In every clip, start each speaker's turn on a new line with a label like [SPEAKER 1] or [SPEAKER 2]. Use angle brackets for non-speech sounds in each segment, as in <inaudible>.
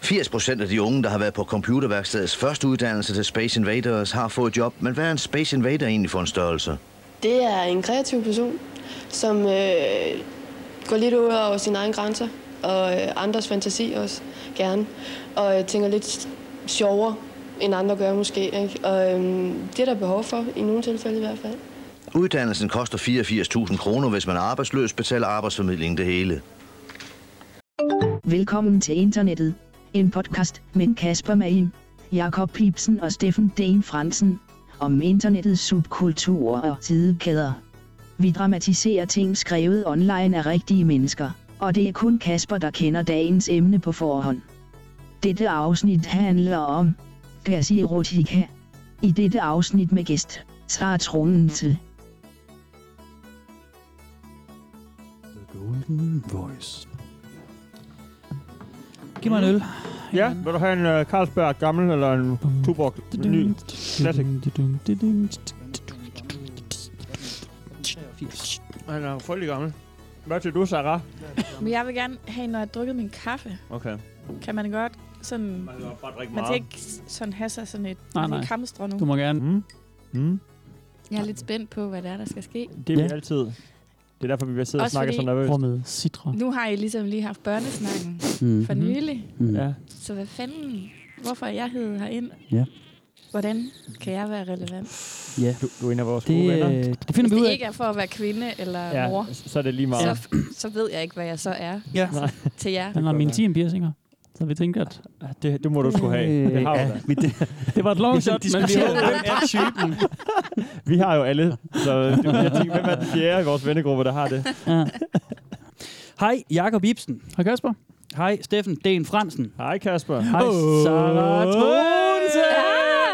[SPEAKER 1] 80 procent af de unge, der har været på computerværkstedets første uddannelse til Space Invaders, har fået job. Men hvad er en Space Invader egentlig for en størrelse?
[SPEAKER 2] Det er en kreativ person, som øh, går lidt ud over sine egne grænser og øh, andres fantasi også gerne. Og øh, tænker lidt sjovere, end andre gør måske. Ikke? Og øh, det er der behov for, i nogle tilfælde i hvert fald.
[SPEAKER 1] Uddannelsen koster 84.000 kroner, hvis man er arbejdsløs, betaler arbejdsformidlingen det hele.
[SPEAKER 3] Velkommen til internettet. En podcast med Kasper Magen, Jakob Pipsen og Steffen Den Fransen. Om internettets subkulturer og tidekæder. Vi dramatiserer ting skrevet online af rigtige mennesker, og det er kun Kasper, der kender dagens emne på forhånd. Dette afsnit handler om Gassi Erotica. I dette afsnit med gæst, Sara Trunense.
[SPEAKER 4] The Golden Voice.
[SPEAKER 5] Giv mig en øl.
[SPEAKER 6] Ja, vil du have en uh, Carlsberg gammel eller en Tuborg ny? Classic. Han er frygtelig gammel. Hvad siger du, Sarah?
[SPEAKER 7] Men jeg vil gerne have, når jeg har drukket min kaffe,
[SPEAKER 6] Okay.
[SPEAKER 7] kan man godt sådan...
[SPEAKER 6] Man kan bare drikke
[SPEAKER 7] Man skal ikke sådan have sig sådan et
[SPEAKER 5] Nej,
[SPEAKER 7] nej, nej.
[SPEAKER 5] nej.
[SPEAKER 7] kamstre nu.
[SPEAKER 5] Du må gerne.
[SPEAKER 6] Mm. Mm.
[SPEAKER 7] Jeg er lidt spændt på, hvad der er, der skal ske.
[SPEAKER 6] Det er ja.
[SPEAKER 5] Ja.
[SPEAKER 6] vi altid. Det er derfor, vi bliver siddet og
[SPEAKER 7] Også
[SPEAKER 6] snakker så
[SPEAKER 7] fordi-
[SPEAKER 6] nervøst.
[SPEAKER 5] Prøv med citra.
[SPEAKER 7] Nu har I ligesom lige haft børnesnakken
[SPEAKER 5] Mm.
[SPEAKER 7] for
[SPEAKER 6] Mhm.
[SPEAKER 7] nylig.
[SPEAKER 5] Mm.
[SPEAKER 6] Ja.
[SPEAKER 7] Så hvad fanden? Hvorfor er jeg hed herind?
[SPEAKER 5] Ja.
[SPEAKER 7] Hvordan kan jeg være relevant?
[SPEAKER 5] ja.
[SPEAKER 6] Du, du er en af vores
[SPEAKER 5] Det,
[SPEAKER 6] gode venner.
[SPEAKER 5] øh, det finder
[SPEAKER 7] Hvis
[SPEAKER 5] vi ud
[SPEAKER 7] det
[SPEAKER 5] af.
[SPEAKER 7] ikke er for at være kvinde eller
[SPEAKER 6] ja,
[SPEAKER 7] ja. mor,
[SPEAKER 6] så er det lige meget.
[SPEAKER 7] så, så ved jeg ikke, hvad jeg så er
[SPEAKER 5] Ja.
[SPEAKER 7] til jer.
[SPEAKER 5] Han har
[SPEAKER 6] godt
[SPEAKER 5] mine
[SPEAKER 6] være.
[SPEAKER 5] 10 piercinger. Så vi tænkte, at
[SPEAKER 6] Ja, det, det må du skulle have.
[SPEAKER 4] Øh,
[SPEAKER 6] Det har
[SPEAKER 4] ja,
[SPEAKER 6] vi, da. <laughs>
[SPEAKER 4] vi det,
[SPEAKER 5] det var et long shot, <laughs> men vi
[SPEAKER 4] diskuterer,
[SPEAKER 5] har
[SPEAKER 4] hvem er typen.
[SPEAKER 6] vi har jo alle. Så
[SPEAKER 5] <laughs>
[SPEAKER 6] det, jeg tænker, hvem er den fjerde i vores vennegruppe, der har det?
[SPEAKER 5] ja.
[SPEAKER 4] Hej, Jakob Ibsen.
[SPEAKER 5] Og Kasper?
[SPEAKER 4] Hej, Steffen Den Fransen.
[SPEAKER 6] Hej Kasper.
[SPEAKER 5] Hej, Sara Trunse!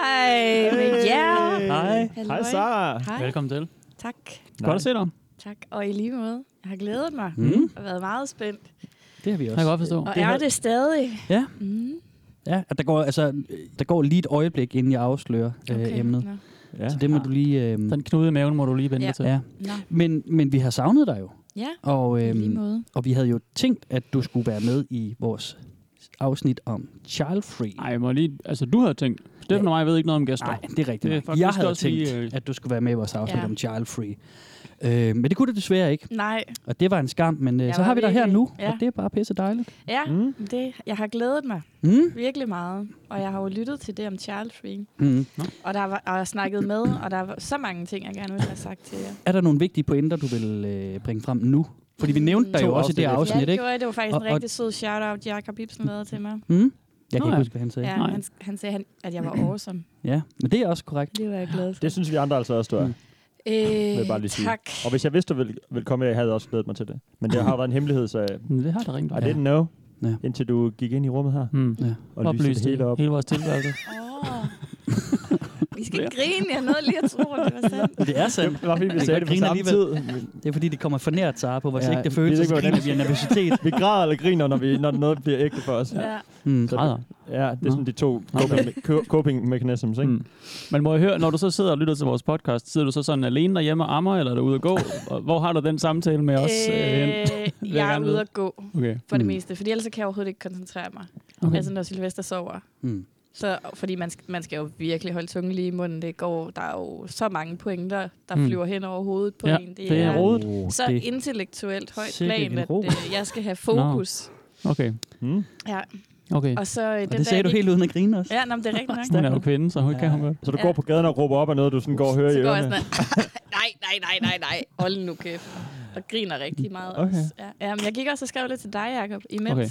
[SPEAKER 7] Hej med jer!
[SPEAKER 5] Hej.
[SPEAKER 6] Hej
[SPEAKER 7] Halløj.
[SPEAKER 6] Sara.
[SPEAKER 7] Hej.
[SPEAKER 5] Velkommen til.
[SPEAKER 7] Tak.
[SPEAKER 5] Godt at se dig.
[SPEAKER 7] Tak. Og i lige måde. Jeg har glædet mig
[SPEAKER 5] Mm.
[SPEAKER 7] og været meget spændt.
[SPEAKER 4] Det har vi
[SPEAKER 5] Jeg kan godt forstå.
[SPEAKER 7] Og
[SPEAKER 4] Det
[SPEAKER 7] det er
[SPEAKER 4] her-
[SPEAKER 7] det stadig.
[SPEAKER 4] Ja.
[SPEAKER 7] Mm,
[SPEAKER 4] Ja, at der går, altså, øh, der går lige et øjeblik, inden jeg afslører okay. øh, emnet.
[SPEAKER 7] Nå.
[SPEAKER 6] Ja.
[SPEAKER 4] Så det må du lige... Øh,
[SPEAKER 5] Den knude i maven må du lige vente
[SPEAKER 7] Ja.
[SPEAKER 5] til.
[SPEAKER 4] ja.
[SPEAKER 7] Nå.
[SPEAKER 4] men, men vi har savnet dig jo.
[SPEAKER 7] Ja,
[SPEAKER 4] Og,
[SPEAKER 7] i lige
[SPEAKER 4] øh,
[SPEAKER 7] måde.
[SPEAKER 4] og vi havde jo tænkt, at du skulle være med i vores afsnit om Child Free.
[SPEAKER 5] Ej, jeg må lige... Altså, du havde tænkt. Steffen og mig ved ikke noget om gæster.
[SPEAKER 4] Nej, det er rigtigt.
[SPEAKER 5] Det er
[SPEAKER 4] Det
[SPEAKER 5] faktisk
[SPEAKER 4] jeg havde
[SPEAKER 5] også lige,
[SPEAKER 4] tænkt,
[SPEAKER 5] øh,
[SPEAKER 4] at du skulle være med i vores afsnit
[SPEAKER 7] Ja.
[SPEAKER 4] ja. om Child Free. Øh, men det kunne du desværre ikke,
[SPEAKER 7] Nej,
[SPEAKER 4] og det var en skam. Men øh,
[SPEAKER 7] Jeg
[SPEAKER 4] så
[SPEAKER 7] var
[SPEAKER 4] har vi dig her
[SPEAKER 7] virkelig-
[SPEAKER 4] nu,
[SPEAKER 7] ja.
[SPEAKER 4] og det er bare pisse dejligt.
[SPEAKER 7] ja,
[SPEAKER 6] Mm.
[SPEAKER 7] mm. det, jeg har glædet mig
[SPEAKER 4] Mm?
[SPEAKER 7] virkelig meget. Og jeg har jo lyttet til det om Charles Free.
[SPEAKER 4] Mm.
[SPEAKER 7] Og, der var, og jeg har snakket med, og der var så mange ting, jeg gerne ville have sagt til jer.
[SPEAKER 4] Er der nogle vigtige pointer, du vil øh, bringe frem nu? Fordi vi nævnte dig
[SPEAKER 5] To
[SPEAKER 4] jo også i det
[SPEAKER 5] afsnit
[SPEAKER 7] Mm. Ja,
[SPEAKER 4] afsnit,
[SPEAKER 7] det
[SPEAKER 4] ikke?
[SPEAKER 7] gjorde jeg. Det var faktisk
[SPEAKER 4] Og-
[SPEAKER 7] en
[SPEAKER 4] og-
[SPEAKER 7] rigtig sød shout-out, Jacob Ibsen lavede til mig.
[SPEAKER 4] Mm? Jeg
[SPEAKER 5] Nå
[SPEAKER 4] kan ikke
[SPEAKER 5] ja.
[SPEAKER 4] huske, hvad han sagde.
[SPEAKER 7] Ja,
[SPEAKER 5] Nej.
[SPEAKER 7] han, han sagde, han, at
[SPEAKER 4] <clears throat>
[SPEAKER 7] jeg var awesome.
[SPEAKER 4] Ja, men det er også korrekt.
[SPEAKER 7] Det var jeg glad for.
[SPEAKER 6] Det synes vi andre altså også, du
[SPEAKER 5] Mm.
[SPEAKER 6] er. jeg bare
[SPEAKER 7] Øh,
[SPEAKER 6] lige sige.
[SPEAKER 7] tak.
[SPEAKER 6] Og hvis jeg vidste, du ville, ville komme, jeg havde også glædet mig til det. Men det har været en hemmelighed, så jeg-
[SPEAKER 5] Men det har der rent
[SPEAKER 6] I
[SPEAKER 5] nok.
[SPEAKER 6] didn't know,
[SPEAKER 4] Ja.
[SPEAKER 6] indtil du gik ind i rummet her
[SPEAKER 5] Mm.
[SPEAKER 4] Ja.
[SPEAKER 6] og lyste det hele op.
[SPEAKER 5] hele vores
[SPEAKER 6] <laughs>
[SPEAKER 5] tilværelse.
[SPEAKER 7] Åh. I skal ikke grine, jeg nåede lige at tro, at det var sandt.
[SPEAKER 4] Det er sandt.
[SPEAKER 6] Det var fordi, vi
[SPEAKER 4] Jeg
[SPEAKER 6] sagde det
[SPEAKER 4] kan
[SPEAKER 6] på
[SPEAKER 4] grine
[SPEAKER 6] samme tid.
[SPEAKER 4] alligevel. Det er fordi, det kommer for nært, Sara, på vores
[SPEAKER 6] Ja,
[SPEAKER 4] ja, ægte
[SPEAKER 6] vi ved
[SPEAKER 4] følelser,
[SPEAKER 6] ikke,
[SPEAKER 4] så
[SPEAKER 6] hvordan-
[SPEAKER 4] griner vi af nervøsitet.
[SPEAKER 6] <laughs> Vi græder eller griner, når, vi, når noget bliver ægte for os.
[SPEAKER 7] Ja.
[SPEAKER 4] Mm.
[SPEAKER 6] Så-
[SPEAKER 5] Græder.
[SPEAKER 6] Ja, det er sådan de to coping, co- coping mechanisms, ikke?
[SPEAKER 5] Mm. Men må jeg høre, når du så sidder og lytter til vores podcast, sidder du så sådan alene derhjemme og ammer, eller er du ude at gå? Og Hvor har du den samtale med os? Øh, hen? <laughs>
[SPEAKER 7] Øh,
[SPEAKER 5] vil jeg
[SPEAKER 7] jeg er
[SPEAKER 5] gerne vide.
[SPEAKER 7] ude at gå
[SPEAKER 5] okay.
[SPEAKER 7] for det
[SPEAKER 4] Mm.
[SPEAKER 7] meste, fordi ellers så kan jeg overhovedet ikke koncentrere mig.
[SPEAKER 5] okay.
[SPEAKER 7] Altså når Sylvester sover.
[SPEAKER 4] Mm.
[SPEAKER 7] Så, fordi man, sk- man skal jo virkelig holde tungen lige i munden. Det går, der er jo så mange pointer, der
[SPEAKER 5] Mm.
[SPEAKER 7] mm. flyver hen over hovedet på
[SPEAKER 5] Ja,
[SPEAKER 7] en.
[SPEAKER 5] det er rodet.
[SPEAKER 7] så
[SPEAKER 4] det-
[SPEAKER 7] intellektuelt højt
[SPEAKER 4] Sikke en
[SPEAKER 7] plan, at
[SPEAKER 4] ro.
[SPEAKER 7] øh, jeg skal have fokus.
[SPEAKER 5] Okay.
[SPEAKER 6] Mm.
[SPEAKER 7] Ja.
[SPEAKER 5] okay.
[SPEAKER 7] Og så øh, den
[SPEAKER 4] Og
[SPEAKER 7] der,
[SPEAKER 4] det sagde du
[SPEAKER 7] jeg gik-
[SPEAKER 4] helt uden at grine også.
[SPEAKER 7] Ja, nå, men det er rigtigt nok.
[SPEAKER 5] Hun er jo kvinde, så hun kan hun godt.
[SPEAKER 6] Så du
[SPEAKER 7] Ja.
[SPEAKER 6] går på gaden og råber op af noget, du sådan går og hører i
[SPEAKER 7] Så går jeg
[SPEAKER 6] ørerne.
[SPEAKER 7] sådan, <laughs> nej, nej, nej, nej, nej, hold nu kæft. Og griner rigtig meget okay. også. Ja. ja, men jeg gik også og skrev lidt til dig, Jacob, imens.
[SPEAKER 5] Okay.
[SPEAKER 7] Okay.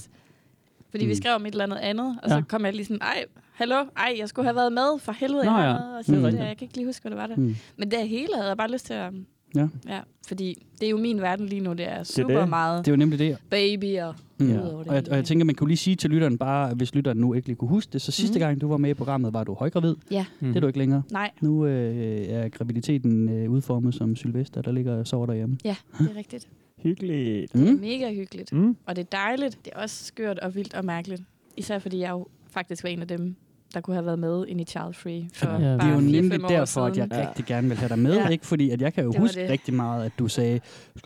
[SPEAKER 7] Fordi vi
[SPEAKER 4] Mm.
[SPEAKER 7] skrev om et eller andet andet, og ja.
[SPEAKER 5] Ja.
[SPEAKER 7] så kom jeg lige sådan, ej, hallo, ej, jeg skulle have været med, for helvede,
[SPEAKER 5] Nå
[SPEAKER 7] jeg
[SPEAKER 5] ja,
[SPEAKER 7] har noget, og så,
[SPEAKER 4] det er
[SPEAKER 7] mm.
[SPEAKER 4] rigtigt.
[SPEAKER 7] jeg kan ikke lige huske, hvad det var der. Mm.
[SPEAKER 4] Mm.
[SPEAKER 7] Men det hele havde jeg bare lyst til at...
[SPEAKER 4] Ja.
[SPEAKER 7] ja. Fordi det er jo min verden lige nu, det er super det er
[SPEAKER 6] det.
[SPEAKER 7] det. meget
[SPEAKER 4] Det er jo nemlig det.
[SPEAKER 7] baby og
[SPEAKER 4] Mm.
[SPEAKER 7] ud
[SPEAKER 4] Ja.
[SPEAKER 7] over det
[SPEAKER 4] Og, jeg, og jeg
[SPEAKER 7] hele.
[SPEAKER 4] tænker, man kunne lige sige til lytteren bare, hvis lytteren nu ikke lige kunne huske det, så sidste
[SPEAKER 7] Mhm.
[SPEAKER 4] gang, du var med i programmet, var du højgravid.
[SPEAKER 7] Ja.
[SPEAKER 4] Mm. Det er du ikke længere.
[SPEAKER 7] Nej,
[SPEAKER 4] Nu øh, er graviditeten øh, udformet som Sylvester, der ligger og sover derhjemme.
[SPEAKER 7] det er rigtigt.
[SPEAKER 6] Hyggeligt.
[SPEAKER 7] Det er
[SPEAKER 4] Mm.
[SPEAKER 7] mega hyggeligt.
[SPEAKER 6] Mm.
[SPEAKER 7] Og det er dejligt. Det er også skørt og vildt og mærkeligt. Især fordi jeg jo faktisk var en af dem, der kunne have været med ind i Child Free for
[SPEAKER 4] Ja.
[SPEAKER 7] ja,
[SPEAKER 5] Det er
[SPEAKER 7] bare
[SPEAKER 4] Det er jo
[SPEAKER 7] fire,
[SPEAKER 4] nemlig
[SPEAKER 7] fem år
[SPEAKER 4] derfor, at
[SPEAKER 7] siden.
[SPEAKER 4] jeg rigtig gerne vil have dig med. Ja.
[SPEAKER 7] Ja.
[SPEAKER 4] Ikke? Fordi at jeg kan jo
[SPEAKER 7] Det var
[SPEAKER 4] huske det.
[SPEAKER 7] det.
[SPEAKER 4] rigtig meget, at du sagde,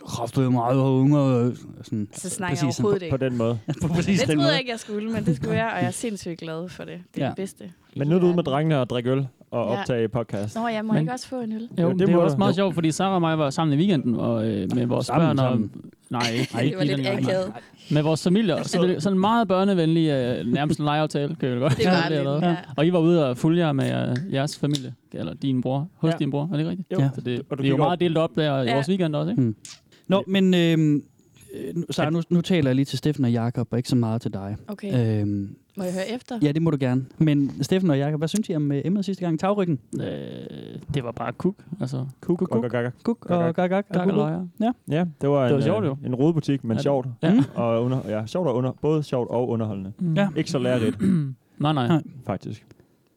[SPEAKER 4] kraft du meget og unge. og Sådan,
[SPEAKER 7] Så Altså, snakker jeg
[SPEAKER 4] præcis sådan
[SPEAKER 7] overhovedet
[SPEAKER 6] På
[SPEAKER 7] ikke.
[SPEAKER 6] den måde.
[SPEAKER 4] På, på præcis
[SPEAKER 7] Det troede
[SPEAKER 4] den måde.
[SPEAKER 7] jeg ikke, jeg skulle, men det skulle jeg, og jeg er sindssygt glad for det. Det er
[SPEAKER 4] Ja.
[SPEAKER 7] ja. det bedste. i
[SPEAKER 6] Men nu er du ude med
[SPEAKER 7] verden.
[SPEAKER 6] drengene og drikke øl og
[SPEAKER 7] Ja.
[SPEAKER 6] optage podcast.
[SPEAKER 7] Nå, jeg må
[SPEAKER 5] Men-
[SPEAKER 7] men... ikke også få en øl.
[SPEAKER 5] Jo,
[SPEAKER 6] Jo,
[SPEAKER 5] det,
[SPEAKER 6] det må
[SPEAKER 5] det var
[SPEAKER 6] du.
[SPEAKER 5] også meget
[SPEAKER 6] Jo.
[SPEAKER 5] sjovt, fordi Sara og mig var sammen i weekenden og, øh, med vores
[SPEAKER 4] Sammen,
[SPEAKER 5] børn og...
[SPEAKER 4] sammen.
[SPEAKER 5] Nej, ikke,
[SPEAKER 7] Det
[SPEAKER 5] ikke
[SPEAKER 7] var
[SPEAKER 5] lige den
[SPEAKER 7] lidt
[SPEAKER 5] vej.
[SPEAKER 7] akavet.
[SPEAKER 5] Med vores familier. Så det er sådan en meget børnevenlig, øh, nærmest en legeaftale, kan vi vel godt
[SPEAKER 7] Det var
[SPEAKER 5] kalde eller
[SPEAKER 7] det,
[SPEAKER 5] hvad?
[SPEAKER 7] ja.
[SPEAKER 5] Og I var ude og fulgte jer med øh, jeres familie, eller din bror, hos
[SPEAKER 6] Ja.
[SPEAKER 5] din bror, er det ikke rigtigt?
[SPEAKER 6] Jo.
[SPEAKER 4] Ja.
[SPEAKER 5] Så det,
[SPEAKER 6] Og du
[SPEAKER 5] vi er jo
[SPEAKER 6] gik over-
[SPEAKER 5] meget delt op Mm. der i
[SPEAKER 7] Ja.
[SPEAKER 5] vores weekend også, ikke?
[SPEAKER 4] Mm. Nå, men øhm, øh, nu- Sara, nu, nu taler jeg lige til Steffen og Jakob, og ikke så meget til dig.
[SPEAKER 7] Okay,
[SPEAKER 4] Øhm,
[SPEAKER 7] må jeg høre efter?
[SPEAKER 4] ja, det må du gerne. Men Steffen og Jakob, hvad synes I om øh, emnet sidste gang? Tagryggen,
[SPEAKER 5] Øh, det var bare kuk. Altså,
[SPEAKER 6] Kuk, kuk, kuk. kuk.
[SPEAKER 4] kuk og gak, gak,
[SPEAKER 5] kak og løjer.
[SPEAKER 6] Ja, det var,
[SPEAKER 5] Det var
[SPEAKER 6] en,
[SPEAKER 5] sjovt,
[SPEAKER 6] øh,
[SPEAKER 5] jo.
[SPEAKER 6] en rodebutik, men
[SPEAKER 5] Ja.
[SPEAKER 6] sjovt.
[SPEAKER 5] Ja.
[SPEAKER 6] Og under, ja, sjovt og under, både sjovt og underholdende.
[SPEAKER 5] Mm.
[SPEAKER 4] Ja.
[SPEAKER 6] Ikke så lærerigt,
[SPEAKER 5] Nej, <clears throat> nej.
[SPEAKER 4] Nej.
[SPEAKER 6] faktisk.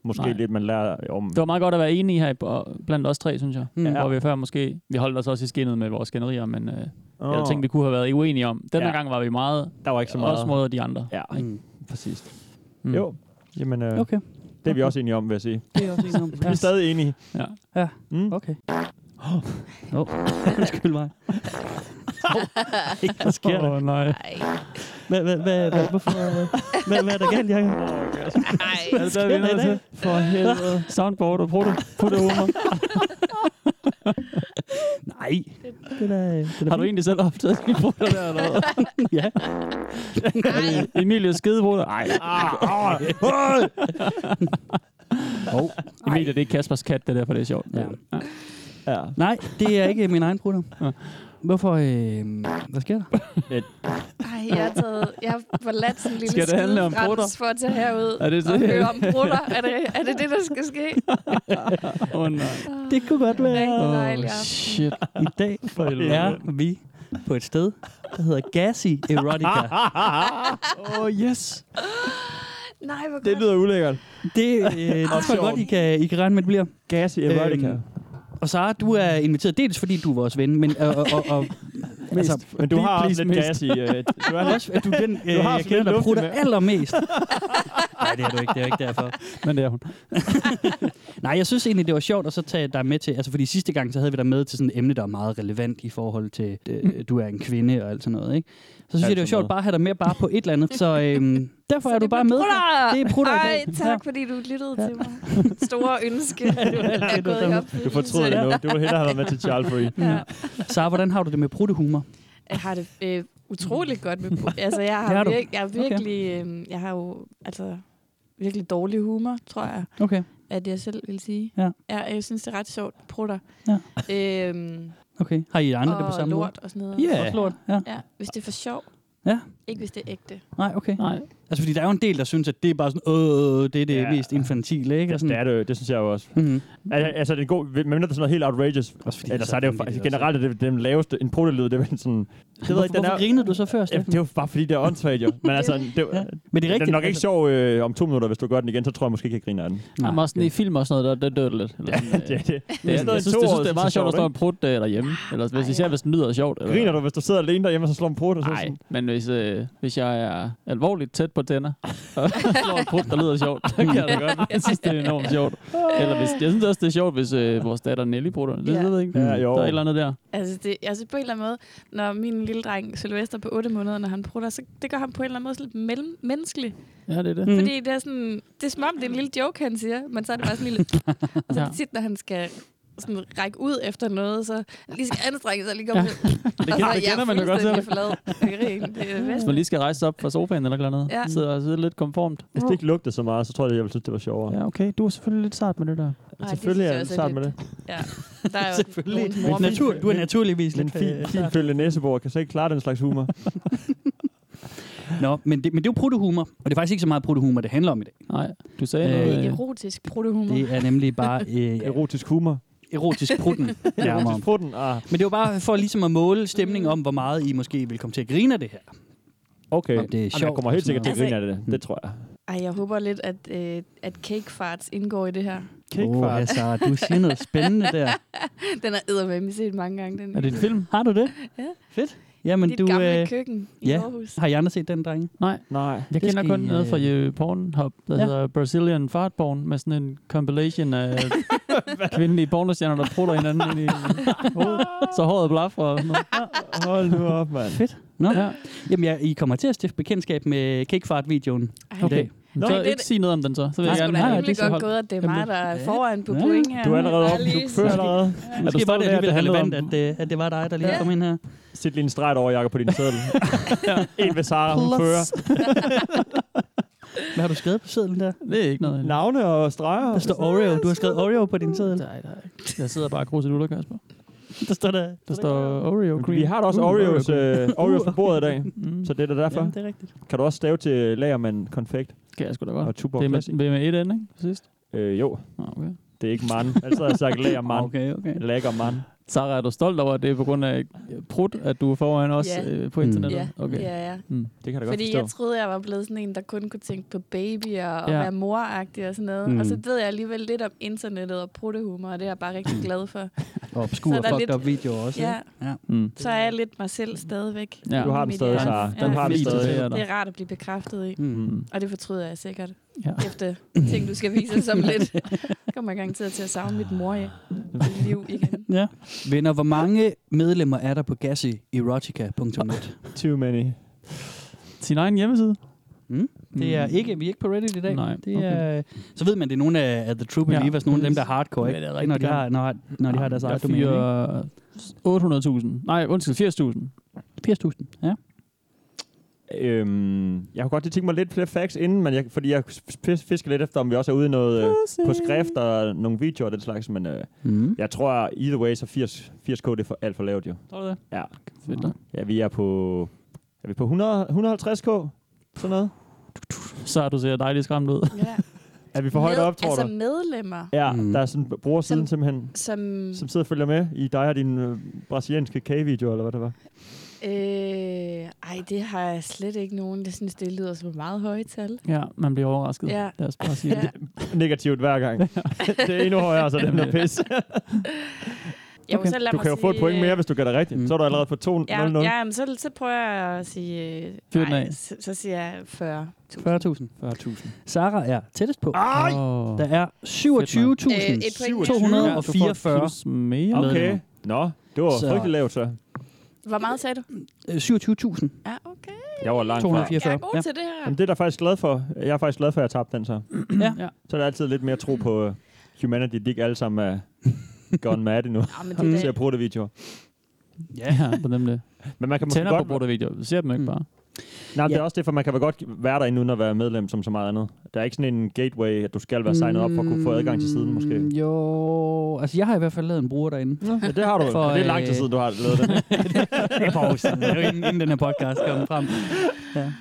[SPEAKER 6] Måske
[SPEAKER 5] Nej.
[SPEAKER 6] Nej. lidt, man lærer om...
[SPEAKER 5] Det var meget godt at være enige her i- og- blandt os tre, synes jeg.
[SPEAKER 4] Mm.
[SPEAKER 5] Mm.
[SPEAKER 4] Ja.
[SPEAKER 5] Hvor vi før måske... Vi holdt os også i skinnet med vores skænderier, men øh, oh.
[SPEAKER 6] Åh,
[SPEAKER 5] jeg tænkte, vi kunne have været uenige om. Den her
[SPEAKER 6] Ja.
[SPEAKER 5] gang var vi meget,
[SPEAKER 6] der var ikke så meget.
[SPEAKER 5] også mod de andre.
[SPEAKER 6] Ja,
[SPEAKER 4] Mm.
[SPEAKER 6] præcis.
[SPEAKER 5] Mm.
[SPEAKER 6] Jo, jamen, øh,
[SPEAKER 4] Okay.
[SPEAKER 6] det er vi også enige om, vil jeg sige.
[SPEAKER 4] Det er
[SPEAKER 6] <laughs>
[SPEAKER 4] også enige om.
[SPEAKER 6] Vi er stadig enige. <laughs>
[SPEAKER 5] Ja.
[SPEAKER 4] Ja.
[SPEAKER 6] Mm.
[SPEAKER 4] Okay. Åh, oh. undskyld
[SPEAKER 7] <laughs>
[SPEAKER 4] mig. Hvad sker der?
[SPEAKER 5] Åh, nej.
[SPEAKER 7] Nej,
[SPEAKER 4] Hvad, hvad, hvad, hvad, hvorfor? Hvad, hvad er der galt, Jacob?
[SPEAKER 7] nej.
[SPEAKER 5] Er det der, vi er nødt til? For helvede. Soundboard og prøv det. Prøv det
[SPEAKER 4] <laughs>
[SPEAKER 5] over.
[SPEAKER 4] Nej. Det er, da- det er da
[SPEAKER 5] Har du
[SPEAKER 4] fint.
[SPEAKER 5] egentlig selv optaget din <laughs> bruder der, eller hvad?
[SPEAKER 4] <laughs> Ja.
[SPEAKER 5] Er det Emilies Ah, skidebruder? Nej.
[SPEAKER 4] <laughs> Oh.
[SPEAKER 5] ah. Emilie, det er Kaspers kat, det der, for det er sjovt.
[SPEAKER 4] Ja.
[SPEAKER 6] Ja.
[SPEAKER 4] Nej, det er ikke min egen bruder. Hvorfor? Øh, hvad sker der?
[SPEAKER 7] Ej, jeg har, taget, jeg har forladt sådan en lille
[SPEAKER 5] Skal det handle om
[SPEAKER 7] skidefrans
[SPEAKER 5] brutter?
[SPEAKER 7] for at tage herud
[SPEAKER 5] Er det
[SPEAKER 7] og
[SPEAKER 5] det?
[SPEAKER 7] høre om brutter. Er det, er det det, der skal ske?
[SPEAKER 5] Åh, oh, nej.
[SPEAKER 4] Det kunne godt
[SPEAKER 7] Rigtig
[SPEAKER 5] Åh,
[SPEAKER 7] dejlig
[SPEAKER 5] oh,
[SPEAKER 7] aften.
[SPEAKER 5] shit.
[SPEAKER 4] I dag
[SPEAKER 5] helvede.
[SPEAKER 4] er vi på et sted, der hedder Gassy <laughs> Erotica.
[SPEAKER 5] Åh, oh, yes.
[SPEAKER 7] Nej, hvor godt.
[SPEAKER 6] <laughs> Det lyder ulækkert.
[SPEAKER 4] Det, øh, det tror jeg godt, I kan, I kan regne med, det bliver.
[SPEAKER 6] Gas i erotica.
[SPEAKER 4] Øhm, Og Sara, du er inviteret dels fordi du er vores ven, men og, og, og, og altså,
[SPEAKER 6] Men du
[SPEAKER 4] please,
[SPEAKER 6] har også
[SPEAKER 4] please,
[SPEAKER 6] lidt
[SPEAKER 4] mest.
[SPEAKER 6] gas i... øh, Du er lidt...
[SPEAKER 4] også, at du er den, øh,
[SPEAKER 6] har
[SPEAKER 4] jeg
[SPEAKER 6] sådan lidt
[SPEAKER 4] kender, der
[SPEAKER 6] luft i
[SPEAKER 4] prutter
[SPEAKER 6] maven.
[SPEAKER 4] allermest. Nej, det er du ikke. Det er ikke derfor. <laughs>
[SPEAKER 5] Men det er hun.
[SPEAKER 4] Nej, jeg synes egentlig, det var sjovt at så tage dig med til, altså fordi sidste gang, så havde vi dig med til sådan et emne, der er meget relevant i forhold til,
[SPEAKER 7] Mm.
[SPEAKER 4] øh, du er en kvinde og alt sådan noget, ikke? Så synes jeg, det var
[SPEAKER 6] sådan
[SPEAKER 4] sjovt
[SPEAKER 6] noget.
[SPEAKER 4] bare at have dig med bare på et eller andet, så
[SPEAKER 7] <laughs>
[SPEAKER 4] øhm, derfor er
[SPEAKER 7] Det
[SPEAKER 4] du bare
[SPEAKER 7] blev
[SPEAKER 4] med.
[SPEAKER 7] Brutter!
[SPEAKER 4] Det er brutter i dag.
[SPEAKER 7] Ej, tak fordi du lyttede til mig. Store
[SPEAKER 4] <laughs>
[SPEAKER 7] ønske. Jeg er gået i
[SPEAKER 6] Du
[SPEAKER 7] opfyldelse.
[SPEAKER 6] fortryder det nu. Du ville hellere have været med til Charles Free.
[SPEAKER 7] Ja.
[SPEAKER 4] Sara, hvordan har du det med bruttehumor?
[SPEAKER 7] Jeg har det øh, utroligt godt med brug. Altså, jeg
[SPEAKER 4] Det har
[SPEAKER 7] har,
[SPEAKER 4] du.
[SPEAKER 7] virk, jeg har virkelig... Øh, jeg har jo altså, virkelig dårlig humor, tror jeg,
[SPEAKER 4] Okay.
[SPEAKER 7] at jeg selv vil sige.
[SPEAKER 4] Ja.
[SPEAKER 7] Jeg, jeg synes, det er ret sjovt. Prutter.
[SPEAKER 4] Ja.
[SPEAKER 7] Øhm,
[SPEAKER 4] Okay. Har I andre det på
[SPEAKER 7] og
[SPEAKER 4] samme måde?
[SPEAKER 7] lort og sådan noget.
[SPEAKER 4] Ja. Også lort. Ja.
[SPEAKER 7] Ja, hvis det er for sjov.
[SPEAKER 4] Ja.
[SPEAKER 7] Ikke hvis det er ægte.
[SPEAKER 4] Nej, okay.
[SPEAKER 5] Nej.
[SPEAKER 4] Altså, fordi der er jo en del, der synes, at det er bare sådan, øh, det er det ja.
[SPEAKER 6] Ja.
[SPEAKER 4] mest infantile, ikke? Og
[SPEAKER 6] Det
[SPEAKER 4] sådan.
[SPEAKER 6] er det, jo. det synes jeg jo også.
[SPEAKER 5] Mm.
[SPEAKER 4] Mm-hmm.
[SPEAKER 6] Al- Altså, det er en god, men mindre det er sådan noget helt outrageous.
[SPEAKER 4] Også fordi
[SPEAKER 6] Eller så er det jo faktisk generelt, at det er den laveste, en protolyd, det er vel sådan... Det
[SPEAKER 4] Hvorfor, hvorfor grinede du så før,
[SPEAKER 6] Jamen,
[SPEAKER 4] Steffen?
[SPEAKER 6] det er jo bare fordi, det er åndssvagt jo. Men altså, det,
[SPEAKER 4] Ja.
[SPEAKER 6] ja.
[SPEAKER 4] Men det er rigtigt. altså.
[SPEAKER 6] den er nok
[SPEAKER 5] altså.
[SPEAKER 6] ikke sjov øh, om to minutter, hvis du gør den igen, så tror jeg måske ikke, jeg griner af den.
[SPEAKER 5] Nej, men også sådan i film og sådan noget, der, der
[SPEAKER 6] <laughs>
[SPEAKER 5] dør det lidt.
[SPEAKER 7] <laughs>
[SPEAKER 5] Eller sådan, øh,
[SPEAKER 6] det, det, det,
[SPEAKER 5] det, er sådan, jeg synes, det, synes, det er meget sjovt at stå og prutte øh, derhjemme. Eller hvis, især hvis den lyder sjovt. Eller,
[SPEAKER 6] Ah, Griner du, hvis du sidder alene derhjemme, og så slår en prut, og så
[SPEAKER 5] Nej,
[SPEAKER 6] sådan...
[SPEAKER 5] men hvis, øh, hvis jeg er alvorligt tæt på tænder, <laughs> og slår en prut, der lyder sjovt, <laughs> så kan jeg da godt. Jeg synes, det er enormt sjovt. Eller hvis, jeg synes også, det er sjovt, hvis øh, vores datter Nelly bruger det. Det
[SPEAKER 7] Ja.
[SPEAKER 5] ved jeg ikke.
[SPEAKER 6] Ja, jo.
[SPEAKER 5] Der er et eller andet der.
[SPEAKER 7] Altså, det, altså på en eller anden måde, når min lille dreng Sylvester på 8 måneder, når han prutter, så det gør ham på en eller anden måde sådan lidt mellem, menneskelig. Mm.
[SPEAKER 5] Ja, det er det.
[SPEAKER 4] Mm.
[SPEAKER 7] Fordi det er sådan, det er som om, det er en lille joke, han siger, men så er det bare sådan en lille...
[SPEAKER 5] <laughs>
[SPEAKER 7] Og så
[SPEAKER 5] Ja.
[SPEAKER 7] ja. tit, når han skal sådan række ud efter noget, så lige skal anstrenge sig lige komme ja.
[SPEAKER 5] <laughs> Det kender, det kender man jo godt selv.
[SPEAKER 7] selv. Det er det
[SPEAKER 5] Hvis
[SPEAKER 7] bedste.
[SPEAKER 5] man lige skal rejse sig op fra sofaen eller et eller andet,
[SPEAKER 7] Ja.
[SPEAKER 5] sidder og sidder lidt konformt.
[SPEAKER 6] Hvis det ikke lugtede så meget, så tror jeg, jeg ville synes, det var sjovere. Ja.
[SPEAKER 5] Ja, okay. Du er selvfølgelig lidt sart med det der.
[SPEAKER 7] Ej,
[SPEAKER 6] Selvfølgelig
[SPEAKER 7] det
[SPEAKER 6] er
[SPEAKER 7] synes
[SPEAKER 6] det
[SPEAKER 7] jeg også
[SPEAKER 6] sart med det.
[SPEAKER 7] Der er jo
[SPEAKER 4] Selvfølgelig.
[SPEAKER 7] nogle morfine-
[SPEAKER 4] Natur, du er naturligvis
[SPEAKER 6] Men
[SPEAKER 4] lidt...
[SPEAKER 6] fin,
[SPEAKER 4] øh,
[SPEAKER 6] fin følge næsebord kan så ikke klare den slags humor.
[SPEAKER 4] <laughs> Nå, men det, men det er jo pruttehumor, og det er faktisk ikke så meget pruttehumor, det handler om i dag.
[SPEAKER 5] Nej, du sagde
[SPEAKER 4] Øh,
[SPEAKER 5] noget.
[SPEAKER 7] Det er
[SPEAKER 5] øh,
[SPEAKER 7] erotisk pruttehumor.
[SPEAKER 4] Det er nemlig bare øh,
[SPEAKER 6] <laughs> Erotisk humor.
[SPEAKER 4] erotisk prutten, nærmere.
[SPEAKER 6] <laughs> Erotisk prutten. Ah,
[SPEAKER 4] Men det var bare for ligesom at måle stemningen om, hvor meget I måske vil komme til at grine af det her.
[SPEAKER 6] okay.
[SPEAKER 4] Om det er
[SPEAKER 6] Jamen,
[SPEAKER 4] sjovt
[SPEAKER 6] jeg kommer
[SPEAKER 4] og
[SPEAKER 6] helt
[SPEAKER 4] sådan
[SPEAKER 6] sikkert til at grine af
[SPEAKER 7] noget.
[SPEAKER 6] det. Det tror jeg.
[SPEAKER 7] Ej, jeg håber lidt, at, øh, at cake farts indgår i det her.
[SPEAKER 4] Åh,
[SPEAKER 6] Kickfart.
[SPEAKER 4] Sara, du siger
[SPEAKER 7] <laughs>
[SPEAKER 4] noget spændende der.
[SPEAKER 7] Den er eddermame set mange gange. Den.
[SPEAKER 5] er det en film?
[SPEAKER 4] Har du det?
[SPEAKER 7] <laughs> Ja.
[SPEAKER 4] Fedt. Jamen,
[SPEAKER 7] Dit
[SPEAKER 4] du,
[SPEAKER 7] gamle
[SPEAKER 4] øh,
[SPEAKER 7] køkken i
[SPEAKER 4] ja.
[SPEAKER 7] Aarhus.
[SPEAKER 4] har I andre set den, drenge?
[SPEAKER 5] Nej,
[SPEAKER 6] Nej.
[SPEAKER 5] jeg
[SPEAKER 4] Det
[SPEAKER 5] kender
[SPEAKER 4] skal
[SPEAKER 5] kun
[SPEAKER 4] I,
[SPEAKER 5] noget fra
[SPEAKER 4] øh,
[SPEAKER 5] øh, Pornhub, der
[SPEAKER 4] ja.
[SPEAKER 5] ja. hedder Brazilian Fart Porn, med sådan en compilation
[SPEAKER 4] <laughs>
[SPEAKER 5] af kvindelige pornostjerner, der prutter hinanden ind i hovedet, så håret blaffer. og sådan noget.
[SPEAKER 6] Hold nu op, mand.
[SPEAKER 4] Fedt. Nå. Ja.
[SPEAKER 5] Ja.
[SPEAKER 4] Jamen, jeg, I kommer til at stifte bekendskab med Kickfart-videoen
[SPEAKER 7] Ej,
[SPEAKER 4] i dag.
[SPEAKER 6] Nå,
[SPEAKER 5] så
[SPEAKER 7] det-
[SPEAKER 5] ikke sige noget om den så. Så vil
[SPEAKER 7] Det
[SPEAKER 5] jeg
[SPEAKER 7] skulle
[SPEAKER 5] gerne
[SPEAKER 7] da
[SPEAKER 5] have, at
[SPEAKER 7] rimelig
[SPEAKER 5] det
[SPEAKER 7] godt
[SPEAKER 5] hold.
[SPEAKER 7] gået, at det er mig,
[SPEAKER 5] Jamen,
[SPEAKER 7] der er
[SPEAKER 4] ligesom ja.
[SPEAKER 7] foran på
[SPEAKER 4] Ja.
[SPEAKER 7] point her.
[SPEAKER 6] Du er allerede oppe.
[SPEAKER 7] Bare
[SPEAKER 6] Du
[SPEAKER 7] lige
[SPEAKER 6] fører
[SPEAKER 7] sådan-
[SPEAKER 6] allerede.
[SPEAKER 4] Ja.
[SPEAKER 6] Er du
[SPEAKER 4] Måske var
[SPEAKER 6] stolt
[SPEAKER 4] det
[SPEAKER 6] af, at det
[SPEAKER 4] alligevel
[SPEAKER 6] handlede
[SPEAKER 4] relevant,
[SPEAKER 6] om-
[SPEAKER 4] at, øh, at det var dig, der lige
[SPEAKER 7] Ja.
[SPEAKER 4] kom ind her.
[SPEAKER 6] Sæt lige en streg over, Jacob, på din
[SPEAKER 4] <laughs>
[SPEAKER 6] sædel. en ved Sara, hun fører.
[SPEAKER 7] <laughs>
[SPEAKER 4] Hvad har du skrevet på sedlen der?
[SPEAKER 5] Det er ikke noget.
[SPEAKER 6] Navne og streger.
[SPEAKER 4] Der står Oreo. Du har skrevet Oreo på din seddel.
[SPEAKER 5] Nej, nej. Jeg sidder bare og gruser lutter, Kasper.
[SPEAKER 4] Der står der.
[SPEAKER 5] Der står Oreo cream.
[SPEAKER 6] Vi har da også
[SPEAKER 5] Uh,
[SPEAKER 6] Oreos,
[SPEAKER 5] Oreo
[SPEAKER 6] øh, Oreos på bordet i dag,
[SPEAKER 5] Mm.
[SPEAKER 6] så
[SPEAKER 5] Så
[SPEAKER 6] det er da derfor.
[SPEAKER 4] Jamen, det er rigtigt.
[SPEAKER 6] Kan du også stave til lagermand konfekt
[SPEAKER 5] kan jeg sgu da godt.
[SPEAKER 6] og tuborg
[SPEAKER 5] Det er
[SPEAKER 6] Classic?
[SPEAKER 5] med, med, med et ende, ikke? Sidst.
[SPEAKER 6] Øh, jo,
[SPEAKER 5] Nå, Okay.
[SPEAKER 6] det er ikke mand. Altså har jeg sagt
[SPEAKER 5] <laughs>
[SPEAKER 6] lagermand. Okay.
[SPEAKER 4] Okay, okay.
[SPEAKER 6] Lagermand.
[SPEAKER 5] Sarah, er du stolt over, at det er på grund af prut, at du er foran os
[SPEAKER 7] Ja.
[SPEAKER 5] øh, på
[SPEAKER 4] Mm.
[SPEAKER 5] internettet?
[SPEAKER 7] Ja,
[SPEAKER 5] Okay. Mm.
[SPEAKER 7] ja, ja.
[SPEAKER 6] Det kan jeg da godt
[SPEAKER 7] Fordi
[SPEAKER 6] forstå.
[SPEAKER 7] jeg troede, jeg var blevet sådan en, der kun kunne tænke på babyer og
[SPEAKER 5] Ja.
[SPEAKER 7] ja. være moragtig og sådan noget.
[SPEAKER 4] Mm.
[SPEAKER 7] Mm. Og så ved jeg alligevel lidt om internettet og pruttehumor, og det er jeg bare rigtig glad for.
[SPEAKER 4] Og obskur
[SPEAKER 7] Så er der
[SPEAKER 4] fucked
[SPEAKER 7] lidt-
[SPEAKER 4] up videoer også.
[SPEAKER 7] Ja,
[SPEAKER 4] ikke? Ja.
[SPEAKER 5] Mm.
[SPEAKER 7] så er jeg lidt mig selv stadigvæk.
[SPEAKER 5] Ja.
[SPEAKER 6] Du har den
[SPEAKER 7] Mit
[SPEAKER 6] stadig,
[SPEAKER 7] hjerte.
[SPEAKER 6] Sara.
[SPEAKER 7] Ja.
[SPEAKER 6] Den har den
[SPEAKER 5] Mit
[SPEAKER 6] stadig.
[SPEAKER 5] hjerte.
[SPEAKER 7] Det er rart at blive bekræftet i.
[SPEAKER 4] Mm.
[SPEAKER 7] Og det fortryder jeg sikkert.
[SPEAKER 5] Ja.
[SPEAKER 7] Ja. Efter ting, du skal vise os om lidt. <laughs> kommer jeg garanteret til at savne mit mor <laughs> i mit liv igen.
[SPEAKER 4] Ja. Venner, hvor mange medlemmer er der på gassierotica.net?
[SPEAKER 6] 20 many.
[SPEAKER 5] Sin egen hjemmeside?
[SPEAKER 4] Mm. Det er
[SPEAKER 5] Mm.
[SPEAKER 4] ikke, vi er ikke på Reddit i dag.
[SPEAKER 5] Nej,
[SPEAKER 4] det er, så ved man, det er nogle af, af The True
[SPEAKER 5] Ja,
[SPEAKER 4] Believers, nogle af dem, der er
[SPEAKER 5] præcis.
[SPEAKER 4] hardcore,
[SPEAKER 5] Ja,
[SPEAKER 4] ikke?
[SPEAKER 5] det er
[SPEAKER 4] Det er,
[SPEAKER 5] rigtigt,
[SPEAKER 4] når, de
[SPEAKER 5] ja.
[SPEAKER 4] har, når, når de har deres eget domæne. ikke?
[SPEAKER 5] domæne. 800.000. Nej, undskyld, 80.000.
[SPEAKER 4] 80.000, ja.
[SPEAKER 6] Øhm, jeg kunne godt lige tænke mig lidt flere facts inden, men jeg, fordi jeg fis- fisker lidt efter, om vi også er ude i noget øh, på skrift og nogle videoer og den slags, men øh,
[SPEAKER 4] Mm.
[SPEAKER 6] jeg tror, either way, så 80, 80k det er for, alt for lavt jo.
[SPEAKER 5] Tror du det?
[SPEAKER 6] Ja.
[SPEAKER 5] Fedt da.
[SPEAKER 6] Ja, vi er på... Er vi på 100, 150k? Sådan noget?
[SPEAKER 5] Så har du ser dejligt skræmt ud.
[SPEAKER 7] Ja.
[SPEAKER 6] Er vi for højt op, tror
[SPEAKER 7] altså
[SPEAKER 6] du?
[SPEAKER 7] medlemmer,
[SPEAKER 6] Ja,
[SPEAKER 4] Mm.
[SPEAKER 6] der er sådan en brugersiden simpelthen,
[SPEAKER 7] som...
[SPEAKER 6] som sidder og følger med i dig og din øh, brasilianske kagevideo, eller hvad det var.
[SPEAKER 7] Øh, ej, det har jeg slet ikke nogen. Jeg synes, det lyder som et meget høje tal.
[SPEAKER 5] Ja, man bliver overrasket.
[SPEAKER 7] Ja.
[SPEAKER 5] Lad os bare sige
[SPEAKER 7] Ja.
[SPEAKER 5] det.
[SPEAKER 6] <laughs> Negativt hver gang. <laughs> det er endnu højere, så
[SPEAKER 5] <laughs>
[SPEAKER 6] den der
[SPEAKER 7] <laughs>
[SPEAKER 6] pis.
[SPEAKER 7] Jo, så lad
[SPEAKER 6] Du
[SPEAKER 7] mig
[SPEAKER 6] kan jo få et
[SPEAKER 7] sige,
[SPEAKER 6] point mere,
[SPEAKER 7] øh,
[SPEAKER 6] hvis du gør det rigtigt.
[SPEAKER 4] Mm.
[SPEAKER 6] Så er du allerede på 2
[SPEAKER 7] Ja, ja men så, så prøver jeg at sige... øh,
[SPEAKER 5] Fyr den
[SPEAKER 7] ej,
[SPEAKER 5] af.
[SPEAKER 7] så, så siger jeg 40.
[SPEAKER 4] 40.000.
[SPEAKER 5] 40.000.
[SPEAKER 4] Sarah er tættest på.
[SPEAKER 6] Ej!
[SPEAKER 5] Oh.
[SPEAKER 4] Der er
[SPEAKER 7] Øh, et point mere.
[SPEAKER 4] 27.244
[SPEAKER 5] plus mere.
[SPEAKER 6] Okay. Nå, det var
[SPEAKER 4] Så-
[SPEAKER 6] frygtelig lavt, så.
[SPEAKER 7] Hvor meget sagde du?
[SPEAKER 4] øh, 27.000.
[SPEAKER 7] Ja, okay.
[SPEAKER 6] Jeg var langt fra.
[SPEAKER 4] 244.
[SPEAKER 7] Jeg er god
[SPEAKER 4] Ja.
[SPEAKER 7] til det her.
[SPEAKER 6] Jamen, det er der faktisk glad for. Jeg er faktisk glad for, at jeg tabte den så.
[SPEAKER 4] Ja.
[SPEAKER 5] Ja.
[SPEAKER 6] Så er der altid lidt mere tro på uh, humanity. De er ikke alle sammen er gone mad
[SPEAKER 7] <laughs>
[SPEAKER 6] endnu.
[SPEAKER 7] Ja, men det er
[SPEAKER 6] Til
[SPEAKER 7] da-
[SPEAKER 6] at bruge det video.
[SPEAKER 5] Ja, på dem det.
[SPEAKER 6] Men man kan måske
[SPEAKER 5] Tænder på
[SPEAKER 6] godt...
[SPEAKER 5] brugt video. Vi ser dem ikke
[SPEAKER 4] Mm.
[SPEAKER 5] bare.
[SPEAKER 6] Nej, men det
[SPEAKER 4] Ja.
[SPEAKER 6] er også det, for man kan vel godt være derinde uden at være medlem som så meget andet. Der er ikke sådan en gateway, at du skal være signet op for at kunne få adgang til siden, måske.
[SPEAKER 4] Mm, Jo, altså jeg har i hvert fald lavet en bruger derinde.
[SPEAKER 6] Ja, det har du.
[SPEAKER 4] For,
[SPEAKER 6] For, det er lang tid
[SPEAKER 4] øh,
[SPEAKER 6] siden, du har lavet det.
[SPEAKER 4] <laughs> Det er et par år siden. Det er jo inden, inden den her podcast kom frem. Ja.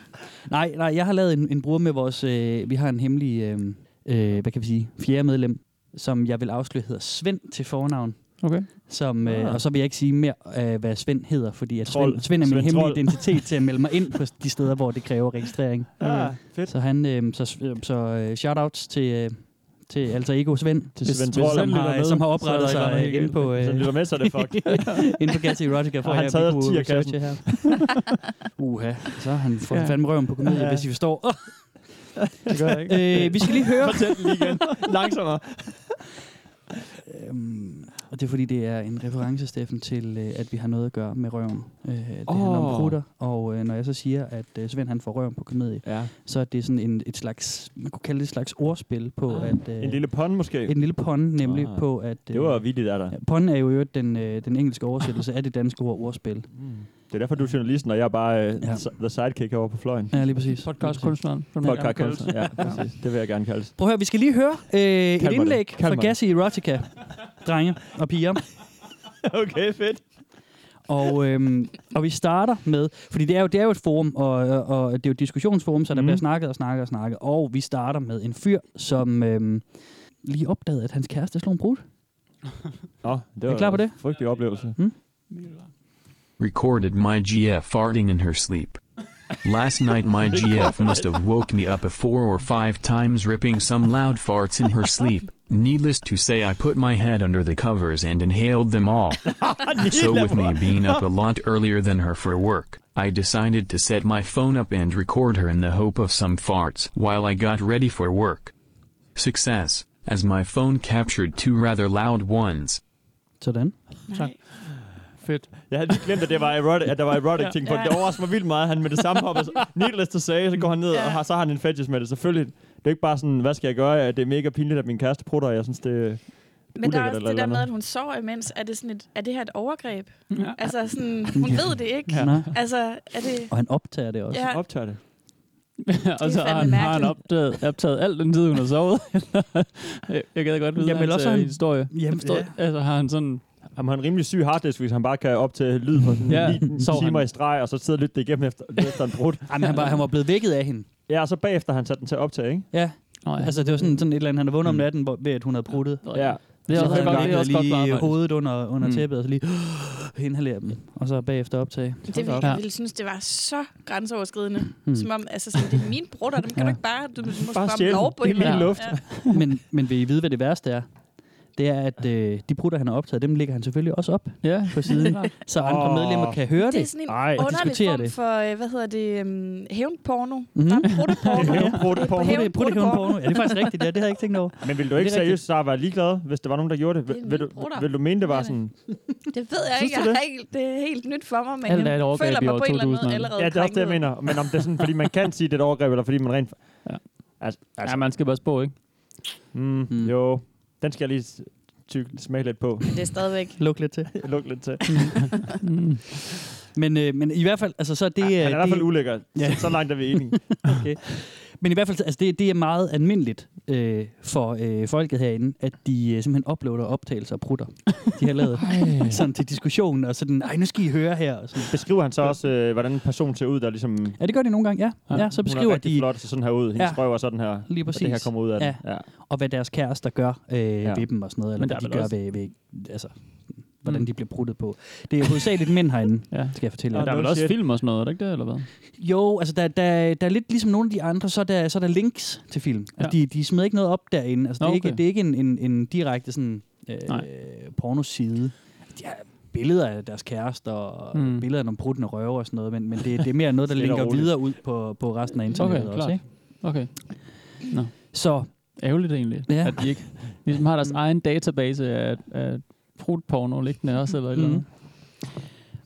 [SPEAKER 4] Nej, nej, jeg har lavet en, en bruger med vores... Øh, vi har en hemmelig, øh, øh, hvad kan vi sige, fjerde medlem, som jeg vil afsløre hedder Svend til fornavn.
[SPEAKER 5] Okay.
[SPEAKER 4] Som, øh,
[SPEAKER 6] Ah.
[SPEAKER 4] og så vil jeg ikke sige mere, øh, hvad Svend hedder, fordi at Svend,
[SPEAKER 6] Trold.
[SPEAKER 4] Svend er min
[SPEAKER 6] Svend
[SPEAKER 4] hemmelige
[SPEAKER 6] Trold.
[SPEAKER 4] identitet til at melde mig ind på de steder, hvor det kræver registrering.
[SPEAKER 6] Ja, fedt.
[SPEAKER 4] Så han, øh, så, øh, så øh, shoutouts til, øh, til Alter Ego Svend,
[SPEAKER 6] Til
[SPEAKER 5] Hvis-
[SPEAKER 6] Svend
[SPEAKER 5] hvis
[SPEAKER 6] Troll,
[SPEAKER 5] han
[SPEAKER 4] som
[SPEAKER 5] lytter
[SPEAKER 4] har,
[SPEAKER 5] med,
[SPEAKER 4] som har
[SPEAKER 5] så er
[SPEAKER 4] oprettet
[SPEAKER 5] der et eller andet
[SPEAKER 4] sig
[SPEAKER 5] helt
[SPEAKER 4] inde på,
[SPEAKER 6] hvis han
[SPEAKER 4] øh,
[SPEAKER 6] lytter med, så er det fucked.
[SPEAKER 4] <laughs> inde på Gassi Erotica,
[SPEAKER 6] Har
[SPEAKER 4] for at
[SPEAKER 6] han
[SPEAKER 4] jeg
[SPEAKER 6] taget
[SPEAKER 4] kunne
[SPEAKER 6] tierkassen?
[SPEAKER 4] researche her. Uha, så har han fået
[SPEAKER 5] Ja.
[SPEAKER 4] fandme røven på komedie,
[SPEAKER 5] Ja.
[SPEAKER 4] hvis I forstår.
[SPEAKER 6] <laughs>
[SPEAKER 5] Det gør jeg ikke.
[SPEAKER 4] Øh, vi skal lige høre...
[SPEAKER 6] Fortæl den lige igen. Langsommere.
[SPEAKER 4] Øhm, og det er fordi, det er en reference, Steffen, til øh, at vi har noget at gøre med røven. Øh, det oh. handler om
[SPEAKER 5] Åh.
[SPEAKER 4] prutter, og øh, når jeg så siger, at øh, Svend han får røven på komedie,
[SPEAKER 5] Ja.
[SPEAKER 4] så er det sådan en, et slags, man kunne kalde det et slags ordspil
[SPEAKER 7] Mm.
[SPEAKER 4] på,
[SPEAKER 5] Ah.
[SPEAKER 4] at... Øh,
[SPEAKER 6] En lille pond, måske.
[SPEAKER 4] en lille pond, nemlig
[SPEAKER 6] Ah.
[SPEAKER 4] på, at... Øh,
[SPEAKER 6] Det var vildt, der der.
[SPEAKER 4] ja, Pond er jo i øvrigt den, øh, den engelske oversættelse af det danske ord ordspil.
[SPEAKER 6] Mm. Det er derfor, du er journalisten, og jeg er bare øh,
[SPEAKER 4] Ja.
[SPEAKER 6] s- the sidekick over på fløjen.
[SPEAKER 4] Ja, lige præcis.
[SPEAKER 5] Podcast
[SPEAKER 4] Lige præcis.
[SPEAKER 5] kunstneren.
[SPEAKER 6] Podcast kunstner. Ja, præcis. Det vil jeg gerne kaldes.
[SPEAKER 4] <laughs> Prøv at høre, vi skal lige høre øh, et
[SPEAKER 6] mig det.
[SPEAKER 4] indlæg
[SPEAKER 6] Kald
[SPEAKER 4] fra
[SPEAKER 6] mig det.
[SPEAKER 4] Gassi Erotica, drenge og piger.
[SPEAKER 6] Okay, fedt.
[SPEAKER 4] Og, øhm, og vi starter med, fordi det er jo, det er jo et forum, og, og og det er jo et diskussionsforum, så der
[SPEAKER 6] Mhm.
[SPEAKER 4] bliver snakket og snakket og snakket. Og vi starter med en fyr, som øhm, lige opdagede, at hans kæreste slog en brud.
[SPEAKER 6] Nå, det
[SPEAKER 4] Er
[SPEAKER 6] var
[SPEAKER 4] I klar på det? Mm.
[SPEAKER 6] en frygtelig oplevelse.
[SPEAKER 8] recorded my GF farting in her sleep. Last night my GF must have woke me up a four or five times ripping some loud farts in her sleep, Needless to say, I put my head under the covers and inhaled them all. so, with me being up a lot earlier than her for work, I decided to set my phone up and record her in the hope of some farts while I got ready for work. Success, as my phone captured two rather loud ones.
[SPEAKER 4] Sådan.
[SPEAKER 7] Nej.
[SPEAKER 5] Fedt.
[SPEAKER 6] Jeg havde lige glemt, at, det var erotic, at der var erotic ting på.
[SPEAKER 7] Ja.
[SPEAKER 6] Det overrasker mig vildt meget. Han med det samme
[SPEAKER 7] <laughs>
[SPEAKER 6] hopper. så- Needless to say, så går han ned, og har, så har han en fetish med det. Selvfølgelig. Det er ikke bare sådan, hvad skal jeg gøre? Det er mega pinligt, at min kæreste prutter, og jeg synes, det er
[SPEAKER 7] Men der er
[SPEAKER 6] ulækkert
[SPEAKER 7] også
[SPEAKER 6] eller
[SPEAKER 7] det der
[SPEAKER 6] eller
[SPEAKER 7] med, at
[SPEAKER 6] andet.
[SPEAKER 7] hun sover imens. Er det, sådan et, er det her et overgreb? Altså, sådan, hun ved det ikke.
[SPEAKER 4] Ja. Nej.
[SPEAKER 7] Altså, er det...
[SPEAKER 4] Og han optager det også.
[SPEAKER 7] Ja,
[SPEAKER 6] Optager det.
[SPEAKER 5] <laughs> og så
[SPEAKER 7] fandme
[SPEAKER 5] har han, har han
[SPEAKER 7] mærkeligt.
[SPEAKER 5] opdaget, optaget alt den tid, hun har sovet. jeg jeg gad godt vide
[SPEAKER 4] Jamen,
[SPEAKER 5] Jamen, hans
[SPEAKER 4] ellers har
[SPEAKER 5] øh,
[SPEAKER 4] han-
[SPEAKER 5] historie.
[SPEAKER 4] Jamen,
[SPEAKER 5] Forstår-
[SPEAKER 4] ja.
[SPEAKER 5] Altså har han sådan...
[SPEAKER 6] Jamen, han er en rimelig syg harddisk, hvis han bare kan optage lyd på sådan
[SPEAKER 5] Ja,
[SPEAKER 6] ja,
[SPEAKER 5] <laughs>
[SPEAKER 6] 9
[SPEAKER 5] sover
[SPEAKER 6] timer
[SPEAKER 5] han.
[SPEAKER 6] i streg, og så sidder og lytter det igennem efter, efter en brud.
[SPEAKER 4] Ej, men han, var, han var blevet vækket af hende.
[SPEAKER 6] Ja, og så bagefter har han sat den til at optage, ikke?
[SPEAKER 4] Ja.
[SPEAKER 5] Nå, ja.
[SPEAKER 4] Altså, det var sådan, sådan et eller andet, han havde vågnet om natten, hvor, ved at hun havde bruttet.
[SPEAKER 6] Mm. Ja.
[SPEAKER 5] det er
[SPEAKER 4] så
[SPEAKER 5] også
[SPEAKER 4] havde
[SPEAKER 5] godt,
[SPEAKER 4] han
[SPEAKER 5] det er også godt på
[SPEAKER 4] lige
[SPEAKER 5] arbejde.
[SPEAKER 4] hovedet under, under
[SPEAKER 5] Mm.
[SPEAKER 4] tæppet, og så lige inhalere dem, og så bagefter optage.
[SPEAKER 7] det ville,
[SPEAKER 5] Ja.
[SPEAKER 7] jeg ville synes, det var så grænseoverskridende.
[SPEAKER 4] Hmm.
[SPEAKER 7] Som om, altså sådan, det er mine brutter, dem kan
[SPEAKER 4] Ja.
[SPEAKER 7] du ikke bare... Du må
[SPEAKER 6] Bare
[SPEAKER 7] bare
[SPEAKER 6] stjæle
[SPEAKER 7] lov
[SPEAKER 6] dem.
[SPEAKER 7] på en
[SPEAKER 6] Det er
[SPEAKER 7] eller
[SPEAKER 5] min
[SPEAKER 7] anden-
[SPEAKER 6] luft.
[SPEAKER 7] Ja.
[SPEAKER 4] <laughs> Men, men vil I vide, hvad det værste er? Det er, at øh, de brutter, han har optaget, dem lægger han selvfølgelig også op
[SPEAKER 5] Ja,
[SPEAKER 6] <laughs>
[SPEAKER 4] på siden, så andre
[SPEAKER 6] Åh.
[SPEAKER 4] medlemmer kan høre
[SPEAKER 7] Det er
[SPEAKER 4] det.
[SPEAKER 7] sådan en
[SPEAKER 6] Ej.
[SPEAKER 7] Ej,
[SPEAKER 6] Og
[SPEAKER 7] underlig
[SPEAKER 4] diskutere
[SPEAKER 7] form
[SPEAKER 4] det.
[SPEAKER 7] det. for, øh, hvad hedder det, um, hævnporno.
[SPEAKER 4] Mhm.
[SPEAKER 7] Mm-hmm. Der er brutteporno.
[SPEAKER 6] Det er jo brudt på.
[SPEAKER 7] Hævn-
[SPEAKER 4] Brutte, brutte,
[SPEAKER 7] brutteporno.
[SPEAKER 4] porno. Ja, det
[SPEAKER 7] <laughs>
[SPEAKER 4] er faktisk rigtigt, ja, det har jeg ikke tænkt over.
[SPEAKER 6] Men vil du ikke
[SPEAKER 4] Det er rigtigt.
[SPEAKER 6] seriøst så være ligeglad, hvis der var nogen, der gjorde det?
[SPEAKER 7] Det er
[SPEAKER 6] Vil, vil, du,
[SPEAKER 7] mine brutter.
[SPEAKER 6] vil du mene, det var
[SPEAKER 7] Ja, det-
[SPEAKER 6] sådan...
[SPEAKER 7] Det ved jeg ikke.
[SPEAKER 6] Synes du
[SPEAKER 7] Jeg er helt, det er helt nyt for mig, men
[SPEAKER 5] Alt er et
[SPEAKER 7] jeg
[SPEAKER 5] overgreb
[SPEAKER 7] føler
[SPEAKER 5] i
[SPEAKER 7] mig
[SPEAKER 5] år
[SPEAKER 7] på en eller anden
[SPEAKER 5] 2000.
[SPEAKER 7] måde allerede
[SPEAKER 6] Ja, det er også det, jeg
[SPEAKER 7] krænket.
[SPEAKER 6] mener. Men om det er sådan, fordi man kan sige, det er et overgreb, eller fordi man rent...
[SPEAKER 5] Ja.
[SPEAKER 6] Ja. Altså,
[SPEAKER 5] altså.
[SPEAKER 6] altså
[SPEAKER 5] ja, man skal bare spå, ikke?
[SPEAKER 6] mm,
[SPEAKER 4] Mm.
[SPEAKER 6] jo, den skal jeg lige s- tyk, smage lidt på.
[SPEAKER 7] Det er stadigvæk.
[SPEAKER 4] <laughs> Luk lidt til.
[SPEAKER 6] <laughs> Luk lidt til.
[SPEAKER 5] Mm.
[SPEAKER 4] <laughs> Men, øh, men i hvert fald, altså så er det...
[SPEAKER 6] Ja, han er i
[SPEAKER 4] øh,
[SPEAKER 6] hvert
[SPEAKER 4] det,
[SPEAKER 6] fald ulækker.
[SPEAKER 4] <laughs> Ja.
[SPEAKER 6] Ja. Så langt er vi
[SPEAKER 4] <laughs>
[SPEAKER 6] enige.
[SPEAKER 4] Men i hvert fald, altså det, det er meget almindeligt øh, for øh, folket herinde, at de øh, simpelthen uploader optagelser og prutter, de har
[SPEAKER 6] <laughs>
[SPEAKER 4] lavet sådan til diskussion, og sådan, ej, nu skal I høre her. Og sådan.
[SPEAKER 6] Beskriver han så også, øh, hvordan en person ser ud, der ligesom...
[SPEAKER 4] Ja, det gør de nogle gange, ja.
[SPEAKER 5] Ja,
[SPEAKER 4] ja, ja så
[SPEAKER 6] hun er
[SPEAKER 4] beskriver
[SPEAKER 6] rigtig
[SPEAKER 4] de,
[SPEAKER 6] flot, så sådan her ud. Hendes
[SPEAKER 4] Ja.
[SPEAKER 6] ja. røv er sådan her.
[SPEAKER 4] Lige
[SPEAKER 6] Og det her
[SPEAKER 4] præcis.
[SPEAKER 6] kommer ud af
[SPEAKER 4] Ja.
[SPEAKER 6] den. Ja.
[SPEAKER 4] og hvad deres kærester gør øh, ja. ved dem og sådan noget, eller
[SPEAKER 5] Men der
[SPEAKER 4] hvad
[SPEAKER 5] er
[SPEAKER 4] de
[SPEAKER 5] vel
[SPEAKER 4] gør
[SPEAKER 5] også-
[SPEAKER 4] ved, ved, altså, hvordan
[SPEAKER 5] Mm.
[SPEAKER 4] de bliver bruttet på. Det er hovedsageligt mænd herinde,
[SPEAKER 5] Ja.
[SPEAKER 4] skal jeg fortælle
[SPEAKER 5] Ja,
[SPEAKER 4] jer.
[SPEAKER 5] der er vel
[SPEAKER 6] no
[SPEAKER 5] også
[SPEAKER 6] shit.
[SPEAKER 5] film og sådan noget, er det ikke det, eller hvad?
[SPEAKER 4] Jo, altså der, der, der er lidt ligesom nogle af de andre, så er der, så er der links til film. Altså,
[SPEAKER 5] Ja.
[SPEAKER 4] de, de smider ikke noget op derinde. Altså, det, er
[SPEAKER 5] Nå,
[SPEAKER 4] ikke,
[SPEAKER 5] okay.
[SPEAKER 4] det er ikke en, en, en direkte sådan, øh,
[SPEAKER 5] Nej.
[SPEAKER 4] pornoside. De har billeder af deres kærester og
[SPEAKER 5] Mm.
[SPEAKER 4] mm. billeder af nogle bruttende røve og sådan noget, men, men det, det er mere noget, der
[SPEAKER 6] <laughs> Lidt
[SPEAKER 4] linker
[SPEAKER 6] roligt.
[SPEAKER 4] videre ud på, på resten af internettet
[SPEAKER 5] Okay, klart.
[SPEAKER 4] også. Ikke?
[SPEAKER 5] Okay.
[SPEAKER 4] Så
[SPEAKER 5] Ærgerligt egentlig,
[SPEAKER 4] Ja. Mm.
[SPEAKER 5] ja. at de ikke ligesom har deres egen database af, af porno liggende også, eller et eller andet. Så
[SPEAKER 4] Mm-hmm.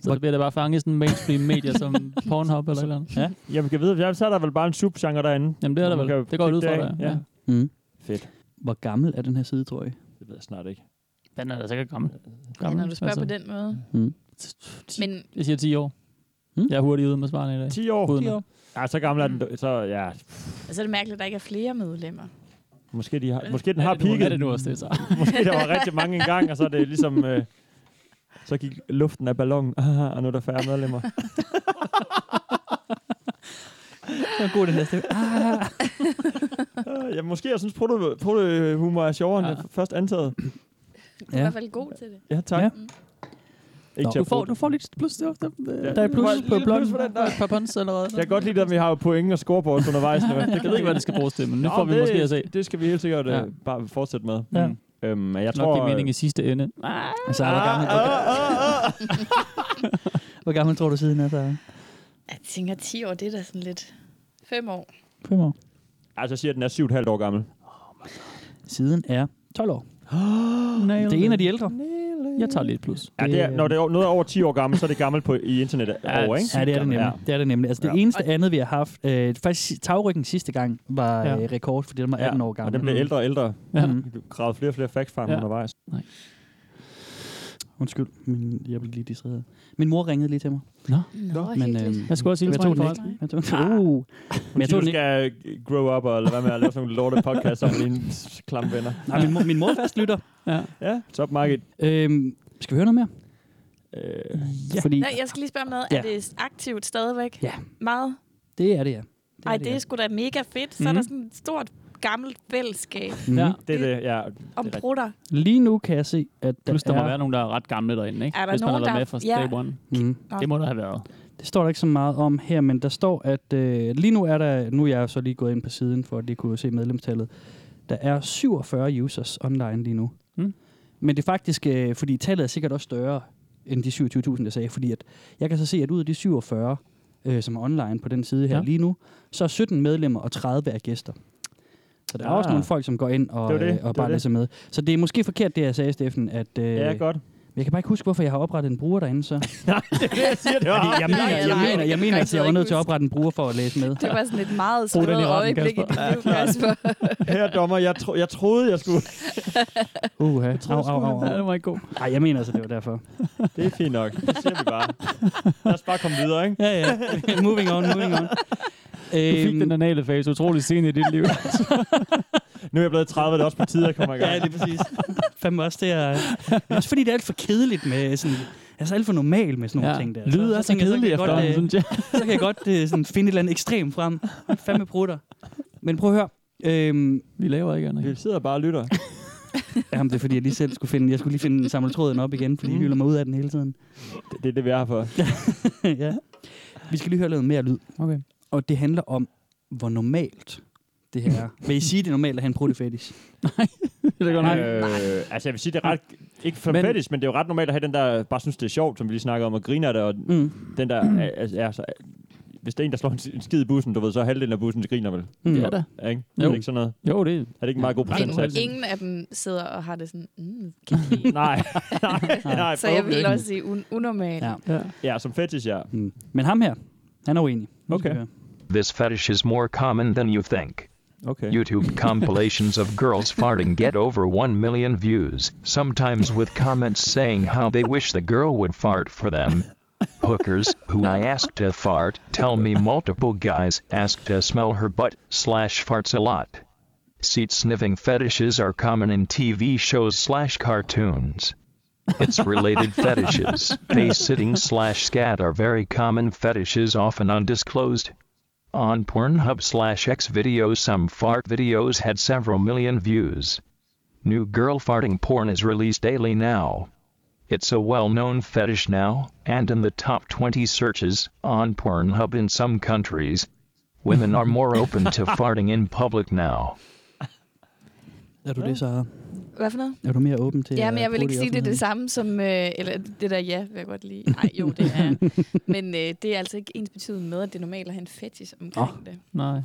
[SPEAKER 4] Hvor-
[SPEAKER 5] det bliver da bare fanget i sådan en mainstream media
[SPEAKER 4] <laughs>
[SPEAKER 5] som Pornhub eller et eller andet. Ja.
[SPEAKER 6] Jamen, kan jeg vide, så er der vel bare en subgenre derinde.
[SPEAKER 5] Jamen det er der
[SPEAKER 6] Man
[SPEAKER 5] vel.
[SPEAKER 6] kan jo
[SPEAKER 5] Det går jeg ud
[SPEAKER 6] pikke
[SPEAKER 5] fra,
[SPEAKER 6] det af,
[SPEAKER 5] der. Ja.
[SPEAKER 6] ja.
[SPEAKER 5] ja.
[SPEAKER 4] mm.
[SPEAKER 6] Fedt.
[SPEAKER 4] hvor gammel er den her side, tror jeg?
[SPEAKER 6] Det ved jeg snart ikke.
[SPEAKER 5] Den er da sikkert gammel.
[SPEAKER 7] Ja, når du spørger
[SPEAKER 6] Altså.
[SPEAKER 7] på den måde.
[SPEAKER 4] Mm.
[SPEAKER 7] Men
[SPEAKER 5] Jeg siger 10 år.
[SPEAKER 4] Hmm?
[SPEAKER 5] Jeg er hurtigt ude med svarene i dag.
[SPEAKER 6] 10 år.
[SPEAKER 5] Budene.
[SPEAKER 6] Ja, så gammel er den. Så, ja,
[SPEAKER 7] altså, er det mærkeligt, at der ikke er flere medlemmer.
[SPEAKER 6] måske, de har, måske den
[SPEAKER 5] Er
[SPEAKER 6] har
[SPEAKER 5] det nu- Er det
[SPEAKER 6] peaked.
[SPEAKER 5] nu også det, så?
[SPEAKER 6] <laughs> Måske der var rigtig mange engang, og så er det ligesom... Øh, så gik luften af ballonen, og nu er der færre medlemmer.
[SPEAKER 4] Det er god den her stemme. Ah.
[SPEAKER 6] Øh, ja, måske jeg synes, proto, proto humor er sjovere, ja. end
[SPEAKER 5] Ja.
[SPEAKER 6] jeg først antaget.
[SPEAKER 7] Du er i
[SPEAKER 4] Ja.
[SPEAKER 7] hvert fald god til det. Mm.
[SPEAKER 6] Ja, tak.
[SPEAKER 4] Ja.
[SPEAKER 6] Ja.
[SPEAKER 4] Nå.
[SPEAKER 6] Ikke til
[SPEAKER 5] Du
[SPEAKER 6] at
[SPEAKER 5] får,
[SPEAKER 6] bruge
[SPEAKER 5] du
[SPEAKER 6] det.
[SPEAKER 5] får lidt plus. Der der-
[SPEAKER 4] Der er
[SPEAKER 5] der
[SPEAKER 4] et plus
[SPEAKER 6] Lille
[SPEAKER 4] på
[SPEAKER 6] plus
[SPEAKER 4] bloggen.
[SPEAKER 6] for den der.
[SPEAKER 5] er et par punds eller hvad.
[SPEAKER 6] Jeg kan godt lide, at vi har point og scoreboards undervejs nu.
[SPEAKER 5] <laughs> Jeg ved ikke, hvad det skal bruges til, men nu får vi
[SPEAKER 6] det,
[SPEAKER 5] måske at se.
[SPEAKER 6] Det skal vi helt sikkert
[SPEAKER 5] Ja.
[SPEAKER 6] ja. bare fortsætte med.
[SPEAKER 5] Ja.
[SPEAKER 6] Mm. Øhm, jeg
[SPEAKER 5] Jeg
[SPEAKER 6] tror...
[SPEAKER 5] tror, nok det er meningen i sidste ende. Ah,
[SPEAKER 4] Så er der gammel. Hvor gammel tror du siden er, Sarah?
[SPEAKER 7] Jeg tænker, 10 år, det er da sådan lidt... Fem år.
[SPEAKER 4] Fem år.
[SPEAKER 6] Altså, jeg siger, at den er 7,5 år gammel.
[SPEAKER 4] Siden er 12 år.
[SPEAKER 5] nailed
[SPEAKER 4] Det er en af
[SPEAKER 5] it.
[SPEAKER 4] de ældre.
[SPEAKER 5] Jeg tager lige et plus.
[SPEAKER 6] Ja, det er,
[SPEAKER 4] Det-
[SPEAKER 6] når det er, noget er over 10 år gammel, så er det gammelt på, i internettet
[SPEAKER 5] Ja,
[SPEAKER 6] ja, over, ikke?
[SPEAKER 4] Ja, det er det nemlig.
[SPEAKER 6] Ja.
[SPEAKER 4] Ja. Det er det nemlig. Altså, det
[SPEAKER 6] Ja.
[SPEAKER 4] eneste andet, vi har haft... Øh, faktisk, tagryggen sidste gang var
[SPEAKER 5] Ja.
[SPEAKER 4] ja. øh, rekord, fordi den var 18 år
[SPEAKER 6] Og den
[SPEAKER 4] gammel.
[SPEAKER 6] bliver ældre og ældre.
[SPEAKER 5] Ja.
[SPEAKER 4] Mm.
[SPEAKER 6] Vi gravede flere og flere facts frem
[SPEAKER 5] Ja.
[SPEAKER 6] ja. undervejs.
[SPEAKER 4] Undskyld, min, jeg blev lige distraheret. Min mor ringede lige til mig.
[SPEAKER 7] Nå,
[SPEAKER 4] Men,
[SPEAKER 7] men,
[SPEAKER 4] øhm,
[SPEAKER 5] Jeg skulle også sige,
[SPEAKER 4] Jeg
[SPEAKER 5] at
[SPEAKER 4] tog den
[SPEAKER 5] jeg
[SPEAKER 4] ikke. Jeg tog den ikke. Uh. Men
[SPEAKER 6] Men
[SPEAKER 4] jeg
[SPEAKER 6] jeg
[SPEAKER 4] tog
[SPEAKER 6] tror,
[SPEAKER 4] den
[SPEAKER 6] du
[SPEAKER 4] ikke.
[SPEAKER 6] skal øh, grow up, og eller hvad med at lave sådan nogle lorte podcast sammen med dine s- klamme venner.
[SPEAKER 4] Nej, min, mor- min mor fast lytter.
[SPEAKER 6] Ja, top market.
[SPEAKER 4] Øhm, skal vi høre noget mere?
[SPEAKER 6] Øh,
[SPEAKER 4] Ja. Fordi
[SPEAKER 7] Nej, jeg skal lige spørge om noget.
[SPEAKER 4] Ja.
[SPEAKER 7] Er det aktivt stadigvæk?
[SPEAKER 4] Ja.
[SPEAKER 7] Meget?
[SPEAKER 4] det er det, ja. Det
[SPEAKER 7] Ej, det er sgu da mega fedt. Så er
[SPEAKER 5] Mhm.
[SPEAKER 7] der sådan et stort gammelt fællesskab
[SPEAKER 4] ja.
[SPEAKER 5] Ja.
[SPEAKER 4] Mm.
[SPEAKER 6] det er det, ja.
[SPEAKER 7] om
[SPEAKER 6] rigtigt.
[SPEAKER 7] brutter.
[SPEAKER 4] Lige nu kan jeg se, at der
[SPEAKER 5] Plus, der må
[SPEAKER 4] er...
[SPEAKER 5] være nogen, der er ret gamle derinde, ikke?
[SPEAKER 7] Er der
[SPEAKER 5] Hvis man har
[SPEAKER 7] nogen,
[SPEAKER 5] været
[SPEAKER 7] der-
[SPEAKER 5] med fra
[SPEAKER 7] Ja.
[SPEAKER 5] day one.
[SPEAKER 4] Mm.
[SPEAKER 5] Det må der have været.
[SPEAKER 4] Det står der ikke så meget om her, men der står, at øh, lige nu er der... Nu er jeg jo så lige gået ind på siden, for at lige kunne se medlemstallet. Der er 47 users online lige nu.
[SPEAKER 5] Mm.
[SPEAKER 4] Men det er faktisk, øh, fordi tallet er sikkert også større end de 27.000, jeg sagde, fordi at jeg kan så se, at ud af de 47, øh, som er online på den side her
[SPEAKER 5] Ja.
[SPEAKER 4] ja. lige nu, så er 17 medlemmer og 30 er gæster. Så der er også
[SPEAKER 5] Ah.
[SPEAKER 4] nogle folk, som går ind og,
[SPEAKER 6] Det er jo det.
[SPEAKER 4] øh,
[SPEAKER 6] Det er
[SPEAKER 4] og bare
[SPEAKER 6] det.
[SPEAKER 4] læser med. Så det er måske forkert, det jeg sagde, Steffen, at... Øh,
[SPEAKER 6] Ja, godt.
[SPEAKER 4] jeg kan bare ikke huske, hvorfor jeg har oprettet en bruger derinde,
[SPEAKER 6] <laughs>
[SPEAKER 4] så.
[SPEAKER 6] Jeg siger det
[SPEAKER 4] Fordi jeg
[SPEAKER 7] nej,
[SPEAKER 4] mener,
[SPEAKER 7] nej,
[SPEAKER 4] jeg mener,
[SPEAKER 7] det
[SPEAKER 4] jeg mener,
[SPEAKER 7] kan jeg
[SPEAKER 4] at jeg var nødt
[SPEAKER 7] ikke
[SPEAKER 4] til at oprette en bruger for at læse med.
[SPEAKER 7] Det var sådan et meget
[SPEAKER 5] Brug den i
[SPEAKER 7] skrevet
[SPEAKER 5] retten,
[SPEAKER 7] øjeblik i dit
[SPEAKER 5] Kasper.
[SPEAKER 7] liv, Kasper.
[SPEAKER 6] Her, dommer, jeg, tro, jeg troede, jeg
[SPEAKER 7] <laughs>
[SPEAKER 6] skulle...
[SPEAKER 4] Uha, au, au, au,
[SPEAKER 5] Ja,
[SPEAKER 4] au.
[SPEAKER 5] det var ikke god.
[SPEAKER 4] Ej, jeg mener altså, det var derfor.
[SPEAKER 6] Det er fint nok. Det siger vi bare. Lad os bare komme videre, ikke?
[SPEAKER 4] Ja, ja. <laughs> moving on, moving on.
[SPEAKER 5] Du fik den
[SPEAKER 4] Øhm,
[SPEAKER 5] anale fase utrolig sent i
[SPEAKER 6] <laughs>
[SPEAKER 5] dit liv.
[SPEAKER 6] Nu er jeg blevet 30, det er også på
[SPEAKER 4] <laughs>
[SPEAKER 6] tide, jeg kommer i gang.
[SPEAKER 4] ja, det er præcis. <laughs> Fandme også, det er... Men også fordi det er alt for kedeligt med sådan... Altså alt for normalt med sådan nogle ting der.
[SPEAKER 5] Lyder er så
[SPEAKER 4] tænker jeg,
[SPEAKER 5] kedeligt
[SPEAKER 4] kan jeg godt,
[SPEAKER 5] efterhånden,
[SPEAKER 4] øh,
[SPEAKER 5] synes jeg.
[SPEAKER 4] <laughs> så kan jeg godt øh, sådan, finde et eller andet ekstremt frem. Fandme brutter. Men prøv at høre. Øhm,
[SPEAKER 5] Vi laver ikke andet.
[SPEAKER 6] Vi sidder bare og lytter.
[SPEAKER 4] <laughs> jamen, det er fordi, jeg lige selv skulle finde... Jeg skulle lige finde samle tråden op igen, fordi jeg
[SPEAKER 5] Mhm.
[SPEAKER 4] hylder mig ud af den hele tiden.
[SPEAKER 6] Det, det er det, vi er her for.
[SPEAKER 4] <laughs> ja. Vi skal lige høre noget mere lyd.
[SPEAKER 5] Okay.
[SPEAKER 4] Og det handler om, hvor normalt det her er. Vil I sige, det er normalt at have en bruttefetish?
[SPEAKER 5] Det er godt nok.
[SPEAKER 6] Øh, altså, jeg vil sige, det er ret... Ikke for men,
[SPEAKER 5] Men-
[SPEAKER 6] fetish, men det er jo ret normalt at have den der... Bare synes, det er sjovt, som vi lige snakker om, og griner af det, og
[SPEAKER 4] Mm.
[SPEAKER 6] den der... Altså, altså, hvis der er en, der slår en s- en skid i bussen, du ved, så er halvdelen af bussen, det griner vel.
[SPEAKER 4] Mm.
[SPEAKER 5] Ja da.
[SPEAKER 6] Er Ikke?
[SPEAKER 5] Jo.
[SPEAKER 6] Er det ikke sådan noget?
[SPEAKER 5] Jo, det er
[SPEAKER 6] Er det ikke en meget god procentsats?
[SPEAKER 7] Men ingen af dem sidder og har det sådan,
[SPEAKER 4] <laughs>
[SPEAKER 7] mm, kan jeg lide.
[SPEAKER 6] Nej, nej, nej.
[SPEAKER 7] Så jeg
[SPEAKER 6] forhåbentlig
[SPEAKER 7] vil
[SPEAKER 6] ikke.
[SPEAKER 7] også sige un- unormal.
[SPEAKER 4] Ja.
[SPEAKER 5] ja.
[SPEAKER 6] Ja, som fetish, ja.
[SPEAKER 4] Mm. Men ham her, han er uenig. Nu
[SPEAKER 6] Okay.
[SPEAKER 4] skal vi høre.
[SPEAKER 9] This fetish is more common than you think.
[SPEAKER 6] Okay.
[SPEAKER 9] YouTube compilations of girls farting get over 1 million views, sometimes with comments saying how they wish the girl would fart for them. Hookers, who I asked to fart, tell me multiple guys asked to smell her butt, slash farts a lot. Seat sniffing fetishes are common in TV shows slash cartoons. Its related fetishes, face sitting slash scat are very common fetishes often undisclosed. On Pornhub slash X videos, some fart videos had several million views. New girl farting porn is released daily now. It's a well known fetish now, and in the top 20 searches on Pornhub in some countries. Women are more open to farting in public now.
[SPEAKER 4] Er du det så?
[SPEAKER 7] Hvad for noget?
[SPEAKER 4] Er du mere åben til
[SPEAKER 7] Ja, men jeg vil ikke sige, det er det
[SPEAKER 4] samme.
[SPEAKER 7] samme som... Øh, eller det der ja, vil jeg godt lide. Nej, jo, det er jeg. Men øh, det er altså ikke ens betydende med, at det er normalt at have en fetish omkring oh. det.
[SPEAKER 5] Nej.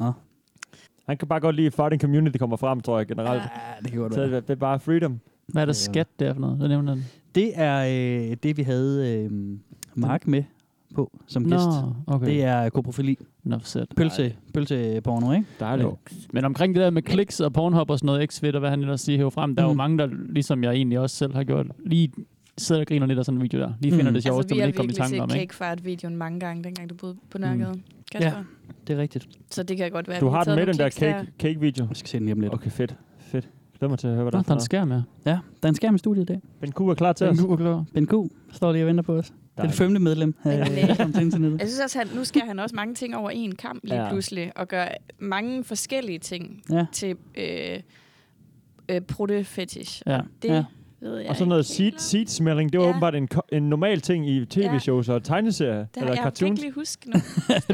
[SPEAKER 6] Han kan bare godt lide, at farting community kommer frem, tror jeg, generelt.
[SPEAKER 4] Ja, det kan godt
[SPEAKER 6] Så
[SPEAKER 4] være.
[SPEAKER 6] det er bare freedom.
[SPEAKER 5] Hvad er der
[SPEAKER 4] Ja.
[SPEAKER 5] skat der for noget? Hvad nævner den?
[SPEAKER 4] Det er øh, det, vi havde øh, Mark med på som gæst.
[SPEAKER 5] okay.
[SPEAKER 4] Det er koprofili.
[SPEAKER 5] Nå, sæt.
[SPEAKER 4] Pølse, pølseporno, ikke?
[SPEAKER 5] Dejligt.
[SPEAKER 6] Jo.
[SPEAKER 5] Men omkring det der med kliks og Pornhub og sådan noget, X-fedt og hvad han ellers siger, hæver frem, der er jo
[SPEAKER 4] Mm.
[SPEAKER 5] mange, der, ligesom jeg egentlig også selv har gjort, lige sidder og griner lidt af sådan en video der. Lige finder
[SPEAKER 4] Mm.
[SPEAKER 5] det sjovt,
[SPEAKER 7] altså,
[SPEAKER 5] altså,
[SPEAKER 7] vi
[SPEAKER 5] man
[SPEAKER 7] har
[SPEAKER 5] ikke kommer i
[SPEAKER 7] virkelig
[SPEAKER 5] tanke
[SPEAKER 7] set
[SPEAKER 5] om, ikke?
[SPEAKER 7] cakefart-videoen mange gange, dengang du boede på Nørregade. Mm.
[SPEAKER 4] Ja. Det er rigtigt.
[SPEAKER 7] Så det kan godt være, at
[SPEAKER 6] Du
[SPEAKER 7] vi
[SPEAKER 6] har den
[SPEAKER 7] taget
[SPEAKER 6] med, den
[SPEAKER 7] nogle
[SPEAKER 6] der
[SPEAKER 7] kliks der.
[SPEAKER 6] cake, cake video.
[SPEAKER 4] Jeg skal se den hjem lidt.
[SPEAKER 6] Okay, fedt. Fedt. Glæder mig til at høre, hvad
[SPEAKER 5] Nå,
[SPEAKER 6] der
[SPEAKER 5] der er
[SPEAKER 6] er.
[SPEAKER 5] en skærm, ja.
[SPEAKER 4] Ja, der er en skærm i studiet i dag.
[SPEAKER 6] Ben Q er klar til os.
[SPEAKER 5] Den er klar.
[SPEAKER 4] Ben Q står lige og venter på os. Det er
[SPEAKER 6] Dejligt.
[SPEAKER 4] det femte medlem af
[SPEAKER 7] Men, øh,
[SPEAKER 4] Velkommen til
[SPEAKER 7] <laughs>
[SPEAKER 4] internettet.
[SPEAKER 7] Jeg synes også, at nu skærer han også mange ting over en kamp lige
[SPEAKER 6] Ja.
[SPEAKER 7] ja. pludselig, og gør mange forskellige ting
[SPEAKER 4] Ja.
[SPEAKER 7] ja. til øh, øh, protte-fetish.
[SPEAKER 5] Ja.
[SPEAKER 7] Det
[SPEAKER 4] Ja.
[SPEAKER 7] ja. ved jeg
[SPEAKER 6] Og sådan noget
[SPEAKER 7] ikke helt
[SPEAKER 6] seed,
[SPEAKER 7] om.
[SPEAKER 6] seed smelling, det var
[SPEAKER 7] Ja.
[SPEAKER 6] åbenbart en, ko- en normal ting i tv-shows og tegneserier,
[SPEAKER 7] Det har
[SPEAKER 6] eller
[SPEAKER 7] jeg kan
[SPEAKER 6] cartoons.
[SPEAKER 7] ikke lige huske nu.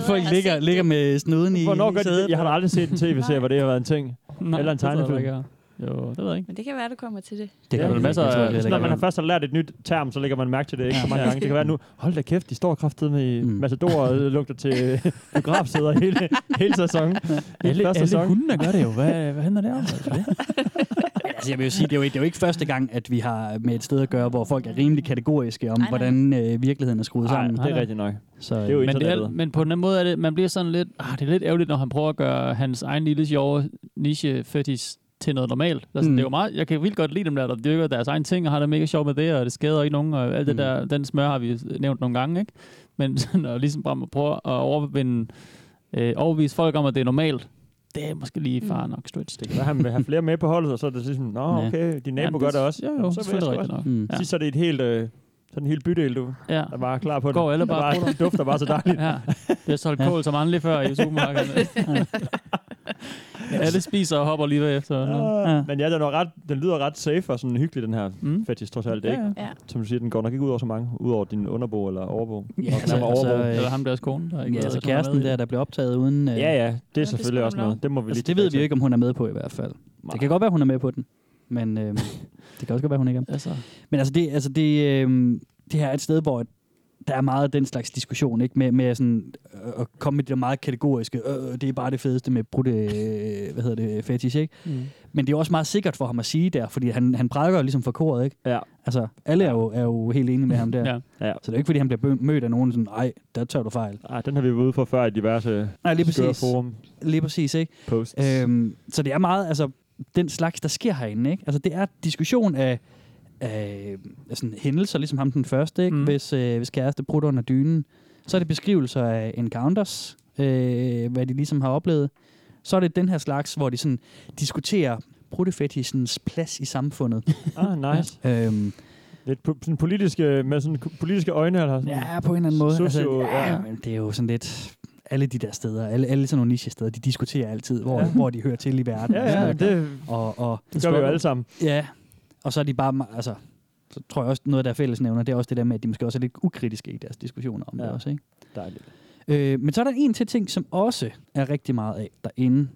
[SPEAKER 4] <laughs> Folk ligger, ligger med snuden i,
[SPEAKER 6] Hvornår
[SPEAKER 4] i
[SPEAKER 6] gør de det?
[SPEAKER 4] sædet.
[SPEAKER 6] Jeg har da aldrig set en tv-serie,
[SPEAKER 7] Nej.
[SPEAKER 6] hvor det har været en ting.
[SPEAKER 5] Nej,
[SPEAKER 6] Eller en
[SPEAKER 5] det ved jeg
[SPEAKER 6] tegnefilm.
[SPEAKER 5] ikke, jeg har. Jo, det ved jeg ikke.
[SPEAKER 7] Men det kan være, du kommer til det.
[SPEAKER 4] <laughs> Det
[SPEAKER 6] Ja, der
[SPEAKER 4] gør vi
[SPEAKER 6] er
[SPEAKER 4] ikke.
[SPEAKER 6] masser
[SPEAKER 4] Jeg tror,
[SPEAKER 6] af,
[SPEAKER 4] det
[SPEAKER 6] sådan,
[SPEAKER 4] lægger
[SPEAKER 6] når man har
[SPEAKER 4] op.
[SPEAKER 6] først har lært et nyt term, så lægger man mærke til det ikke
[SPEAKER 4] Ja.
[SPEAKER 6] så mange gange. Det kan være nu, hold da kæft, de står kraftet med i
[SPEAKER 4] Mm.
[SPEAKER 6] Matador og lugter
[SPEAKER 5] <laughs>
[SPEAKER 6] til øh, biografsæder hele, hele sæsonen. Hele
[SPEAKER 5] Alle,
[SPEAKER 6] første
[SPEAKER 5] alle
[SPEAKER 6] sæson.
[SPEAKER 5] hunden, der gør det jo. Hvad, hvad handler det om? Altså, det?
[SPEAKER 4] Men altså, jeg vil jo sige, det er jo, ikke- det er jo ikke første gang, at vi har med et sted at gøre, hvor folk er rimelig kategoriske om,
[SPEAKER 7] Nej, nej.
[SPEAKER 4] hvordan øh, virkeligheden er skruet
[SPEAKER 6] Nej,
[SPEAKER 4] sammen.
[SPEAKER 6] det er rigtigt nok.
[SPEAKER 4] Så,
[SPEAKER 6] Det er jo
[SPEAKER 5] men, det er,
[SPEAKER 6] internettet.
[SPEAKER 5] men på den måde er det, man bliver sådan lidt, ah, det er lidt ærgerligt, når han prøver at gøre hans egen lille sjove niche fetish til noget normalt. Altså,
[SPEAKER 4] Mm.
[SPEAKER 5] mm. det er jo meget, jeg kan vildt godt lide dem der, der dyrker deres egen ting, og har det mega sjovt med det, og det skader ikke nogen, og alt det
[SPEAKER 4] Mm.
[SPEAKER 5] der, den smør har vi nævnt nogle gange, ikke? Men <laughs> sådan at ligesom bare prøve at overvinde, øh, overvise folk om, at det er normalt, det er måske lige far nok stretch. Det
[SPEAKER 6] Det kan være, han vil have flere med på holdet, og så er det ligesom, nå
[SPEAKER 4] Ja.
[SPEAKER 6] okay, din nabo gør det også.
[SPEAKER 5] Jo, jo,
[SPEAKER 6] så
[SPEAKER 5] så
[SPEAKER 6] vil jeg
[SPEAKER 5] selvfølgelig
[SPEAKER 6] sgu
[SPEAKER 5] rigtigt nok.
[SPEAKER 4] Mm.
[SPEAKER 5] Ja.
[SPEAKER 6] Sidst så er det et helt, øh, sådan en hel bydel, du,
[SPEAKER 5] Ja.
[SPEAKER 6] der var klar på det.
[SPEAKER 5] Går alle
[SPEAKER 6] Der
[SPEAKER 5] bare og
[SPEAKER 6] <laughs> bare dufter bare så dejligt.
[SPEAKER 5] Ja, det har solgt
[SPEAKER 6] <laughs>
[SPEAKER 4] Ja.
[SPEAKER 5] kål som andre lige før i supermarkedet. Alle spiser og hopper lige efter.
[SPEAKER 6] Ah, Men ja, den, var ret, den lyder ret safe og sådan hyggelig, den her
[SPEAKER 5] Mm.
[SPEAKER 6] mm. fetish, trods alt. Det er
[SPEAKER 5] Ja,
[SPEAKER 6] ikke,
[SPEAKER 7] Ja.
[SPEAKER 6] som du siger, den går nok ikke ud over så mange, ud over din underbo eller overbo.
[SPEAKER 4] Ja,
[SPEAKER 6] altså, altså,
[SPEAKER 4] øh,
[SPEAKER 5] Eller ham deres kone, der ikke
[SPEAKER 4] Ja,
[SPEAKER 5] ved,
[SPEAKER 4] altså
[SPEAKER 5] at hun er
[SPEAKER 4] kæresten
[SPEAKER 5] med i
[SPEAKER 4] der,
[SPEAKER 5] det.
[SPEAKER 4] der bliver optaget uden... Øh,
[SPEAKER 6] Ja, ja, det er
[SPEAKER 7] det skal
[SPEAKER 6] selvfølgelig
[SPEAKER 7] man
[SPEAKER 6] også
[SPEAKER 7] nok.
[SPEAKER 6] noget. Det må vi
[SPEAKER 4] Altså,
[SPEAKER 6] lige
[SPEAKER 4] det ved vi jo ikke, om hun er med på i hvert fald. Det kan godt være, hun er med på den. Men øh, det kan også godt være, hun ikke
[SPEAKER 5] <laughs>
[SPEAKER 4] er.
[SPEAKER 5] Altså,
[SPEAKER 4] Men altså, det, altså det, øh, det her er et sted, hvor der er meget den slags diskussion, ikke? Med, med sådan, øh, at komme med det der meget kategoriske, øh, det er bare det fedeste med brudte, øh, hvad hedder det, fetish, ikke?
[SPEAKER 5] mm.
[SPEAKER 4] Men det er jo også meget sikkert for ham at sige der, fordi han, han prædiker jo ligesom for koret, ikke?
[SPEAKER 6] Ja.
[SPEAKER 4] Altså, alle er jo, er jo helt enige med ham der.
[SPEAKER 5] Ja.
[SPEAKER 6] Ja.
[SPEAKER 4] Så det er jo ikke, fordi han bliver bø- mødt af nogen sådan, ej, der tager du fejl.
[SPEAKER 6] Ej, Ah, den har vi været ude for før i diverse
[SPEAKER 4] Nej, lige
[SPEAKER 6] skøre
[SPEAKER 4] præcis.
[SPEAKER 6] forum
[SPEAKER 4] Lige præcis, ikke?
[SPEAKER 6] posts.
[SPEAKER 4] Øhm, så det er meget, altså, den slags, der sker herinde, ikke? Altså, det er diskussion af, af sådan hændelser, ligesom ham den første, ikke?
[SPEAKER 5] Mm.
[SPEAKER 4] Mm. Hvis, øh, hvis kæreste brudt under dynen. Så er det beskrivelser af encounters, øh, hvad de ligesom har oplevet. Så er det den her slags, hvor de sådan diskuterer bruttefetishens plads i samfundet.
[SPEAKER 6] <laughs> ah, nice.
[SPEAKER 4] øhm,
[SPEAKER 6] Lidt po- sådan politiske, med sådan ko- politiske øjne, eller sådan.
[SPEAKER 4] ja, på en eller anden måde. Altså,
[SPEAKER 6] Socio-
[SPEAKER 4] ja,
[SPEAKER 6] ja.
[SPEAKER 4] men det er jo sådan lidt alle de der steder, alle, alle sådan nogle nichesteder, de diskuterer altid, hvor, hvor de hører til i verden. og sådan
[SPEAKER 6] Ja, ja,
[SPEAKER 4] noget.
[SPEAKER 6] det
[SPEAKER 4] og, og
[SPEAKER 6] gør vi jo alle sammen.
[SPEAKER 4] Ja, og så er de bare, me- altså, så tror jeg også, noget af der fællesnævner, det er også det der med, at de måske også er lidt ukritiske i deres diskussioner om ja.
[SPEAKER 6] Ja.
[SPEAKER 4] det også, ikke?
[SPEAKER 6] Dejligt.
[SPEAKER 4] Øh, men så er der en til ting, som også er rigtig meget af derinde,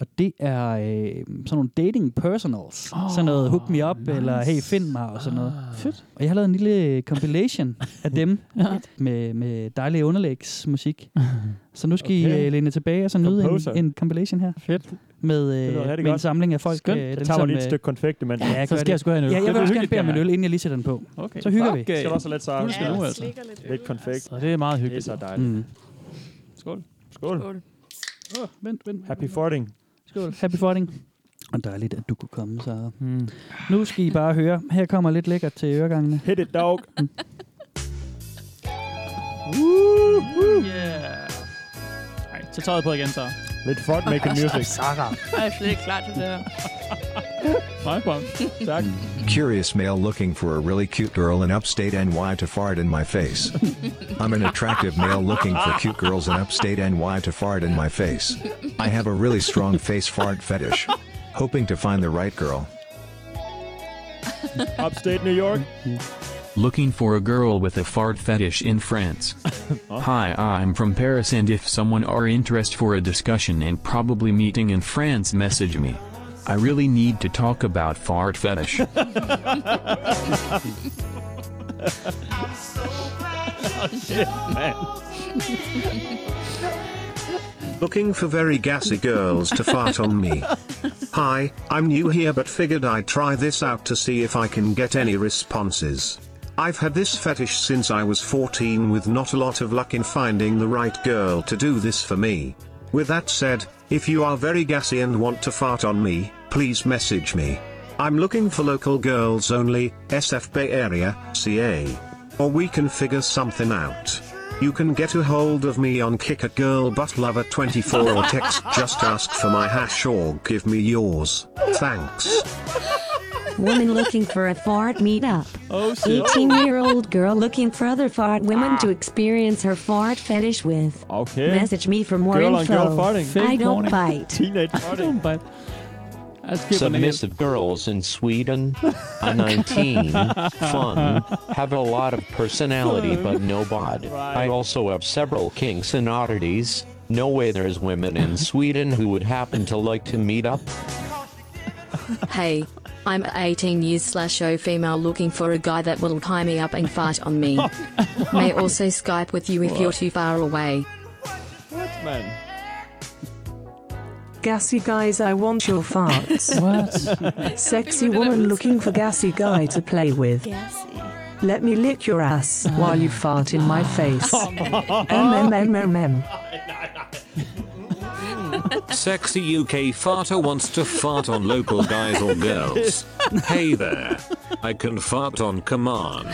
[SPEAKER 4] og det er øh, sådan nogle dating personals. Oh, sådan noget hook me
[SPEAKER 6] Ah,
[SPEAKER 4] up, nice. eller hey, find mig, og sådan noget.
[SPEAKER 5] <laughs> Fedt.
[SPEAKER 4] Og jeg har lavet en lille compilation af
[SPEAKER 5] <laughs>
[SPEAKER 4] dem, med, med dejlig underlægsmusik. Så nu skal okay. I
[SPEAKER 6] Okay.
[SPEAKER 4] øh, læne tilbage og så nyde en,
[SPEAKER 6] Composer.
[SPEAKER 4] en compilation her.
[SPEAKER 5] Fedt.
[SPEAKER 4] Med,
[SPEAKER 6] Det lyder
[SPEAKER 4] øh,
[SPEAKER 6] rigtig
[SPEAKER 4] med en
[SPEAKER 6] godt.
[SPEAKER 4] samling af folk.
[SPEAKER 5] Skønt.
[SPEAKER 4] øh,
[SPEAKER 6] Jeg
[SPEAKER 4] dem,
[SPEAKER 6] tager mig
[SPEAKER 4] som,
[SPEAKER 6] lige et
[SPEAKER 4] øh,
[SPEAKER 6] stykke konfekt, men
[SPEAKER 4] Ja,
[SPEAKER 5] Så
[SPEAKER 4] gør
[SPEAKER 5] skal
[SPEAKER 4] det.
[SPEAKER 5] jeg sgu have en øl.
[SPEAKER 4] Ja, jeg
[SPEAKER 6] Det
[SPEAKER 4] vil
[SPEAKER 6] er
[SPEAKER 4] også gerne
[SPEAKER 6] hyggeligt,
[SPEAKER 4] bede om
[SPEAKER 6] det
[SPEAKER 4] en
[SPEAKER 6] her.
[SPEAKER 4] øl, inden jeg lige sætter den på.
[SPEAKER 5] Okay.
[SPEAKER 4] så hygger vi.
[SPEAKER 5] Fuck, øh.
[SPEAKER 6] det skal også lidt så...
[SPEAKER 5] Du skal
[SPEAKER 7] Ja,
[SPEAKER 5] nu,
[SPEAKER 7] jeg
[SPEAKER 5] altså.
[SPEAKER 7] slikker lidt øl,
[SPEAKER 6] Lidt konfekt.
[SPEAKER 5] Så det er meget
[SPEAKER 6] Det er
[SPEAKER 5] hyggeligt.
[SPEAKER 6] så dejligt.
[SPEAKER 4] Mm.
[SPEAKER 5] Skål.
[SPEAKER 6] Skål.
[SPEAKER 7] Skål.
[SPEAKER 4] Vent, vent.
[SPEAKER 6] Happy farting.
[SPEAKER 4] Skål. Happy farting. Og dejligt, at du kunne komme, så.
[SPEAKER 5] Mm.
[SPEAKER 6] Hmm.
[SPEAKER 4] Nu skal I bare høre. Her kommer lidt lækkert til øregangene.
[SPEAKER 6] Hit it, dog.
[SPEAKER 4] Mm.
[SPEAKER 5] Yeah. Ej, tag tøjet på igen, så.
[SPEAKER 6] Lidt fun <laughs> making music.
[SPEAKER 7] Jeg er slet ikke klar til det her.
[SPEAKER 5] Meget godt.
[SPEAKER 6] Tak.
[SPEAKER 10] Hmm. Curious male looking for a really cute girl in upstate NY to fart in my face. I'm an attractive male looking for cute girls in upstate NY to fart in my face. I have a really strong face fart fetish. Hoping to find the right girl.
[SPEAKER 6] Upstate New York.
[SPEAKER 8] Looking for a girl with a fart fetish in France. Hi, I'm from Paris and if someone are interest for a discussion and probably meeting in France message me. I really need to talk about fart fetish.
[SPEAKER 11] Looking for very gassy girls to fart on me. Hi, I'm new here but figured I'd try this out to see if I can get any responses. I've had this fetish since I was 14 with not a lot of luck in finding the right girl to do this for me. With that said, if you are very gassy and want to fart on me, please message me. I'm looking for local girls only, SF Bay Area, CA. Or we can figure something out. You can get a hold of me on Kick a Girl Butt Lover 24 or text just ask for my hash or give me yours. Thanks.
[SPEAKER 12] Woman looking for a fart meetup.
[SPEAKER 5] Oh, shit.
[SPEAKER 12] 18 year old girl looking for other fart women to experience her fart fetish with.
[SPEAKER 6] Ah. Okay.
[SPEAKER 12] Message me for more
[SPEAKER 6] Girl on girl
[SPEAKER 12] info.
[SPEAKER 6] farting.
[SPEAKER 5] Fake
[SPEAKER 12] I don't
[SPEAKER 5] morning.
[SPEAKER 12] bite.
[SPEAKER 6] Teenage farting.
[SPEAKER 5] Don't bite. Jeg skal på
[SPEAKER 9] <laughs>
[SPEAKER 5] den igen.
[SPEAKER 9] Submissive girls in Sweden. A 19. Fun. Have a lot of personality but no bod. I also have several kinks and oddities. No way there's women in Sweden who would happen to like to meet up.
[SPEAKER 12] Hey, I'm 18 years slash O female looking for a guy that will tie me up and fart on me. May also Skype with you if you're too far away.
[SPEAKER 6] What, man?
[SPEAKER 12] Gassy guys, I want your farts.
[SPEAKER 5] What?
[SPEAKER 12] Sexy woman looking for gassy guy to play with. Let me lick your ass while you fart in my face. MMMMM.
[SPEAKER 11] Sexy UK farter wants to fart on local guys or girls. Hey there. I can fart on command.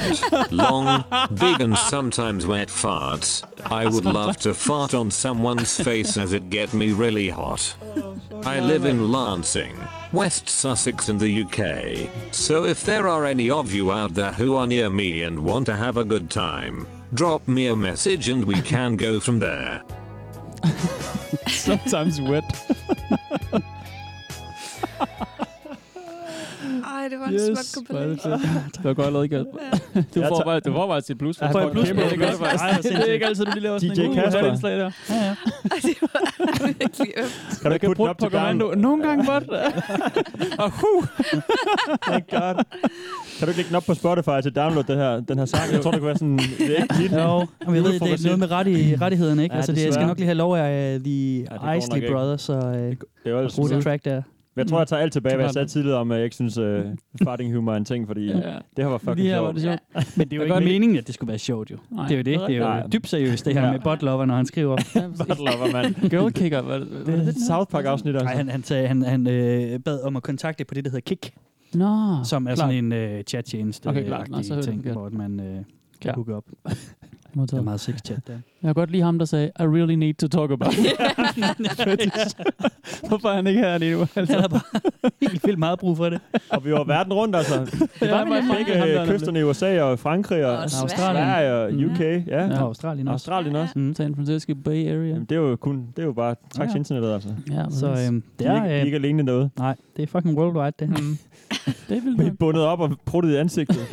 [SPEAKER 11] Long, big, and sometimes wet farts. I would love to fart on someone's face as it get me really hot. I live in Lansing, West Sussex in the UK. So if there are any of you out there who are near me and want to have a good time, drop me a message and we can go from there.
[SPEAKER 5] Sometimes wet.
[SPEAKER 7] Ej, det var en flot kompliment. <laughs>
[SPEAKER 5] <laughs> Det var godt lavet, Kasper. Du
[SPEAKER 6] Ja,
[SPEAKER 5] får
[SPEAKER 6] tak.
[SPEAKER 5] bare, du får bare sit plus.
[SPEAKER 6] Ja, han får et plus.
[SPEAKER 5] Kæmpe
[SPEAKER 6] Ja,
[SPEAKER 5] det gør
[SPEAKER 6] det
[SPEAKER 5] du
[SPEAKER 6] gør
[SPEAKER 5] faktisk.
[SPEAKER 6] jeg. Ej, hvor
[SPEAKER 5] Det er ikke altid, du lige laver sådan
[SPEAKER 6] DJ
[SPEAKER 5] en god
[SPEAKER 6] Kasper.
[SPEAKER 5] handindslag der. Ja, ja.
[SPEAKER 6] Kan du ikke putte den op
[SPEAKER 5] På
[SPEAKER 6] til gangen?
[SPEAKER 5] kommando. Nogle gange
[SPEAKER 4] <laughs>
[SPEAKER 5] godt. Og huh.
[SPEAKER 6] Thank God. Kan du ikke lægge den op på Spotify til at downloade det her, den her sang? Jeg tror, det kunne være
[SPEAKER 4] <laughs>
[SPEAKER 6] sådan... Det er ikke dit.
[SPEAKER 4] Jo, men jeg ved, det er noget med ret i rettighederne, ikke?
[SPEAKER 6] Ja,
[SPEAKER 4] altså, det, jeg skal
[SPEAKER 6] desværre.
[SPEAKER 4] nok lige have lov af uh, The
[SPEAKER 6] går nok
[SPEAKER 4] Isley
[SPEAKER 6] ikke.
[SPEAKER 4] Brothers og, uh,
[SPEAKER 6] Det er jo
[SPEAKER 4] og bruge det track der.
[SPEAKER 6] Men jeg tror, jeg tager alt tilbage, hvad jeg
[SPEAKER 4] Det var
[SPEAKER 6] sagde
[SPEAKER 4] det.
[SPEAKER 6] tidligere om, at jeg ikke synes,
[SPEAKER 4] <laughs>
[SPEAKER 6] uh, farting humor er en ting, fordi
[SPEAKER 4] Ja.
[SPEAKER 6] ja. det her var fucking
[SPEAKER 4] Lige her
[SPEAKER 6] sjovt.
[SPEAKER 4] var det sjovt. Ja. <laughs> Men det er jo
[SPEAKER 6] Jeg
[SPEAKER 4] ikke
[SPEAKER 6] kan godt lide-
[SPEAKER 4] meningen, at det skulle være sjovt, jo.
[SPEAKER 5] Nej.
[SPEAKER 4] det er jo det. Det er
[SPEAKER 6] Nej.
[SPEAKER 4] jo dybt seriøst, det her
[SPEAKER 6] Ja.
[SPEAKER 4] ja. med botlover, når han skriver.
[SPEAKER 6] Buttlover, mand.
[SPEAKER 5] Girl kicker. Hvad, hvad
[SPEAKER 6] Det er et South Park-afsnit, altså.
[SPEAKER 4] Nej, han, han, sagde, han, han øh, bad om at kontakte på det, der hedder Kik,
[SPEAKER 5] Nå,
[SPEAKER 4] som er
[SPEAKER 5] klart.
[SPEAKER 4] sådan en øh, chat-tjeneste,
[SPEAKER 5] Okay, klart. Nå, så
[SPEAKER 4] øh,
[SPEAKER 5] hørte jeg
[SPEAKER 4] ting,
[SPEAKER 5] det
[SPEAKER 4] hvor man øh, kan
[SPEAKER 5] Ja.
[SPEAKER 4] hooke op.
[SPEAKER 5] Modtaget.
[SPEAKER 4] Der er meget sex-chat der.
[SPEAKER 5] Jeg kan godt lide ham, der sagde, I really need to talk about
[SPEAKER 7] <laughs>
[SPEAKER 5] it. <laughs>
[SPEAKER 4] <laughs>
[SPEAKER 5] Hvorfor er han ikke her lige nu? Altså.
[SPEAKER 4] Han er bare helt vildt meget brug for det.
[SPEAKER 6] Og vi var verden rundt, altså. Det
[SPEAKER 5] var
[SPEAKER 6] var
[SPEAKER 5] vi nemlig.
[SPEAKER 6] begge
[SPEAKER 5] Ham
[SPEAKER 6] øh,
[SPEAKER 5] der nemlig.
[SPEAKER 6] kysterne i USA og Frankrig og,
[SPEAKER 4] Og Sverige.
[SPEAKER 6] Australien og UK.
[SPEAKER 5] Mm.
[SPEAKER 6] Ja.
[SPEAKER 4] Ja. Og Australien også.
[SPEAKER 6] Australien også. <laughs>
[SPEAKER 4] Mm.
[SPEAKER 5] San Francisco Bay Area.
[SPEAKER 6] Jamen, det er jo kun, det er jo bare tak til
[SPEAKER 4] Ja.
[SPEAKER 6] internettet, altså.
[SPEAKER 5] Ja,
[SPEAKER 4] Så
[SPEAKER 5] præcis.
[SPEAKER 4] øhm,
[SPEAKER 6] Vi
[SPEAKER 4] det
[SPEAKER 6] er, ikke, vi
[SPEAKER 4] er...
[SPEAKER 6] er ikke
[SPEAKER 4] Øh,
[SPEAKER 6] alene derude. Mm.
[SPEAKER 4] nej, det er fucking worldwide, det her.
[SPEAKER 5] <laughs> det vil
[SPEAKER 6] Vi er bundet op og pruttet i
[SPEAKER 5] <laughs>
[SPEAKER 6] ansigtet.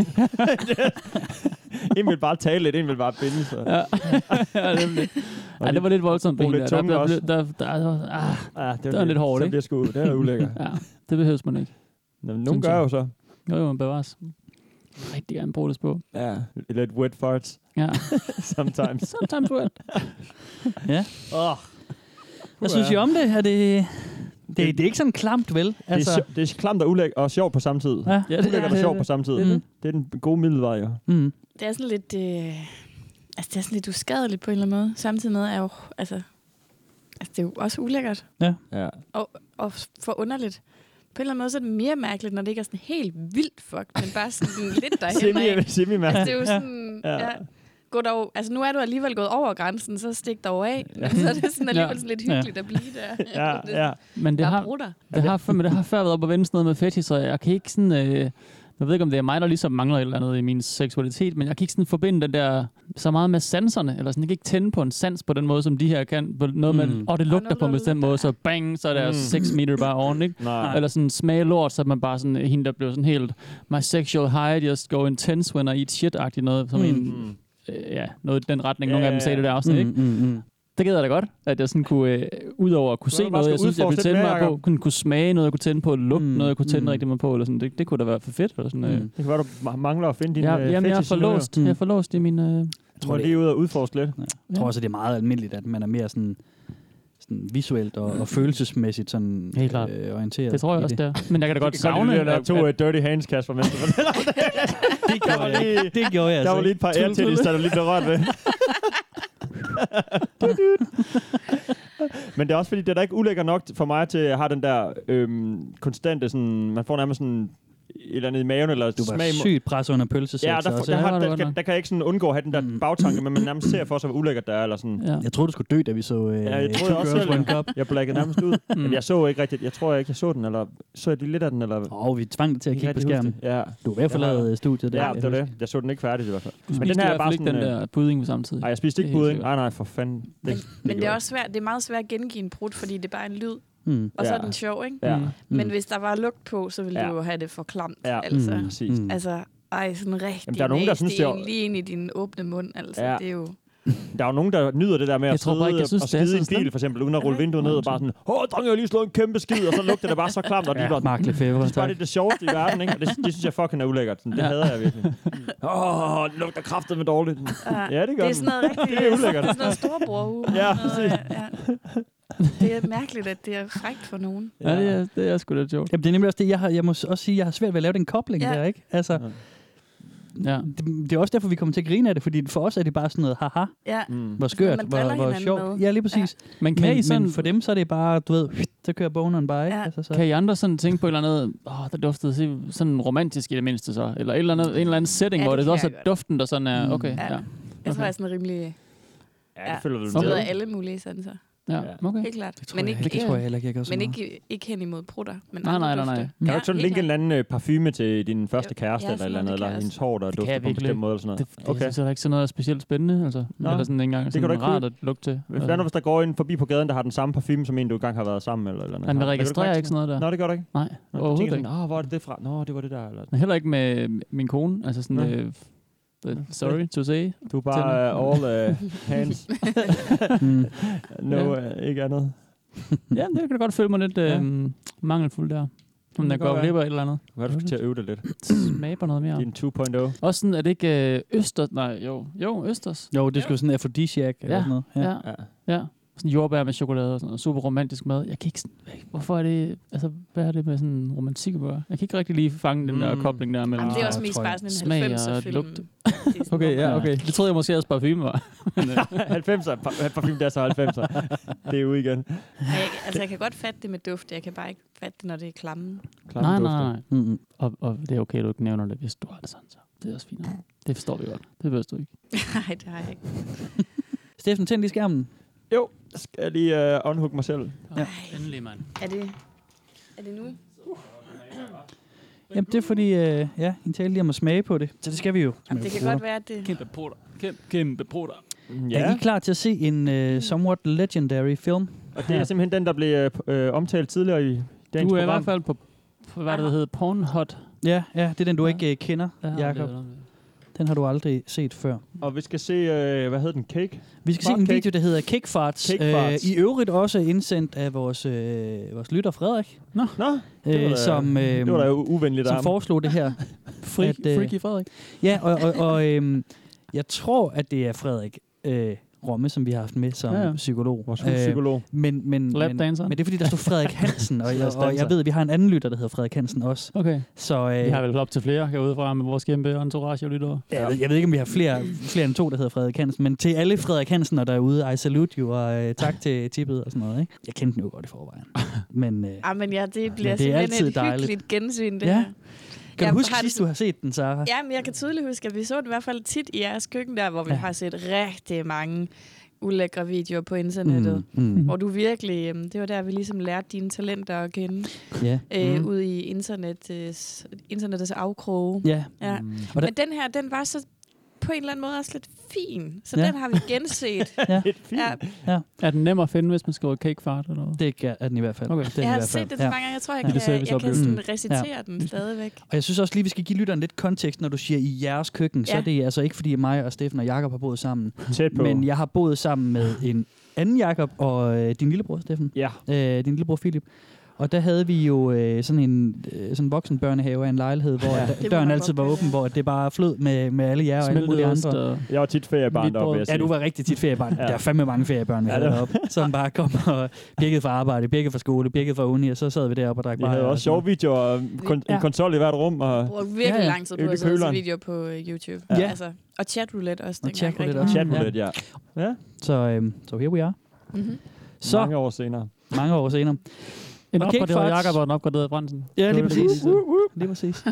[SPEAKER 6] en vil bare tale lidt, en vil bare binde sig.
[SPEAKER 5] Ja, <laughs> ja, nemlig.
[SPEAKER 6] Og
[SPEAKER 5] Ej, det var lidt voldsomt på
[SPEAKER 6] brug
[SPEAKER 5] en
[SPEAKER 6] lidt
[SPEAKER 5] der. Der,
[SPEAKER 6] tunge
[SPEAKER 5] der,
[SPEAKER 6] også.
[SPEAKER 5] blev- der, der, der, ah,
[SPEAKER 6] Ja, det,
[SPEAKER 5] Det var lidt hårdt,
[SPEAKER 6] Så
[SPEAKER 5] ikke?
[SPEAKER 6] bliver jeg sgu, det er da ulækker.
[SPEAKER 5] <laughs> ja, det behøves man ikke.
[SPEAKER 6] Nå, men
[SPEAKER 5] Synes
[SPEAKER 6] Nogen gør
[SPEAKER 5] jeg.
[SPEAKER 6] jo så.
[SPEAKER 5] Jo, jo, man bevares. Rigtig gerne bruge det på.
[SPEAKER 6] Ja, lidt wet farts
[SPEAKER 5] Ja.
[SPEAKER 6] <laughs>
[SPEAKER 5] <laughs>
[SPEAKER 6] sometimes.
[SPEAKER 4] <laughs>
[SPEAKER 5] Sometimes
[SPEAKER 6] <laughs>
[SPEAKER 5] wet.
[SPEAKER 4] Ja.
[SPEAKER 6] Åh,
[SPEAKER 4] Hvad synes I om det? Er det, det, det er ikke sådan klamt, vel?
[SPEAKER 6] det, er sjovt, det er klamt og ulækkert og sjovt på samme tid.
[SPEAKER 4] ja,
[SPEAKER 5] Altså- Ja, det,
[SPEAKER 6] Ulækkert og sjovt på samme tid.
[SPEAKER 5] det er det.
[SPEAKER 6] Det er den gode middelvej, jo.
[SPEAKER 4] mm.
[SPEAKER 7] Det er sådan lidt... Øh, altså, det er sådan lidt uskadeligt på en eller anden måde. Samtidig med er jo... Altså, altså det er jo også ulækkert
[SPEAKER 6] Ja.
[SPEAKER 7] og, og for underligt. På en eller anden måde så er det mere mærkeligt, når det ikke er sådan helt vildt fucked, men bare sådan <laughs> lidt derhen
[SPEAKER 6] Semi, semi
[SPEAKER 7] Altså,
[SPEAKER 6] mærkeligt.
[SPEAKER 7] det er jo sådan...
[SPEAKER 6] Ja.
[SPEAKER 7] Ja. Ja. Gå dog, altså, nu er du alligevel gået over grænsen, så stik dog af. Men <laughs> så er det sådan alligevel sådan lidt
[SPEAKER 4] Ja.
[SPEAKER 7] hyggeligt at blive <laughs> der.
[SPEAKER 5] <laughs>
[SPEAKER 6] Ja, ja.
[SPEAKER 5] Men det
[SPEAKER 7] Jeg
[SPEAKER 5] har,
[SPEAKER 7] har brudt dig.
[SPEAKER 5] det har, før, men det har før været op at vende sådan noget med fetish, så jeg kan ikke sådan... Øh, jeg ved ikke, om det er mig, der ligesom mangler et eller andet i min seksualitet, men jeg kan ikke sådan forbinde den der så meget med sanserne, eller sådan, jeg kan ikke tænde på en sans på den måde, som de her kan, på noget med,
[SPEAKER 4] Mm.
[SPEAKER 5] åh, oh, det lugter
[SPEAKER 7] noget,
[SPEAKER 5] på en
[SPEAKER 7] der
[SPEAKER 5] bestemt
[SPEAKER 7] lugter.
[SPEAKER 5] måde, så bang, så er der
[SPEAKER 6] Mm.
[SPEAKER 5] 6 meter bare oven, ikke?
[SPEAKER 6] Nej.
[SPEAKER 5] Eller sådan smage lort, så man bare sådan, hende der blev sådan helt, my sexual high just go intense when I eat shit-agtigt noget, som
[SPEAKER 4] Mm.
[SPEAKER 5] en, øh, ja, noget i den retning,
[SPEAKER 6] Ja,
[SPEAKER 5] nogle af
[SPEAKER 6] ja,
[SPEAKER 5] dem sagde i det der afsnit,
[SPEAKER 4] Mm,
[SPEAKER 5] ikke?
[SPEAKER 4] mm, mm.
[SPEAKER 5] Det gider jeg da godt, at jeg sådan kunne, øh, ud over at kunne
[SPEAKER 6] Så
[SPEAKER 5] se
[SPEAKER 6] du bare
[SPEAKER 5] noget,
[SPEAKER 6] skal
[SPEAKER 5] jeg synes, jeg ville
[SPEAKER 6] udforske lidt
[SPEAKER 5] tænde mig
[SPEAKER 6] mere,
[SPEAKER 5] på, kunne, kunne smage noget, jeg kunne tænde på, lugte
[SPEAKER 4] Mm,
[SPEAKER 5] mm. noget, jeg kunne tænde
[SPEAKER 4] mm.
[SPEAKER 5] mm. rigtig meget på, eller sådan. Det, det kunne da være for fedt. Eller sådan, mm. øh.
[SPEAKER 4] Mm.
[SPEAKER 6] Det kan være, du ma- mangler at finde din
[SPEAKER 5] jeg,
[SPEAKER 6] øh,
[SPEAKER 5] jamen, jeg er
[SPEAKER 6] fetish
[SPEAKER 5] for
[SPEAKER 6] endnu, jo.
[SPEAKER 5] låst.
[SPEAKER 4] Mm.
[SPEAKER 5] Jeg er for låst i min... Øh,
[SPEAKER 4] Jeg
[SPEAKER 6] Du
[SPEAKER 4] tror,
[SPEAKER 6] må
[SPEAKER 4] det,
[SPEAKER 6] lige ud og udforske lidt.
[SPEAKER 4] Jeg tror også, at det er meget almindeligt, at man er mere sådan, sådan visuelt og, og følelsesmæssigt sådan,
[SPEAKER 5] Helt klart.
[SPEAKER 4] Øh, orienteret.
[SPEAKER 5] det tror jeg
[SPEAKER 4] i
[SPEAKER 5] også, det er. Men jeg kan da godt
[SPEAKER 6] kan godt
[SPEAKER 5] savne...
[SPEAKER 6] lide, at der er
[SPEAKER 5] at-
[SPEAKER 6] to uh, dirty hands, Kasper, mens du fortæller om det.
[SPEAKER 4] <laughs> Det gjorde jeg,
[SPEAKER 6] lige-
[SPEAKER 4] ikke. det gjorde jeg
[SPEAKER 6] Der
[SPEAKER 4] altså
[SPEAKER 6] var lige et par
[SPEAKER 4] ikke.
[SPEAKER 6] airtitties, der du lige blev
[SPEAKER 5] <laughs>
[SPEAKER 6] rørt ved. Men det er også fordi, det er da ikke ulækker nok for mig til, at jeg har den der øhm, konstante, sådan, man får nærmest sådan et eller andet i maven, eller
[SPEAKER 4] Du
[SPEAKER 6] smag i
[SPEAKER 4] var
[SPEAKER 6] mu-
[SPEAKER 4] sygt pres under pølsesex
[SPEAKER 6] Ja, der,
[SPEAKER 4] også.
[SPEAKER 6] der,
[SPEAKER 5] ja,
[SPEAKER 6] har,
[SPEAKER 5] det var
[SPEAKER 6] der,
[SPEAKER 5] godt
[SPEAKER 6] der,
[SPEAKER 5] nok.
[SPEAKER 6] der, kan jeg ikke sådan undgå at have den
[SPEAKER 4] Mm.
[SPEAKER 6] der bagtanke, men man nærmest ser for sig, hvor ulækkert der er, eller sådan.
[SPEAKER 5] Ja.
[SPEAKER 4] Jeg troede, du skulle dø, da vi så øh,
[SPEAKER 6] Ja, jeg troede
[SPEAKER 4] Two
[SPEAKER 6] også
[SPEAKER 4] Girls
[SPEAKER 6] selv,
[SPEAKER 4] One Cup.
[SPEAKER 6] Jeg blækkede nærmest
[SPEAKER 4] <laughs> Mm.
[SPEAKER 6] ud. Jamen, jeg så ikke rigtigt. Jeg tror ikke, jeg så den, eller så jeg lige lidt af den, eller...
[SPEAKER 4] Åh, oh, vi tvang dig til at
[SPEAKER 6] Ikke
[SPEAKER 4] kigge på
[SPEAKER 6] rigtig huske
[SPEAKER 4] skærmen.
[SPEAKER 6] det. Ja.
[SPEAKER 4] Du er ved at
[SPEAKER 6] Jeg
[SPEAKER 4] forlade øh, studiet der.
[SPEAKER 6] Ja, det var
[SPEAKER 4] jeg
[SPEAKER 6] det. Jeg så den ikke færdig i hvert fald.
[SPEAKER 5] Men den her er bare ikke den der budding samtidig.
[SPEAKER 6] Nej, øh, jeg spiste ikke
[SPEAKER 5] Det er helt
[SPEAKER 6] budding. Nej,
[SPEAKER 5] sikkert.
[SPEAKER 6] nej, for fanden. Det,
[SPEAKER 7] Men, men det
[SPEAKER 6] gjorde
[SPEAKER 7] er
[SPEAKER 6] jeg
[SPEAKER 7] også svært, det er meget svært at gengive en brud, fordi det er bare en lyd,
[SPEAKER 4] husker. Mm.
[SPEAKER 7] og ja. så
[SPEAKER 6] Ja.
[SPEAKER 7] er den sjov, ikke?
[SPEAKER 6] ikke. Ja,
[SPEAKER 5] Mm.
[SPEAKER 7] Men hvis der var lugt på, så ville
[SPEAKER 6] Ja.
[SPEAKER 7] ja. du jo have det for klamt,
[SPEAKER 6] Ja.
[SPEAKER 7] ja. altså.
[SPEAKER 4] Mm.
[SPEAKER 7] Mm.
[SPEAKER 6] præcis.
[SPEAKER 4] Mm.
[SPEAKER 7] Altså, ej, sådan rigtig
[SPEAKER 6] Jamen, der er nogen, der
[SPEAKER 7] nasty
[SPEAKER 6] synes, det er-
[SPEAKER 7] ind- lige ind i din åbne mund, altså.
[SPEAKER 6] Ja.
[SPEAKER 7] Ja. Det er jo...
[SPEAKER 6] Der er jo nogen, der nyder det der med at
[SPEAKER 5] Jeg tror bare
[SPEAKER 6] sidde
[SPEAKER 5] ikke, jeg synes,
[SPEAKER 6] og
[SPEAKER 5] det er
[SPEAKER 6] skide i en
[SPEAKER 5] så
[SPEAKER 6] bil, for eksempel, uden at rulle vinduet ned og bare sådan, åh, dreng, jeg har lige slået en kæmpe skid, og så lugter det bare så klamt, og de
[SPEAKER 4] Ja,
[SPEAKER 6] var
[SPEAKER 4] Mark Lefebvre,
[SPEAKER 6] bare det,
[SPEAKER 4] tak.
[SPEAKER 6] er det sjoveste i verden, ikke? Og det, det synes jeg fucking er ulækkert. Sådan, Det
[SPEAKER 5] Ja.
[SPEAKER 6] hader jeg virkelig. Åh, oh, lugter kraftet med dårligt. Ja, det gør
[SPEAKER 7] det er
[SPEAKER 6] den.
[SPEAKER 7] sådan noget rigtig...
[SPEAKER 6] <laughs> Det er ulækkert.
[SPEAKER 7] Det er sådan noget storbror
[SPEAKER 6] Ja, præcis.
[SPEAKER 7] noget, ja. Det er mærkeligt, at det er frækt for nogen.
[SPEAKER 5] Ja, det er, det er sgu lidt sjovt.
[SPEAKER 4] Jamen, det er nemlig også det, jeg, har, jeg må s- også sige, jeg har svært ved at lave den kobling
[SPEAKER 7] Ja.
[SPEAKER 4] der, ikke? Altså,
[SPEAKER 5] Ja.
[SPEAKER 4] det, det, er også derfor, vi kommer til at grine af det, fordi for os er det bare sådan noget, haha,
[SPEAKER 7] Ja. Altså,
[SPEAKER 6] Mm.
[SPEAKER 4] hvor skørt,
[SPEAKER 7] man driller
[SPEAKER 4] hvor, hvor
[SPEAKER 7] hinanden
[SPEAKER 4] sjovt.
[SPEAKER 7] med.
[SPEAKER 4] Ja, lige præcis.
[SPEAKER 5] Men kan
[SPEAKER 4] Men,
[SPEAKER 5] I sådan...
[SPEAKER 4] men for dem, så er det bare, du ved, <laughs> så kører boneren bare, ikke?
[SPEAKER 7] Ja.
[SPEAKER 4] Altså, så.
[SPEAKER 5] Kan I andre sådan tænke på et eller andet, åh, der duftede se- sådan romantisk i det mindste så, eller et eller andet, en eller anden setting,
[SPEAKER 7] Ja,
[SPEAKER 5] ja, hvor
[SPEAKER 7] det
[SPEAKER 5] det,
[SPEAKER 7] kan
[SPEAKER 5] også
[SPEAKER 7] jeg
[SPEAKER 5] er
[SPEAKER 7] godt.
[SPEAKER 5] duften, der sådan er,
[SPEAKER 4] Mm.
[SPEAKER 5] okay,
[SPEAKER 7] Ja.
[SPEAKER 5] ja,
[SPEAKER 7] Jeg tror, jeg er sådan rimelig...
[SPEAKER 6] Ja,
[SPEAKER 7] Ja.
[SPEAKER 6] det føler du
[SPEAKER 7] Så
[SPEAKER 5] Okay.
[SPEAKER 7] ved
[SPEAKER 6] med.
[SPEAKER 7] af alle mulige sanser.
[SPEAKER 5] ja,
[SPEAKER 6] Ja.
[SPEAKER 5] okay.
[SPEAKER 7] Helt klart.
[SPEAKER 4] Det tror
[SPEAKER 7] Men
[SPEAKER 4] jeg
[SPEAKER 7] ikke,
[SPEAKER 4] heller ikke, det tror jeg heller ikke, jeg gør så
[SPEAKER 7] men
[SPEAKER 4] meget.
[SPEAKER 7] ikke, ikke hen imod prutter. Men
[SPEAKER 5] Nej,
[SPEAKER 7] andre
[SPEAKER 5] nej, nej, nej.
[SPEAKER 7] dufte.
[SPEAKER 5] Kan
[SPEAKER 6] Kan
[SPEAKER 7] Ja,
[SPEAKER 6] du ikke sådan
[SPEAKER 7] helt
[SPEAKER 6] linke en
[SPEAKER 7] klart.
[SPEAKER 6] eller anden øh, parfume til din første
[SPEAKER 7] Jo,
[SPEAKER 6] kæreste
[SPEAKER 7] ja,
[SPEAKER 6] eller et
[SPEAKER 7] sådan
[SPEAKER 6] eller andet,
[SPEAKER 7] noget, det
[SPEAKER 6] eller
[SPEAKER 7] kan jeg
[SPEAKER 6] hendes hår, der
[SPEAKER 5] Det kan
[SPEAKER 6] dufter
[SPEAKER 5] jeg
[SPEAKER 6] på en
[SPEAKER 5] virkelig
[SPEAKER 6] bestemt måde eller sådan
[SPEAKER 5] Det, det
[SPEAKER 6] noget?
[SPEAKER 5] okay.
[SPEAKER 6] Okay.
[SPEAKER 5] synes jeg er ikke sådan noget spændelt spændende, altså.
[SPEAKER 6] Nå.
[SPEAKER 5] Nå. Eller sådan ikke engang
[SPEAKER 6] Det kan
[SPEAKER 5] sådan
[SPEAKER 6] du ikke
[SPEAKER 5] rart at lugte altså. til.
[SPEAKER 6] Hvad fanden, hvis der går en forbi på gaden, der har den samme parfume, som en, du engang har været sammen med? Eller, et eller andet?
[SPEAKER 5] Han vil
[SPEAKER 6] Kan du ikke
[SPEAKER 5] registrere
[SPEAKER 6] mærke
[SPEAKER 5] ikke sådan noget der.
[SPEAKER 6] Nå, det gør du ikke.
[SPEAKER 5] Nej,
[SPEAKER 6] Nå,
[SPEAKER 5] Overhovedet ikke.
[SPEAKER 6] Nå, hvor er det det fra? Nå, det var det der. Eller...
[SPEAKER 5] Men heller ikke med min kone. Altså sådan,
[SPEAKER 6] Nå.
[SPEAKER 5] øh, f- øh, sorry to say.
[SPEAKER 6] Du er bare uh, all uh,
[SPEAKER 5] <laughs>
[SPEAKER 6] hands. no, uh, ikke andet.
[SPEAKER 5] Mm. ja, det kan da godt føle mig lidt øh, mangelfuld der. Om der
[SPEAKER 6] kan godt
[SPEAKER 5] går
[SPEAKER 6] være.
[SPEAKER 5] glip af et eller andet.
[SPEAKER 6] Hvad du skal til at øve det lidt?
[SPEAKER 5] Smaber noget mere.
[SPEAKER 6] Din 2.0.
[SPEAKER 5] Også sådan, er det ikke øh, Østers? Nej, jo. Jo, Østers.
[SPEAKER 4] Jo, det skulle sådan en afrodisiak eller
[SPEAKER 5] Ja,
[SPEAKER 4] sådan noget.
[SPEAKER 5] ja. ja. ja. Sådan jordbær med chokolade og sådan noget. Super romantisk mad. Jeg kan ikke sådan, jeg- hvorfor er det, altså, hvad er det med sådan romantik at gøre? Jeg kan ikke rigtig lige fange den der
[SPEAKER 7] Mm.
[SPEAKER 5] kobling der mellem
[SPEAKER 7] Jamen, det er også mest bare sådan en
[SPEAKER 5] smag
[SPEAKER 7] 90'er-film.
[SPEAKER 5] og lugt.
[SPEAKER 7] Det er sådan-
[SPEAKER 5] <laughs> Okay, ja, okay. Det troede jeg måske også parfume var.
[SPEAKER 6] 90'er. Pa- Parfume, det er så
[SPEAKER 4] <laughs>
[SPEAKER 6] 90'er. det er ude igen.
[SPEAKER 7] Ja, jeg, altså, jeg kan godt fatte det med dufte. Jeg kan bare ikke fatte det, når det er klamme.
[SPEAKER 5] Nej, nej, nej. Mm-hmm. Og, og det er okay, du ikke nævner det, hvis du har det sådan. Så. Det er også fint. Det forstår vi godt. Det behøver du ikke.
[SPEAKER 7] Nej, det har jeg ikke.
[SPEAKER 4] Steffen, tænd lige skærmen.
[SPEAKER 6] Jo, skal jeg lige uh, unhook mig selv.
[SPEAKER 4] Ja.
[SPEAKER 5] Endelig, mand.
[SPEAKER 7] Er det, er det nu?
[SPEAKER 4] Jamen, det er fordi, øh, ja, I talte lige om at smage på det, så det skal vi jo.
[SPEAKER 7] Jamen, det kan godt være, at det...
[SPEAKER 5] Kæmpe porter. Kæmpe, kæmpe porter.
[SPEAKER 4] Ja. Er I klar til at se en øh, somewhat legendary film?
[SPEAKER 6] Og det er simpelthen den, der blev øh, øh, omtalt tidligere i dagens
[SPEAKER 5] Du er i
[SPEAKER 6] program.
[SPEAKER 5] hvert fald på, på hvad det hedder, Pornhot.
[SPEAKER 4] Ja, ja, det er den, du ja. ikke øh, kender,
[SPEAKER 5] Ja,
[SPEAKER 4] ja,
[SPEAKER 5] det
[SPEAKER 4] Jakob.
[SPEAKER 5] er
[SPEAKER 4] Den har du aldrig set før.
[SPEAKER 6] Og vi skal se, øh, hvad hed den? Cake?
[SPEAKER 4] Vi skal
[SPEAKER 6] Fart
[SPEAKER 4] se en
[SPEAKER 6] cake?
[SPEAKER 4] video, der hedder Kickfarts.
[SPEAKER 6] Kickfarts.
[SPEAKER 4] Øh, I øvrigt også indsendt af vores, øh, vores lytter, Frederik.
[SPEAKER 5] Nå,
[SPEAKER 6] Nå det var
[SPEAKER 4] øh,
[SPEAKER 6] da-
[SPEAKER 4] som, øh,
[SPEAKER 6] det var da u- uvenligt af
[SPEAKER 4] Som
[SPEAKER 6] ham.
[SPEAKER 4] foreslog det
[SPEAKER 5] <laughs>
[SPEAKER 4] her. øh,
[SPEAKER 5] Freak- Freaky Frederik.
[SPEAKER 4] Ja, og, og, og øh, jeg tror, at det er Frederik øh, Romme, som vi har haft med som
[SPEAKER 5] Ja,
[SPEAKER 4] ja,
[SPEAKER 5] ja.
[SPEAKER 4] ja. psykolog. Øh,
[SPEAKER 6] Vores psykolog.
[SPEAKER 4] Men, men, men, men
[SPEAKER 5] Lapdanseren.
[SPEAKER 4] det er fordi, der stod Frederik
[SPEAKER 5] <laughs>
[SPEAKER 4] Hansen, og, jeg, og jeg ved, at vi har en anden lytter, der hedder Frederik Hansen også.
[SPEAKER 5] Okay.
[SPEAKER 4] Så, øh,
[SPEAKER 5] Vi har vel op til flere herudefra med vores kæmpe entourage og lyttere.
[SPEAKER 4] Ja, jeg ved- jeg ved ikke, om vi har flere, flere end to, der hedder Frederik Hansen, men til alle Frederik Hansen og derude, I salute you, og øh, tak til tippet og sådan noget. Ikke? Jeg kendte den jo godt i forvejen. Men, øh,
[SPEAKER 7] Ah, men ja, det bliver
[SPEAKER 4] er
[SPEAKER 7] simpelthen
[SPEAKER 4] altid
[SPEAKER 7] et
[SPEAKER 4] dejligt.
[SPEAKER 7] hyggeligt gensyn, det
[SPEAKER 4] Ja.
[SPEAKER 7] her.
[SPEAKER 4] kan
[SPEAKER 7] Jeg
[SPEAKER 4] du huske
[SPEAKER 7] har det
[SPEAKER 4] sidst, du har set den, Sara?
[SPEAKER 7] Ja, men jeg kan tydeligt huske, at vi så det i hvert fald tit i jeres køkken der, hvor vi ja. har set rigtig mange ulækre videoer på internettet.
[SPEAKER 4] Mm, mm.
[SPEAKER 7] Hvor du virkelig, øhm, det var der, vi ligesom lærte dine talenter at kende.
[SPEAKER 4] Ja.
[SPEAKER 7] Øh,
[SPEAKER 4] Mm.
[SPEAKER 7] mm. Ude i internettets, internettets afkroge.
[SPEAKER 4] Ja.
[SPEAKER 7] ja.
[SPEAKER 4] Mm.
[SPEAKER 7] Mm.
[SPEAKER 4] Og der-
[SPEAKER 7] Men den her, den var så på en eller anden måde også lidt fin. Så
[SPEAKER 4] Ja.
[SPEAKER 7] ja. den har vi genset.
[SPEAKER 4] <laughs> ja.
[SPEAKER 7] ja.
[SPEAKER 4] Ja.
[SPEAKER 5] Er den nem at finde, hvis man skriver cake fart eller noget?
[SPEAKER 4] Det gør- er den i hvert fald.
[SPEAKER 5] Okay.
[SPEAKER 4] Den er i
[SPEAKER 7] Jeg har
[SPEAKER 4] hvert fald,
[SPEAKER 7] set den så
[SPEAKER 4] ja.
[SPEAKER 7] mange gange. Jeg tror, jeg
[SPEAKER 4] Ja.
[SPEAKER 7] kan,
[SPEAKER 4] Lille
[SPEAKER 7] jeg kan
[SPEAKER 4] serviceoplevelse.
[SPEAKER 7] sådan
[SPEAKER 4] Mm.
[SPEAKER 7] recitere
[SPEAKER 4] Ja.
[SPEAKER 7] den stadigvæk.
[SPEAKER 4] Og jeg synes også lige, vi skal give lytteren lidt kontekst, når du siger i jeres køkken. Ja. Så
[SPEAKER 7] Ja.
[SPEAKER 4] er det altså ikke, fordi mig og Steffen og Jakob har boet sammen.
[SPEAKER 6] Tæt på.
[SPEAKER 4] Men jeg har boet sammen med en anden Jakob og øh, din lillebror, Steffen.
[SPEAKER 6] Ja.
[SPEAKER 4] Øh, din lillebror, Philip. Og der havde vi jo øh, sådan en øh, sådan en voksen børnehave af en lejlighed, hvor
[SPEAKER 6] Ja.
[SPEAKER 4] ja.
[SPEAKER 6] Det må
[SPEAKER 4] døren
[SPEAKER 6] man
[SPEAKER 4] altid var åben, hvor det bare flød med, med alle jer og alle
[SPEAKER 6] Smeltede
[SPEAKER 4] mulige
[SPEAKER 6] ost
[SPEAKER 4] andre.
[SPEAKER 6] og- Jeg var tit feriebarn
[SPEAKER 4] Mit
[SPEAKER 6] deroppe,
[SPEAKER 4] bror-
[SPEAKER 6] vil jeg
[SPEAKER 4] Ja,
[SPEAKER 6] sige.
[SPEAKER 4] du var rigtig tit feriebarn.
[SPEAKER 6] Ja.
[SPEAKER 4] ja. Der er fandme mange feriebørn, vi
[SPEAKER 6] Ja,
[SPEAKER 4] ja, havde
[SPEAKER 6] det var-
[SPEAKER 4] deroppe, som bare kom og birkede fra arbejde, birkede fra skole, birkede fra uni, og så sad vi deroppe og drak
[SPEAKER 6] Vi havde
[SPEAKER 4] bajer og
[SPEAKER 6] også
[SPEAKER 4] sådan noget.
[SPEAKER 6] sjove videoer, øh, og kon- en
[SPEAKER 4] Ja.
[SPEAKER 6] konsol i hvert rum. Og
[SPEAKER 7] bruger virkelig ja, ja. lang tid på
[SPEAKER 6] Øl i
[SPEAKER 7] at se
[SPEAKER 6] køleren.
[SPEAKER 7] videoer på øh, YouTube.
[SPEAKER 6] Ja.
[SPEAKER 7] Ja. Altså, og chatroulette også.
[SPEAKER 4] Og
[SPEAKER 7] dengang rigtig
[SPEAKER 4] chatroulette også.
[SPEAKER 7] meget.
[SPEAKER 6] Chatroulette, ja. ja.
[SPEAKER 4] Så, øhm, så here we are.
[SPEAKER 7] Mhm.
[SPEAKER 4] Så,
[SPEAKER 6] Mange år senere.
[SPEAKER 4] Mange år senere.
[SPEAKER 5] En
[SPEAKER 4] Og
[SPEAKER 5] opgraderet
[SPEAKER 4] Kickfarts-
[SPEAKER 5] Jakob og en opgraderet Brandsen.
[SPEAKER 4] Ja,
[SPEAKER 5] Det
[SPEAKER 4] lige
[SPEAKER 5] var det,
[SPEAKER 4] præcis.
[SPEAKER 5] det var.
[SPEAKER 4] Lige
[SPEAKER 5] <laughs>
[SPEAKER 4] præcis.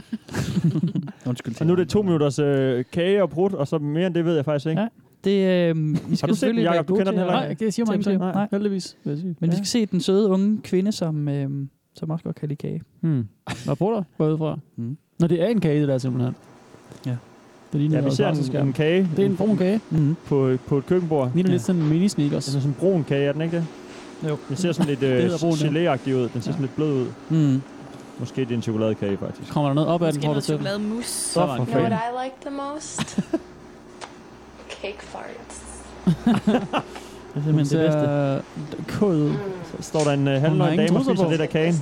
[SPEAKER 4] Undskyld.
[SPEAKER 6] Og nu er det to minutters øh, kage og brud, og så mere end det ved jeg faktisk ikke.
[SPEAKER 4] Ja. Det, øh, I
[SPEAKER 6] har du set den, Jacob? Du kender den heller
[SPEAKER 5] Nej, det siger mig ingenting. Nej, heldigvis. Vil jeg sige.
[SPEAKER 4] Men vi skal se den søde unge kvinde, som, øh, som også godt kan lide kage.
[SPEAKER 5] Hmm. Hvad bruger du både fra?
[SPEAKER 4] Mm.
[SPEAKER 5] Når det er en kage, det der simpelthen.
[SPEAKER 4] Ja.
[SPEAKER 5] Det ligner
[SPEAKER 6] Ja, vi
[SPEAKER 5] noget
[SPEAKER 6] ser en,
[SPEAKER 5] barselsskærm.
[SPEAKER 6] en kage.
[SPEAKER 5] Det er en brun kage.
[SPEAKER 4] Mm.
[SPEAKER 6] På, på et køkkenbord.
[SPEAKER 5] Ligner lidt sådan en mini-sneakers.
[SPEAKER 6] Altså sådan en brun kage, er den ikke det?
[SPEAKER 4] Jo.
[SPEAKER 6] Den ser sådan lidt
[SPEAKER 5] <laughs> Det
[SPEAKER 6] øh,
[SPEAKER 5] hedder brun, ja.
[SPEAKER 6] gelé ud. Den ser sådan lidt blød ud.
[SPEAKER 4] Mm.
[SPEAKER 6] Måske det er en chokoladekage, faktisk.
[SPEAKER 5] Kommer der noget op ad den,
[SPEAKER 6] Måske
[SPEAKER 5] hvor du
[SPEAKER 6] noget
[SPEAKER 5] ser den?
[SPEAKER 7] chokolademus.
[SPEAKER 6] Så for
[SPEAKER 13] You know what
[SPEAKER 6] fanden.
[SPEAKER 13] I like the
[SPEAKER 2] <laughs>
[SPEAKER 13] most? Cake farts.
[SPEAKER 5] Det er simpelthen
[SPEAKER 6] Hun
[SPEAKER 5] det
[SPEAKER 6] ser,
[SPEAKER 5] bedste. Kod.
[SPEAKER 6] Så står der en øh, halvnøgen dame og spiser lidt af kagen.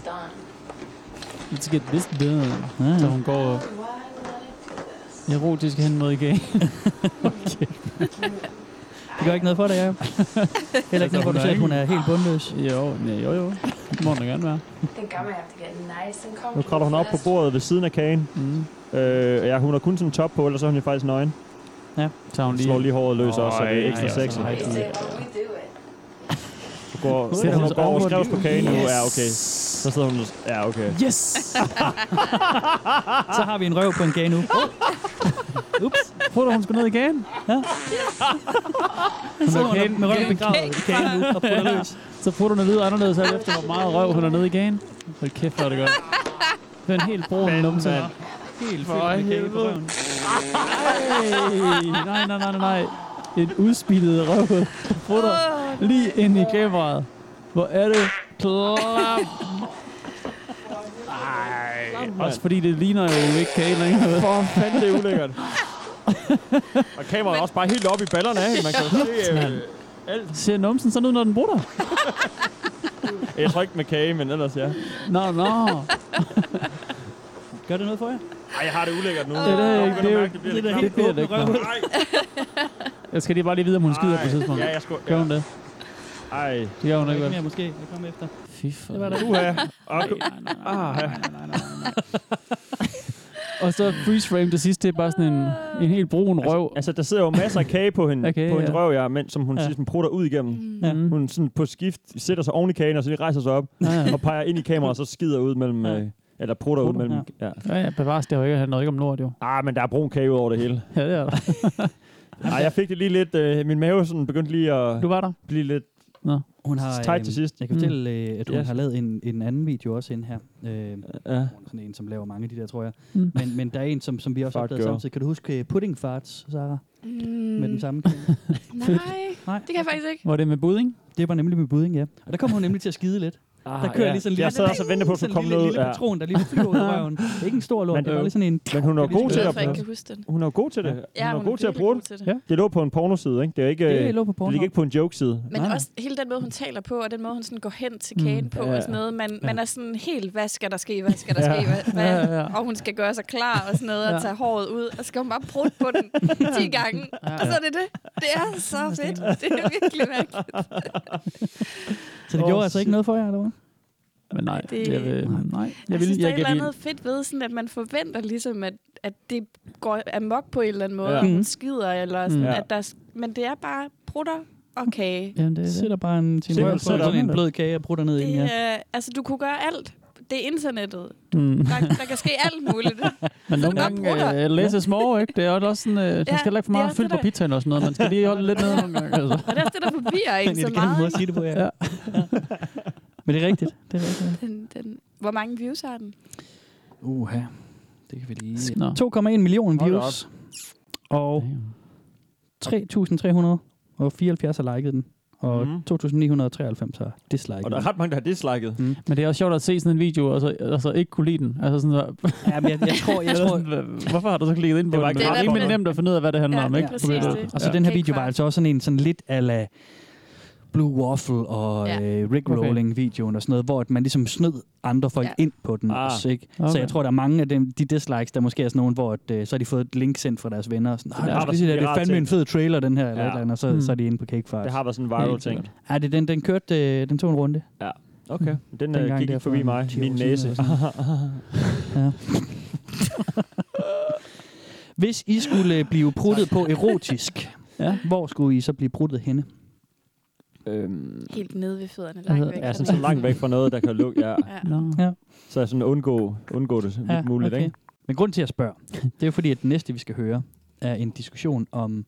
[SPEAKER 5] Let's get this done. Ja. Så hun går erotisk hen mod igen. <laughs> okay.
[SPEAKER 4] Det gør ikke noget <laughs> for dig, Jacob.
[SPEAKER 5] Altså,
[SPEAKER 4] Heller ikke noget for, at du siger, at hun er helt bundløs.
[SPEAKER 5] Jo, nej, jo, jo. Det må hun da gerne
[SPEAKER 4] <laughs>
[SPEAKER 5] være.
[SPEAKER 13] I think I'm gonna have to get nice and comfortable.
[SPEAKER 6] Nu kravler hun op
[SPEAKER 13] for
[SPEAKER 6] på
[SPEAKER 13] this.
[SPEAKER 6] bordet ved siden af kagen. Mm. Øh, ja, hun har kun sådan en top på, ellers er hun jo faktisk nøgen.
[SPEAKER 4] Ja.
[SPEAKER 5] Så hun
[SPEAKER 6] lige... Slår lige håret løs også, så det er
[SPEAKER 5] Ej,
[SPEAKER 6] ekstra
[SPEAKER 5] altså,
[SPEAKER 6] sexy.
[SPEAKER 5] ej,
[SPEAKER 13] Is it when we do it?
[SPEAKER 6] Du går,
[SPEAKER 5] Sidder
[SPEAKER 6] sidder
[SPEAKER 5] hun
[SPEAKER 6] hun
[SPEAKER 5] så
[SPEAKER 6] går over
[SPEAKER 5] over
[SPEAKER 6] skrevs på
[SPEAKER 5] den?
[SPEAKER 6] kagen nu.
[SPEAKER 5] Yes.
[SPEAKER 6] Ja, okay. Så sidder hun... Ja, okay.
[SPEAKER 5] Yes!
[SPEAKER 4] Så har vi en røv på en kage nu. Ups.
[SPEAKER 5] Prøv du, hun skulle ned i kagen?
[SPEAKER 4] Ja. Så hun er med røven begravet i kagen nu og putter løs.
[SPEAKER 5] Så putterne lyder anderledes alt efter, hvor meget røv hun er nede i kagen. Hold kæft, hvor er det godt. Det er en helt brun numse.
[SPEAKER 6] mand.
[SPEAKER 4] Helt
[SPEAKER 5] for
[SPEAKER 4] fyldt med kage på
[SPEAKER 5] helvede.
[SPEAKER 4] røven.
[SPEAKER 5] Ej, nej, nej, nej, nej, nej. Et udspillet røv. Futter lige ind i kameraet. Hvor er det klart.
[SPEAKER 6] mand.
[SPEAKER 5] Også fordi det ligner jo ikke kage længere.
[SPEAKER 6] For fanden, det er ulækkert. Og kameraet er også bare helt oppe i ballerne af. hende. Man kan jo se... Øh, alt.
[SPEAKER 5] Ser numsen sådan ud, når den bruger dig?
[SPEAKER 6] jeg tror ikke med kage, men ellers ja.
[SPEAKER 5] Nå, nå. Gør det noget for jer?
[SPEAKER 6] Ej, jeg har det ulækkert nu.
[SPEAKER 5] Det er det,
[SPEAKER 6] Jeg
[SPEAKER 5] ikke.
[SPEAKER 6] begynder
[SPEAKER 5] Det er
[SPEAKER 6] at
[SPEAKER 5] jo-
[SPEAKER 6] mærke, det bliver
[SPEAKER 5] det er
[SPEAKER 6] lidt
[SPEAKER 5] da helt
[SPEAKER 6] klamt.
[SPEAKER 5] åbne
[SPEAKER 6] Nej.
[SPEAKER 5] røv. Jeg skal lige bare lige vide, om hun skider på et tidspunkt.
[SPEAKER 6] Ja, jeg skulle...
[SPEAKER 5] Gør hun det?
[SPEAKER 6] Ej. Det
[SPEAKER 5] gør hun ikke,
[SPEAKER 4] Ikke
[SPEAKER 5] vel?
[SPEAKER 4] mere måske. Jeg kommer efter.
[SPEAKER 5] Fy for...
[SPEAKER 4] Det var der.
[SPEAKER 6] Uha. Ah, Og-
[SPEAKER 4] Nej, nej, nej, nej, nej, nej, nej, nej.
[SPEAKER 5] Og så freeze frame det sidste, det er bare sådan en, en helt brun røv.
[SPEAKER 6] Altså, der sidder jo masser af kage på hende, okay,
[SPEAKER 5] <laughs> Okay,
[SPEAKER 6] på hendes
[SPEAKER 5] ja.
[SPEAKER 6] røv, ja, men, som hun
[SPEAKER 5] Ja. Mm.
[SPEAKER 6] ja. sådan prutter ud igennem. Ja. Hun sådan på skift sætter sig oven i kagen, og så lige rejser sig op
[SPEAKER 5] ja.
[SPEAKER 6] og peger ind i kameraet, og så skider ud mellem... Ja. Øh, eller prutter ud mellem... Ja.
[SPEAKER 5] Ja, ja, bevares, det har jo ikke handlet ikke om lort, jo.
[SPEAKER 6] Ah, men der er brun kage ud over det hele.
[SPEAKER 5] <laughs> Ja, det er der.
[SPEAKER 6] <laughs> Ej, jeg fik det lige lidt... Øh, min mave sådan begyndte lige at...
[SPEAKER 5] Du var der?
[SPEAKER 6] Blive lidt...
[SPEAKER 5] Nå.
[SPEAKER 4] Hun har,
[SPEAKER 6] Tight
[SPEAKER 4] øhm,
[SPEAKER 6] til sidst.
[SPEAKER 4] Jeg kan
[SPEAKER 6] Mm.
[SPEAKER 4] fortælle, øh, at hun
[SPEAKER 6] Yes.
[SPEAKER 4] yes. har lavet en, en anden video også ind her. Øh, ja. Hun er sådan en, som laver mange af de der, tror jeg.
[SPEAKER 5] Mm.
[SPEAKER 4] Men, men der er en, som, som vi også
[SPEAKER 6] Fart
[SPEAKER 4] har opdaget
[SPEAKER 6] girl.
[SPEAKER 4] samtidig. Kan du huske øh, Pudding Farts, Sarah?
[SPEAKER 7] Mm.
[SPEAKER 4] Med den
[SPEAKER 5] <laughs>
[SPEAKER 4] samme kæde?
[SPEAKER 7] Nej, Nej, det kan jeg faktisk ikke.
[SPEAKER 5] Var det med budding?
[SPEAKER 4] Det var nemlig med budding, ja. Og der kom hun nemlig til at skide lidt.
[SPEAKER 6] Ah,
[SPEAKER 4] der kører
[SPEAKER 6] ja.
[SPEAKER 4] lige sådan en
[SPEAKER 6] Jeg
[SPEAKER 4] lille-
[SPEAKER 6] sad også og ventede på, at
[SPEAKER 4] sådan
[SPEAKER 6] der kom
[SPEAKER 4] en lille,
[SPEAKER 6] noget,
[SPEAKER 4] lille
[SPEAKER 6] ja.
[SPEAKER 4] patron, der lige flyver ud af røven. Ikke en stor lort, men, det var lige sådan en...
[SPEAKER 6] Men hun er jo god til
[SPEAKER 7] Jeg
[SPEAKER 6] at
[SPEAKER 7] tror ikke, jeg kan huske den.
[SPEAKER 6] Hun er jo god til det.
[SPEAKER 7] Ja,
[SPEAKER 6] hun er
[SPEAKER 7] hun
[SPEAKER 6] god
[SPEAKER 7] er
[SPEAKER 6] til at
[SPEAKER 7] virkelig
[SPEAKER 6] bruge
[SPEAKER 7] god
[SPEAKER 6] det.
[SPEAKER 7] til det.
[SPEAKER 6] Ja. Det lå på en pornoside, ikke? Det, er ikke, øh,
[SPEAKER 4] Det lå på
[SPEAKER 6] det
[SPEAKER 4] Pornhub.
[SPEAKER 6] ligger ikke på en jokeside.
[SPEAKER 7] Men nej, også hele den måde, hun taler på, og den måde, hun sådan går hen til kagen
[SPEAKER 6] Mm.
[SPEAKER 7] på
[SPEAKER 6] Ja.
[SPEAKER 7] og sådan noget. Man, man er sådan helt, hvad skal der ske, hvad skal der
[SPEAKER 6] Ja.
[SPEAKER 7] ske, hvad, hvad?
[SPEAKER 5] Ja, ja, ja.
[SPEAKER 7] Og hun skal gøre sig klar og sådan noget, og
[SPEAKER 5] Ja.
[SPEAKER 7] tage håret ud, og så skal hun bare prutte på den 10 gange. Og så er det det. Det er så fedt. Det er virkelig mærkeligt.
[SPEAKER 4] Så det
[SPEAKER 5] Åh,
[SPEAKER 4] gjorde altså ikke noget for jer, eller hvad?
[SPEAKER 5] Men nej,
[SPEAKER 7] Det-
[SPEAKER 5] jeg vil... Nej, jeg,
[SPEAKER 7] Jeg,
[SPEAKER 5] vil,
[SPEAKER 7] synes, der er
[SPEAKER 5] jeg
[SPEAKER 7] et
[SPEAKER 5] kan
[SPEAKER 7] eller
[SPEAKER 5] blive-
[SPEAKER 7] andet fedt ved, sådan, at man forventer ligesom, at, at det går amok på en eller anden måde,
[SPEAKER 5] Ja.
[SPEAKER 7] ja. hun
[SPEAKER 5] Mhm.
[SPEAKER 7] skider, eller sådan,
[SPEAKER 5] Mm.
[SPEAKER 7] ja. at der, er s- men det er bare prutter og kage.
[SPEAKER 5] Jamen, det er det.
[SPEAKER 4] Sætter bare en time
[SPEAKER 5] Sætter-
[SPEAKER 4] røv på
[SPEAKER 5] sætter
[SPEAKER 4] sådan en
[SPEAKER 5] den.
[SPEAKER 4] blød kage og prutter ned i den, ja.
[SPEAKER 7] Det, øh, altså, du kunne gøre alt. Det er internettet.
[SPEAKER 5] Mm.
[SPEAKER 7] Der, der kan ske alt
[SPEAKER 5] <laughs>
[SPEAKER 7] muligt.
[SPEAKER 5] Men nogle
[SPEAKER 7] Nå,
[SPEAKER 5] gange
[SPEAKER 7] brutter.
[SPEAKER 5] øh, læse små, ikke? Det er jo også sådan, øh, man skal heller ikke for
[SPEAKER 7] det er
[SPEAKER 5] meget
[SPEAKER 7] også
[SPEAKER 5] fyldt på
[SPEAKER 7] det, der-
[SPEAKER 5] pizzaen og sådan noget. Man skal lige holde lidt nede nogle gange. Altså.
[SPEAKER 7] Og det er også det, der forvirrer
[SPEAKER 5] <laughs>
[SPEAKER 7] en
[SPEAKER 4] Det er
[SPEAKER 7] så
[SPEAKER 4] en elegant måde
[SPEAKER 7] meget.
[SPEAKER 4] at sige det på, ja.
[SPEAKER 5] Ja.
[SPEAKER 4] Men det er rigtigt. Det er rigtigt.
[SPEAKER 7] Den, den, hvor mange views har den?
[SPEAKER 4] Uha. Det kan vi lige...
[SPEAKER 5] Nå.
[SPEAKER 4] 2,1 millioner
[SPEAKER 5] Hold da
[SPEAKER 4] views. Og 3.374 har liket den. Og
[SPEAKER 6] Mhm.
[SPEAKER 4] 2.993 har
[SPEAKER 6] Og
[SPEAKER 4] disliket
[SPEAKER 6] der
[SPEAKER 4] den.
[SPEAKER 6] er ret mange, der har disliket.
[SPEAKER 4] Mm.
[SPEAKER 5] Men det er også sjovt at se sådan en video, og så altså ikke kunne lide den. Altså sådan, så-
[SPEAKER 4] Ja, men jeg, jeg tror,
[SPEAKER 5] <laughs>
[SPEAKER 4] jeg tror,
[SPEAKER 5] hvorfor har du så klikket ind på
[SPEAKER 6] Det var
[SPEAKER 5] den?
[SPEAKER 6] ikke
[SPEAKER 5] Det er
[SPEAKER 6] ret
[SPEAKER 5] rimelig
[SPEAKER 6] godt.
[SPEAKER 5] nemt at finde ud af, hvad det handler
[SPEAKER 7] Ja,
[SPEAKER 5] om,
[SPEAKER 7] det er
[SPEAKER 5] ikke?
[SPEAKER 7] præcis
[SPEAKER 5] På
[SPEAKER 7] det.
[SPEAKER 5] billedet.
[SPEAKER 4] Og så den her
[SPEAKER 7] Cake
[SPEAKER 4] video var
[SPEAKER 7] Farm.
[SPEAKER 4] altså også sådan en sådan lidt ala Blue Waffle og
[SPEAKER 7] Ja.
[SPEAKER 4] ja. øh, Rickrolling-videoen og sådan noget, hvor at man ligesom snød andre folk
[SPEAKER 7] Ja.
[SPEAKER 4] ja. ind på den
[SPEAKER 6] Ah,
[SPEAKER 4] ah, også, ikke? Okay. Så
[SPEAKER 5] okay.
[SPEAKER 4] jeg tror, der er mange af dem, de dislikes, der måske er sådan nogen, hvor at, øh, så har de fået et link sendt fra deres venner og sådan,
[SPEAKER 6] der
[SPEAKER 4] "Ah,
[SPEAKER 6] er
[SPEAKER 4] jeg skal
[SPEAKER 6] der
[SPEAKER 4] lige sige,
[SPEAKER 6] sådan
[SPEAKER 4] det er
[SPEAKER 6] en
[SPEAKER 4] fandme
[SPEAKER 6] pirat
[SPEAKER 4] en fed trailer, den her, eller
[SPEAKER 6] Ja.
[SPEAKER 4] et eller andet, og så,
[SPEAKER 5] Mm.
[SPEAKER 4] så er de inde på Cake Fars.
[SPEAKER 6] Det har været sådan en
[SPEAKER 5] Helt
[SPEAKER 6] viral
[SPEAKER 5] sikkert.
[SPEAKER 6] ting.
[SPEAKER 4] Ja, Hmm. det, den, den kørte, øh, den tog en runde. Hmm.
[SPEAKER 6] Ja. Okay. Den
[SPEAKER 4] Dengang
[SPEAKER 6] øh, gik ikke
[SPEAKER 4] der for
[SPEAKER 6] forbi
[SPEAKER 4] en
[SPEAKER 6] mig.
[SPEAKER 4] 10 år
[SPEAKER 6] Min
[SPEAKER 4] siden
[SPEAKER 6] næse.
[SPEAKER 4] eller
[SPEAKER 6] <laughs>
[SPEAKER 4] Ja. Hvis I skulle øh, blive pruttet på
[SPEAKER 6] <laughs>
[SPEAKER 4] erotisk, ja. hvor skulle I så blive pruttet henne?
[SPEAKER 6] øhm,
[SPEAKER 7] Helt nede ved fødderne. Langt væk.
[SPEAKER 6] ja, sådan,
[SPEAKER 7] fra
[SPEAKER 6] så langt væk fra noget, der kan lukke. Ja.
[SPEAKER 7] Ja.
[SPEAKER 5] Nå.
[SPEAKER 6] Så jeg sådan undgå, undgå det så vidt muligt. Ikke?
[SPEAKER 4] Men grunden til, at jeg spørger, det er jo fordi, at det næste, vi skal høre, er en diskussion om,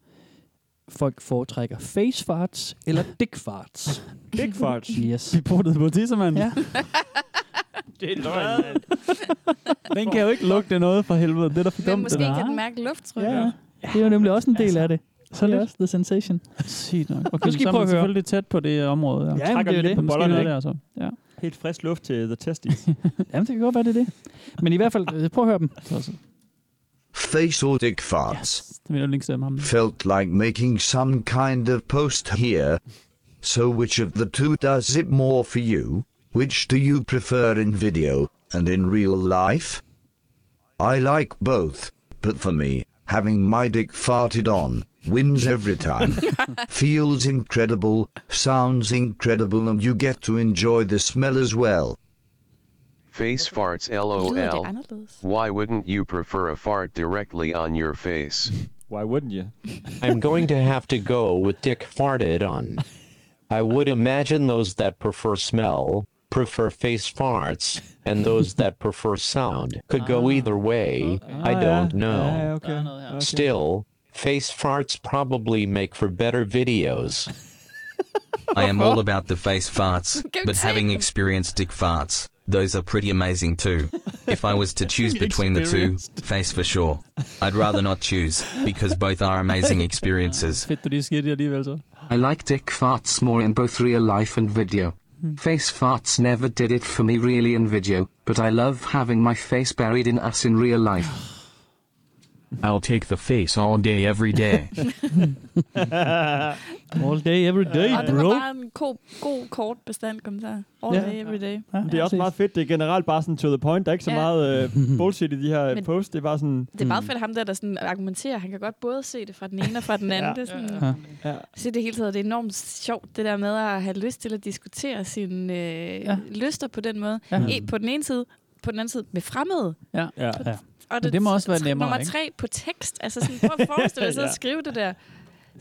[SPEAKER 4] folk foretrækker face farts eller dick farts.
[SPEAKER 6] Big farts.
[SPEAKER 4] Yes.
[SPEAKER 5] Vi puttede på tissemand.
[SPEAKER 4] Ja.
[SPEAKER 6] det er løgn, mand.
[SPEAKER 5] <laughs> Den kan jo ikke lugte noget for helvede. Det er da for
[SPEAKER 7] Men
[SPEAKER 5] dumt.
[SPEAKER 7] måske
[SPEAKER 5] det der.
[SPEAKER 7] kan den mærke lufttrykket.
[SPEAKER 5] Ja, ja.
[SPEAKER 4] Det er jo nemlig også en del
[SPEAKER 7] Altså.
[SPEAKER 4] af det. Så er
[SPEAKER 5] lidt.
[SPEAKER 4] det også The Sensation.
[SPEAKER 5] Sygt nok. Okay,
[SPEAKER 4] Nu skal I
[SPEAKER 5] så er
[SPEAKER 4] prøve
[SPEAKER 5] man
[SPEAKER 4] at høre.
[SPEAKER 5] selvfølgelig tæt på det øh, område. Ja.
[SPEAKER 4] Ja, men det er jo det.
[SPEAKER 6] På
[SPEAKER 5] Men måske
[SPEAKER 6] bollerne,
[SPEAKER 5] noget
[SPEAKER 6] ikke?
[SPEAKER 5] der, så. Ja.
[SPEAKER 6] Helt frisk luft til the testes. <laughs>
[SPEAKER 4] Jamen, det kan godt være, det er det. Men i hvert fald, øh, prøv at høre dem.
[SPEAKER 14] Face or dick farts.
[SPEAKER 5] Altså, Det vil jeg ikke stemme ham.
[SPEAKER 14] Felt like making some kind of post here. So which of the two does it more for you? Which do you prefer in video and in real life? I like both, but for me, having my dick farted on wins every time. Feels incredible, sounds incredible, and you get to enjoy the smell as well.
[SPEAKER 15] Face farts
[SPEAKER 7] Lyder det
[SPEAKER 15] LOL.
[SPEAKER 7] anderledes?
[SPEAKER 15] Why wouldn't you prefer a fart directly on your face?
[SPEAKER 6] Why wouldn't you?
[SPEAKER 16] <laughs> I'm going to have to go with Dick farted on. I would imagine those that prefer smell, prefer face farts, and those that prefer sound could
[SPEAKER 6] Ah,
[SPEAKER 16] go either way. I don't know.
[SPEAKER 6] okay.
[SPEAKER 16] Still, face farts probably make for better videos.
[SPEAKER 17] I am all about the face farts,
[SPEAKER 16] Go
[SPEAKER 17] but having
[SPEAKER 16] take 'em.
[SPEAKER 17] experienced dick farts, those are pretty amazing too. If I was to choose between the two, face for sure. I'd rather not choose, because both are amazing experiences.
[SPEAKER 5] Fedt, du lige siger det alligevel så.
[SPEAKER 18] I like dick farts more in both real life and video. Face farts never did it for me really in video, but I love having my face buried in ass in real life.
[SPEAKER 8] I'll take the face all day, every <laughs> day.
[SPEAKER 4] All day, every day,
[SPEAKER 7] Og det var bare en god, god kort bestand kommentar. All
[SPEAKER 6] Ja.
[SPEAKER 7] ja. day, every day.
[SPEAKER 6] Ja, det er også meget fedt. Det er generelt bare sådan to the point. Der er ikke så
[SPEAKER 7] Ja.
[SPEAKER 6] meget øh, bullshit i de her
[SPEAKER 7] Men
[SPEAKER 6] Men posts. Det er bare sådan...
[SPEAKER 7] Det er meget fedt, at ham der, der sådan argumenterer. Han kan godt både se det fra den ene og fra den anden.
[SPEAKER 6] <laughs> Ja.
[SPEAKER 7] ja. Det er sådan,
[SPEAKER 6] Ja. Ja.
[SPEAKER 7] Så det hele taget, det er enormt sjovt, det der med at have lyst til at diskutere sine øh, ja. lyster på den måde.
[SPEAKER 5] Ja.
[SPEAKER 7] Ja. E, på den ene side, på den anden side med fremmede.
[SPEAKER 5] Ja.
[SPEAKER 6] ja.
[SPEAKER 5] ja. Og det, det må også være nemmere,
[SPEAKER 7] Nummer
[SPEAKER 5] ikke?
[SPEAKER 7] tre på tekst. Altså sådan, prøv at forestille
[SPEAKER 6] <laughs>
[SPEAKER 7] dig at sidde og
[SPEAKER 5] Ja.
[SPEAKER 7] skrive det der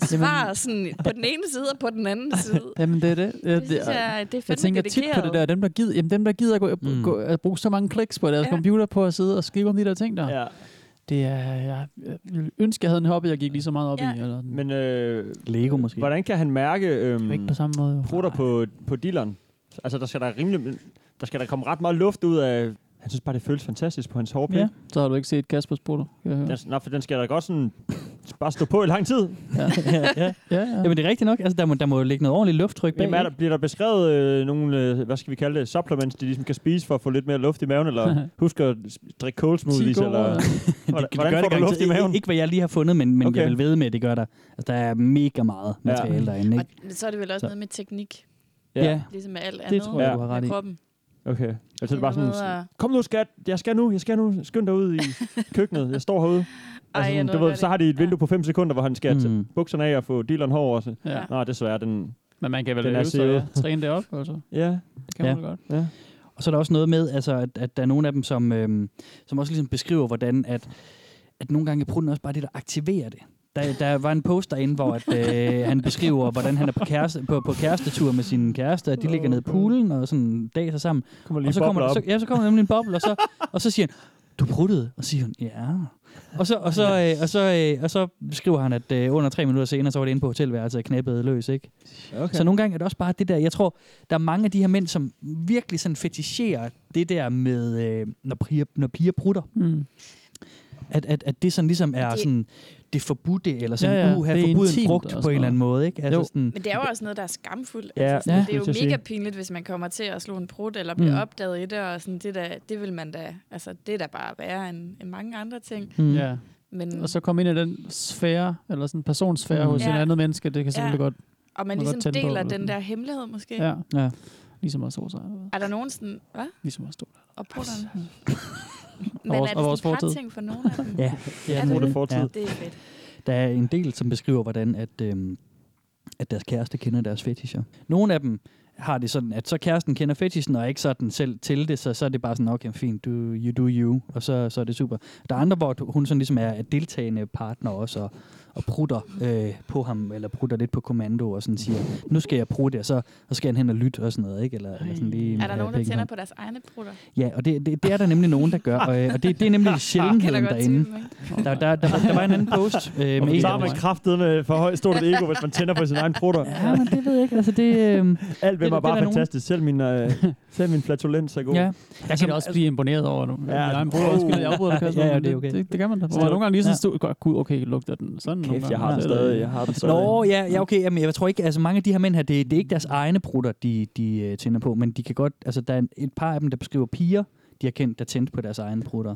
[SPEAKER 7] svar sådan, på den ene side og på den anden side.
[SPEAKER 5] Jamen, det er det. Ja,
[SPEAKER 7] synes jeg- det er
[SPEAKER 5] jeg
[SPEAKER 7] fandme
[SPEAKER 5] tænker tit på
[SPEAKER 7] dedikeret.
[SPEAKER 5] det der. Dem, der gider, jamen, dem, der gider gå, mm. gå, at bruge så mange kliks på deres
[SPEAKER 7] Ja.
[SPEAKER 5] computer på at sidde og skrive om de der ting der.
[SPEAKER 6] Ja.
[SPEAKER 5] Det er, jeg, jeg ville ønske, jeg havde en hobby, jeg gik lige så meget op i. Eller,
[SPEAKER 6] Men øh,
[SPEAKER 4] Lego måske.
[SPEAKER 6] Hvordan kan han mærke øhm,
[SPEAKER 5] Ikke på samme måde.
[SPEAKER 6] prutter på, på dealeren? Altså, der skal der rimelig... Der skal der komme ret meget luft ud af... Han synes bare, det føles fantastisk på hans hårpæk.
[SPEAKER 5] ja, så har du ikke set Kaspers prutter. kan jeg høre.
[SPEAKER 6] Den, nå, for den skal da godt sådan... Bare stå på i lang tid.
[SPEAKER 5] <laughs> Ja.
[SPEAKER 4] ja, ja.
[SPEAKER 5] ja,
[SPEAKER 4] Jamen, det er rigtigt nok. Altså, der må, der må ligge noget ordentligt lufttryk bag.
[SPEAKER 6] Jamen, er der, bliver der beskrevet øh, nogle, øh, hvad skal vi kalde det, supplements, de ligesom kan spise for at få lidt mere luft i maven, eller
[SPEAKER 5] <laughs>
[SPEAKER 6] husk at s- drikke cold smoothies,
[SPEAKER 4] gode,
[SPEAKER 6] eller
[SPEAKER 4] øh,
[SPEAKER 6] hvordan,
[SPEAKER 4] det gør
[SPEAKER 6] hvordan får
[SPEAKER 4] det
[SPEAKER 6] du luft i
[SPEAKER 4] garanteret.
[SPEAKER 6] maven?
[SPEAKER 4] Ikke, hvad jeg lige har fundet, men, men okay.
[SPEAKER 6] Okay.
[SPEAKER 4] jeg vil ved med, at det gør der. Altså, der er mega meget
[SPEAKER 6] Ja.
[SPEAKER 4] materiale ja. derinde. Ikke?
[SPEAKER 7] Men så er det vel også
[SPEAKER 4] Så.
[SPEAKER 7] så. noget med teknik.
[SPEAKER 4] Ja. Ja.
[SPEAKER 7] Ligesom med alt
[SPEAKER 4] Det
[SPEAKER 7] andet.
[SPEAKER 4] tror jeg, du har
[SPEAKER 7] med
[SPEAKER 4] ret i.
[SPEAKER 7] Kroppen.
[SPEAKER 6] Okay. Jeg tænkte bare
[SPEAKER 7] noget
[SPEAKER 6] sådan,
[SPEAKER 7] at-
[SPEAKER 6] kom nu skat, jeg skal nu, jeg skal nu, skynd dig
[SPEAKER 7] <laughs>
[SPEAKER 6] ud i køkkenet, jeg står herude.
[SPEAKER 7] Ej,
[SPEAKER 6] Altså,
[SPEAKER 7] jeg
[SPEAKER 6] sådan,
[SPEAKER 7] nåede
[SPEAKER 6] du ved,
[SPEAKER 7] godt
[SPEAKER 6] så har de et vindue på 5 sekunder, hvor han skal mm. bukserne af og få dealeren hår også.
[SPEAKER 5] Ja.
[SPEAKER 6] Ja. Nå, desværre, den
[SPEAKER 5] Men man kan vel
[SPEAKER 6] den
[SPEAKER 5] øve sig, ja.
[SPEAKER 6] sivet.
[SPEAKER 5] træne det op, altså.
[SPEAKER 6] Ja.
[SPEAKER 5] Det kan
[SPEAKER 4] Ja.
[SPEAKER 5] man vel godt.
[SPEAKER 6] Ja.
[SPEAKER 4] Og så er der også noget med, altså, at, at der er nogle af dem, som, øhm, som også ligesom beskriver, hvordan at, at nogle gange er prutten også bare det, der aktiverer det. Der, der var en post derinde, hvor at, øh, han beskriver, hvordan han er på, kæreste, på, på kærestetur med sin kæreste, og de ligger nede i poolen og sådan daser sammen.
[SPEAKER 6] Kommer
[SPEAKER 4] og så
[SPEAKER 6] en
[SPEAKER 4] kommer, der,
[SPEAKER 6] boble
[SPEAKER 4] så,
[SPEAKER 6] op.
[SPEAKER 4] ja, så kommer der nemlig en boble, og så, og så siger han, du pruttede, og så siger hun, ja. Og så, og så, øh, og så, øh, og så skriver han, at øh, under tre minutter senere, så var det inde på hotelværelset og knæppede løs, ikke?
[SPEAKER 6] Okay.
[SPEAKER 4] Så nogle gange er det også bare det der, jeg tror, der er mange af de her mænd, som virkelig sådan fetisherer det der med, øh, når, piger, når piger prutter.
[SPEAKER 5] Mm.
[SPEAKER 4] At, at, at det sådan ligesom er det, sådan, det forbudte, eller sådan,
[SPEAKER 5] Ja,
[SPEAKER 4] ja,
[SPEAKER 5] ja,
[SPEAKER 4] ja, uha,
[SPEAKER 5] det er
[SPEAKER 4] forbuden
[SPEAKER 5] intimt
[SPEAKER 4] brugt
[SPEAKER 5] og
[SPEAKER 4] på en
[SPEAKER 5] sådan
[SPEAKER 4] eller anden måde, ikke?
[SPEAKER 5] Mm.
[SPEAKER 4] Altså
[SPEAKER 5] Jo.
[SPEAKER 4] sådan,
[SPEAKER 7] Men det er jo også noget, der er skamfuldt.
[SPEAKER 4] Ja,
[SPEAKER 7] altså, sådan,
[SPEAKER 4] ja,
[SPEAKER 7] det er jo
[SPEAKER 4] skulle jeg
[SPEAKER 7] mega
[SPEAKER 4] sige.
[SPEAKER 7] pinligt, hvis man kommer til at slå en prut, eller bliver
[SPEAKER 4] Mm.
[SPEAKER 7] mm. opdaget i det, og sådan, det, der, det vil man da, altså, det er da bare værre end, end mange andre ting.
[SPEAKER 5] Mm. Ja.
[SPEAKER 7] Men,
[SPEAKER 5] Og så komme ind i den sfære, eller sådan en personsfære mm. hos
[SPEAKER 7] Ja.
[SPEAKER 5] en anden menneske, det kan selvfølgelig
[SPEAKER 7] Ja.
[SPEAKER 5] godt
[SPEAKER 7] og man
[SPEAKER 5] må godt
[SPEAKER 7] ligesom
[SPEAKER 5] tænde på,
[SPEAKER 7] deler
[SPEAKER 5] eller
[SPEAKER 7] den
[SPEAKER 5] sådan.
[SPEAKER 7] der hemmelighed måske.
[SPEAKER 5] Ja. ja. Ligesom også hos
[SPEAKER 7] Er der nogen sådan, hvad?
[SPEAKER 5] Ligesom også stod der.
[SPEAKER 7] Og prutterne? <laughs> Men
[SPEAKER 5] Og vores-
[SPEAKER 7] er
[SPEAKER 5] og
[SPEAKER 7] det
[SPEAKER 5] vores
[SPEAKER 7] sådan en
[SPEAKER 5] fortid.
[SPEAKER 7] ting for nogen af dem?
[SPEAKER 4] <laughs> ja,
[SPEAKER 7] Er
[SPEAKER 4] nemlig.
[SPEAKER 7] det? Det er fedt.
[SPEAKER 4] Der er en del, som beskriver, hvordan at, øhm, at deres kæreste kender deres fetischer. Nogle af dem har det sådan, at så kæresten kender fetishen, og ikke sådan selv til det, så, så er det bare sådan, okay, fint, du, you do you, og så, så er det super. Der er andre, hvor du- hun sådan ligesom er er deltagende partner også, og, og prutter øh, på ham, eller prutter lidt på kommando, og sådan siger, nu skal jeg prutte, og så, så skal han hen og lytte, og sådan noget, ikke? Eller, eller sådan lige,
[SPEAKER 7] Er der
[SPEAKER 4] have
[SPEAKER 7] nogen, der
[SPEAKER 4] pikken
[SPEAKER 7] tænder
[SPEAKER 4] op.
[SPEAKER 7] på deres egne prutter?
[SPEAKER 4] Ja, og det, det, det er der nemlig nogen, der gør, og, øh, og det, det er
[SPEAKER 7] <laughs>
[SPEAKER 4] nemlig sjældenheden
[SPEAKER 7] Kender godt til
[SPEAKER 4] derinde.
[SPEAKER 7] dem,
[SPEAKER 4] Der, der, der, der var en <laughs> anden
[SPEAKER 6] <laughs>
[SPEAKER 4] post øh, med
[SPEAKER 6] Og
[SPEAKER 4] en
[SPEAKER 6] så har
[SPEAKER 4] af
[SPEAKER 6] man
[SPEAKER 4] dem.
[SPEAKER 6] kraftedeme for højt stort et ego, hvis man tænder på sin egen prutter.
[SPEAKER 4] Ja, men det ved jeg ikke. Altså, det, øh,
[SPEAKER 6] Alt ved
[SPEAKER 4] det-
[SPEAKER 6] mig er
[SPEAKER 4] det
[SPEAKER 6] bare
[SPEAKER 4] er der nogen-
[SPEAKER 6] fantastisk. Selv min, øh, selv min flatulens er god.
[SPEAKER 4] Ja. Jeg
[SPEAKER 5] Jeg kan da også blive imponeret over det. Ja,
[SPEAKER 6] Ja. Oh.
[SPEAKER 5] jeg bruger også jeg afbryder dig, Kasper,
[SPEAKER 4] <laughs> Ja, ja,
[SPEAKER 5] men
[SPEAKER 4] det er okay.
[SPEAKER 5] Det, det, kan man da. Hvor
[SPEAKER 4] Så-
[SPEAKER 5] man nogle gange lige sådan
[SPEAKER 4] ja.
[SPEAKER 5] stod, godt, gud, okay, lugter den sådan nogle gange.
[SPEAKER 6] jeg har den stadig, jeg har den stadig.
[SPEAKER 4] øh, Nå, ja, ja okay. Jamen, jeg tror ikke, altså mange af de her mænd her, det, det er ikke deres egne brutter, de, de øh, tænder på, men de kan godt, altså der er en- et par af dem, der beskriver piger, de har kendt, der tændte på deres egne brutter.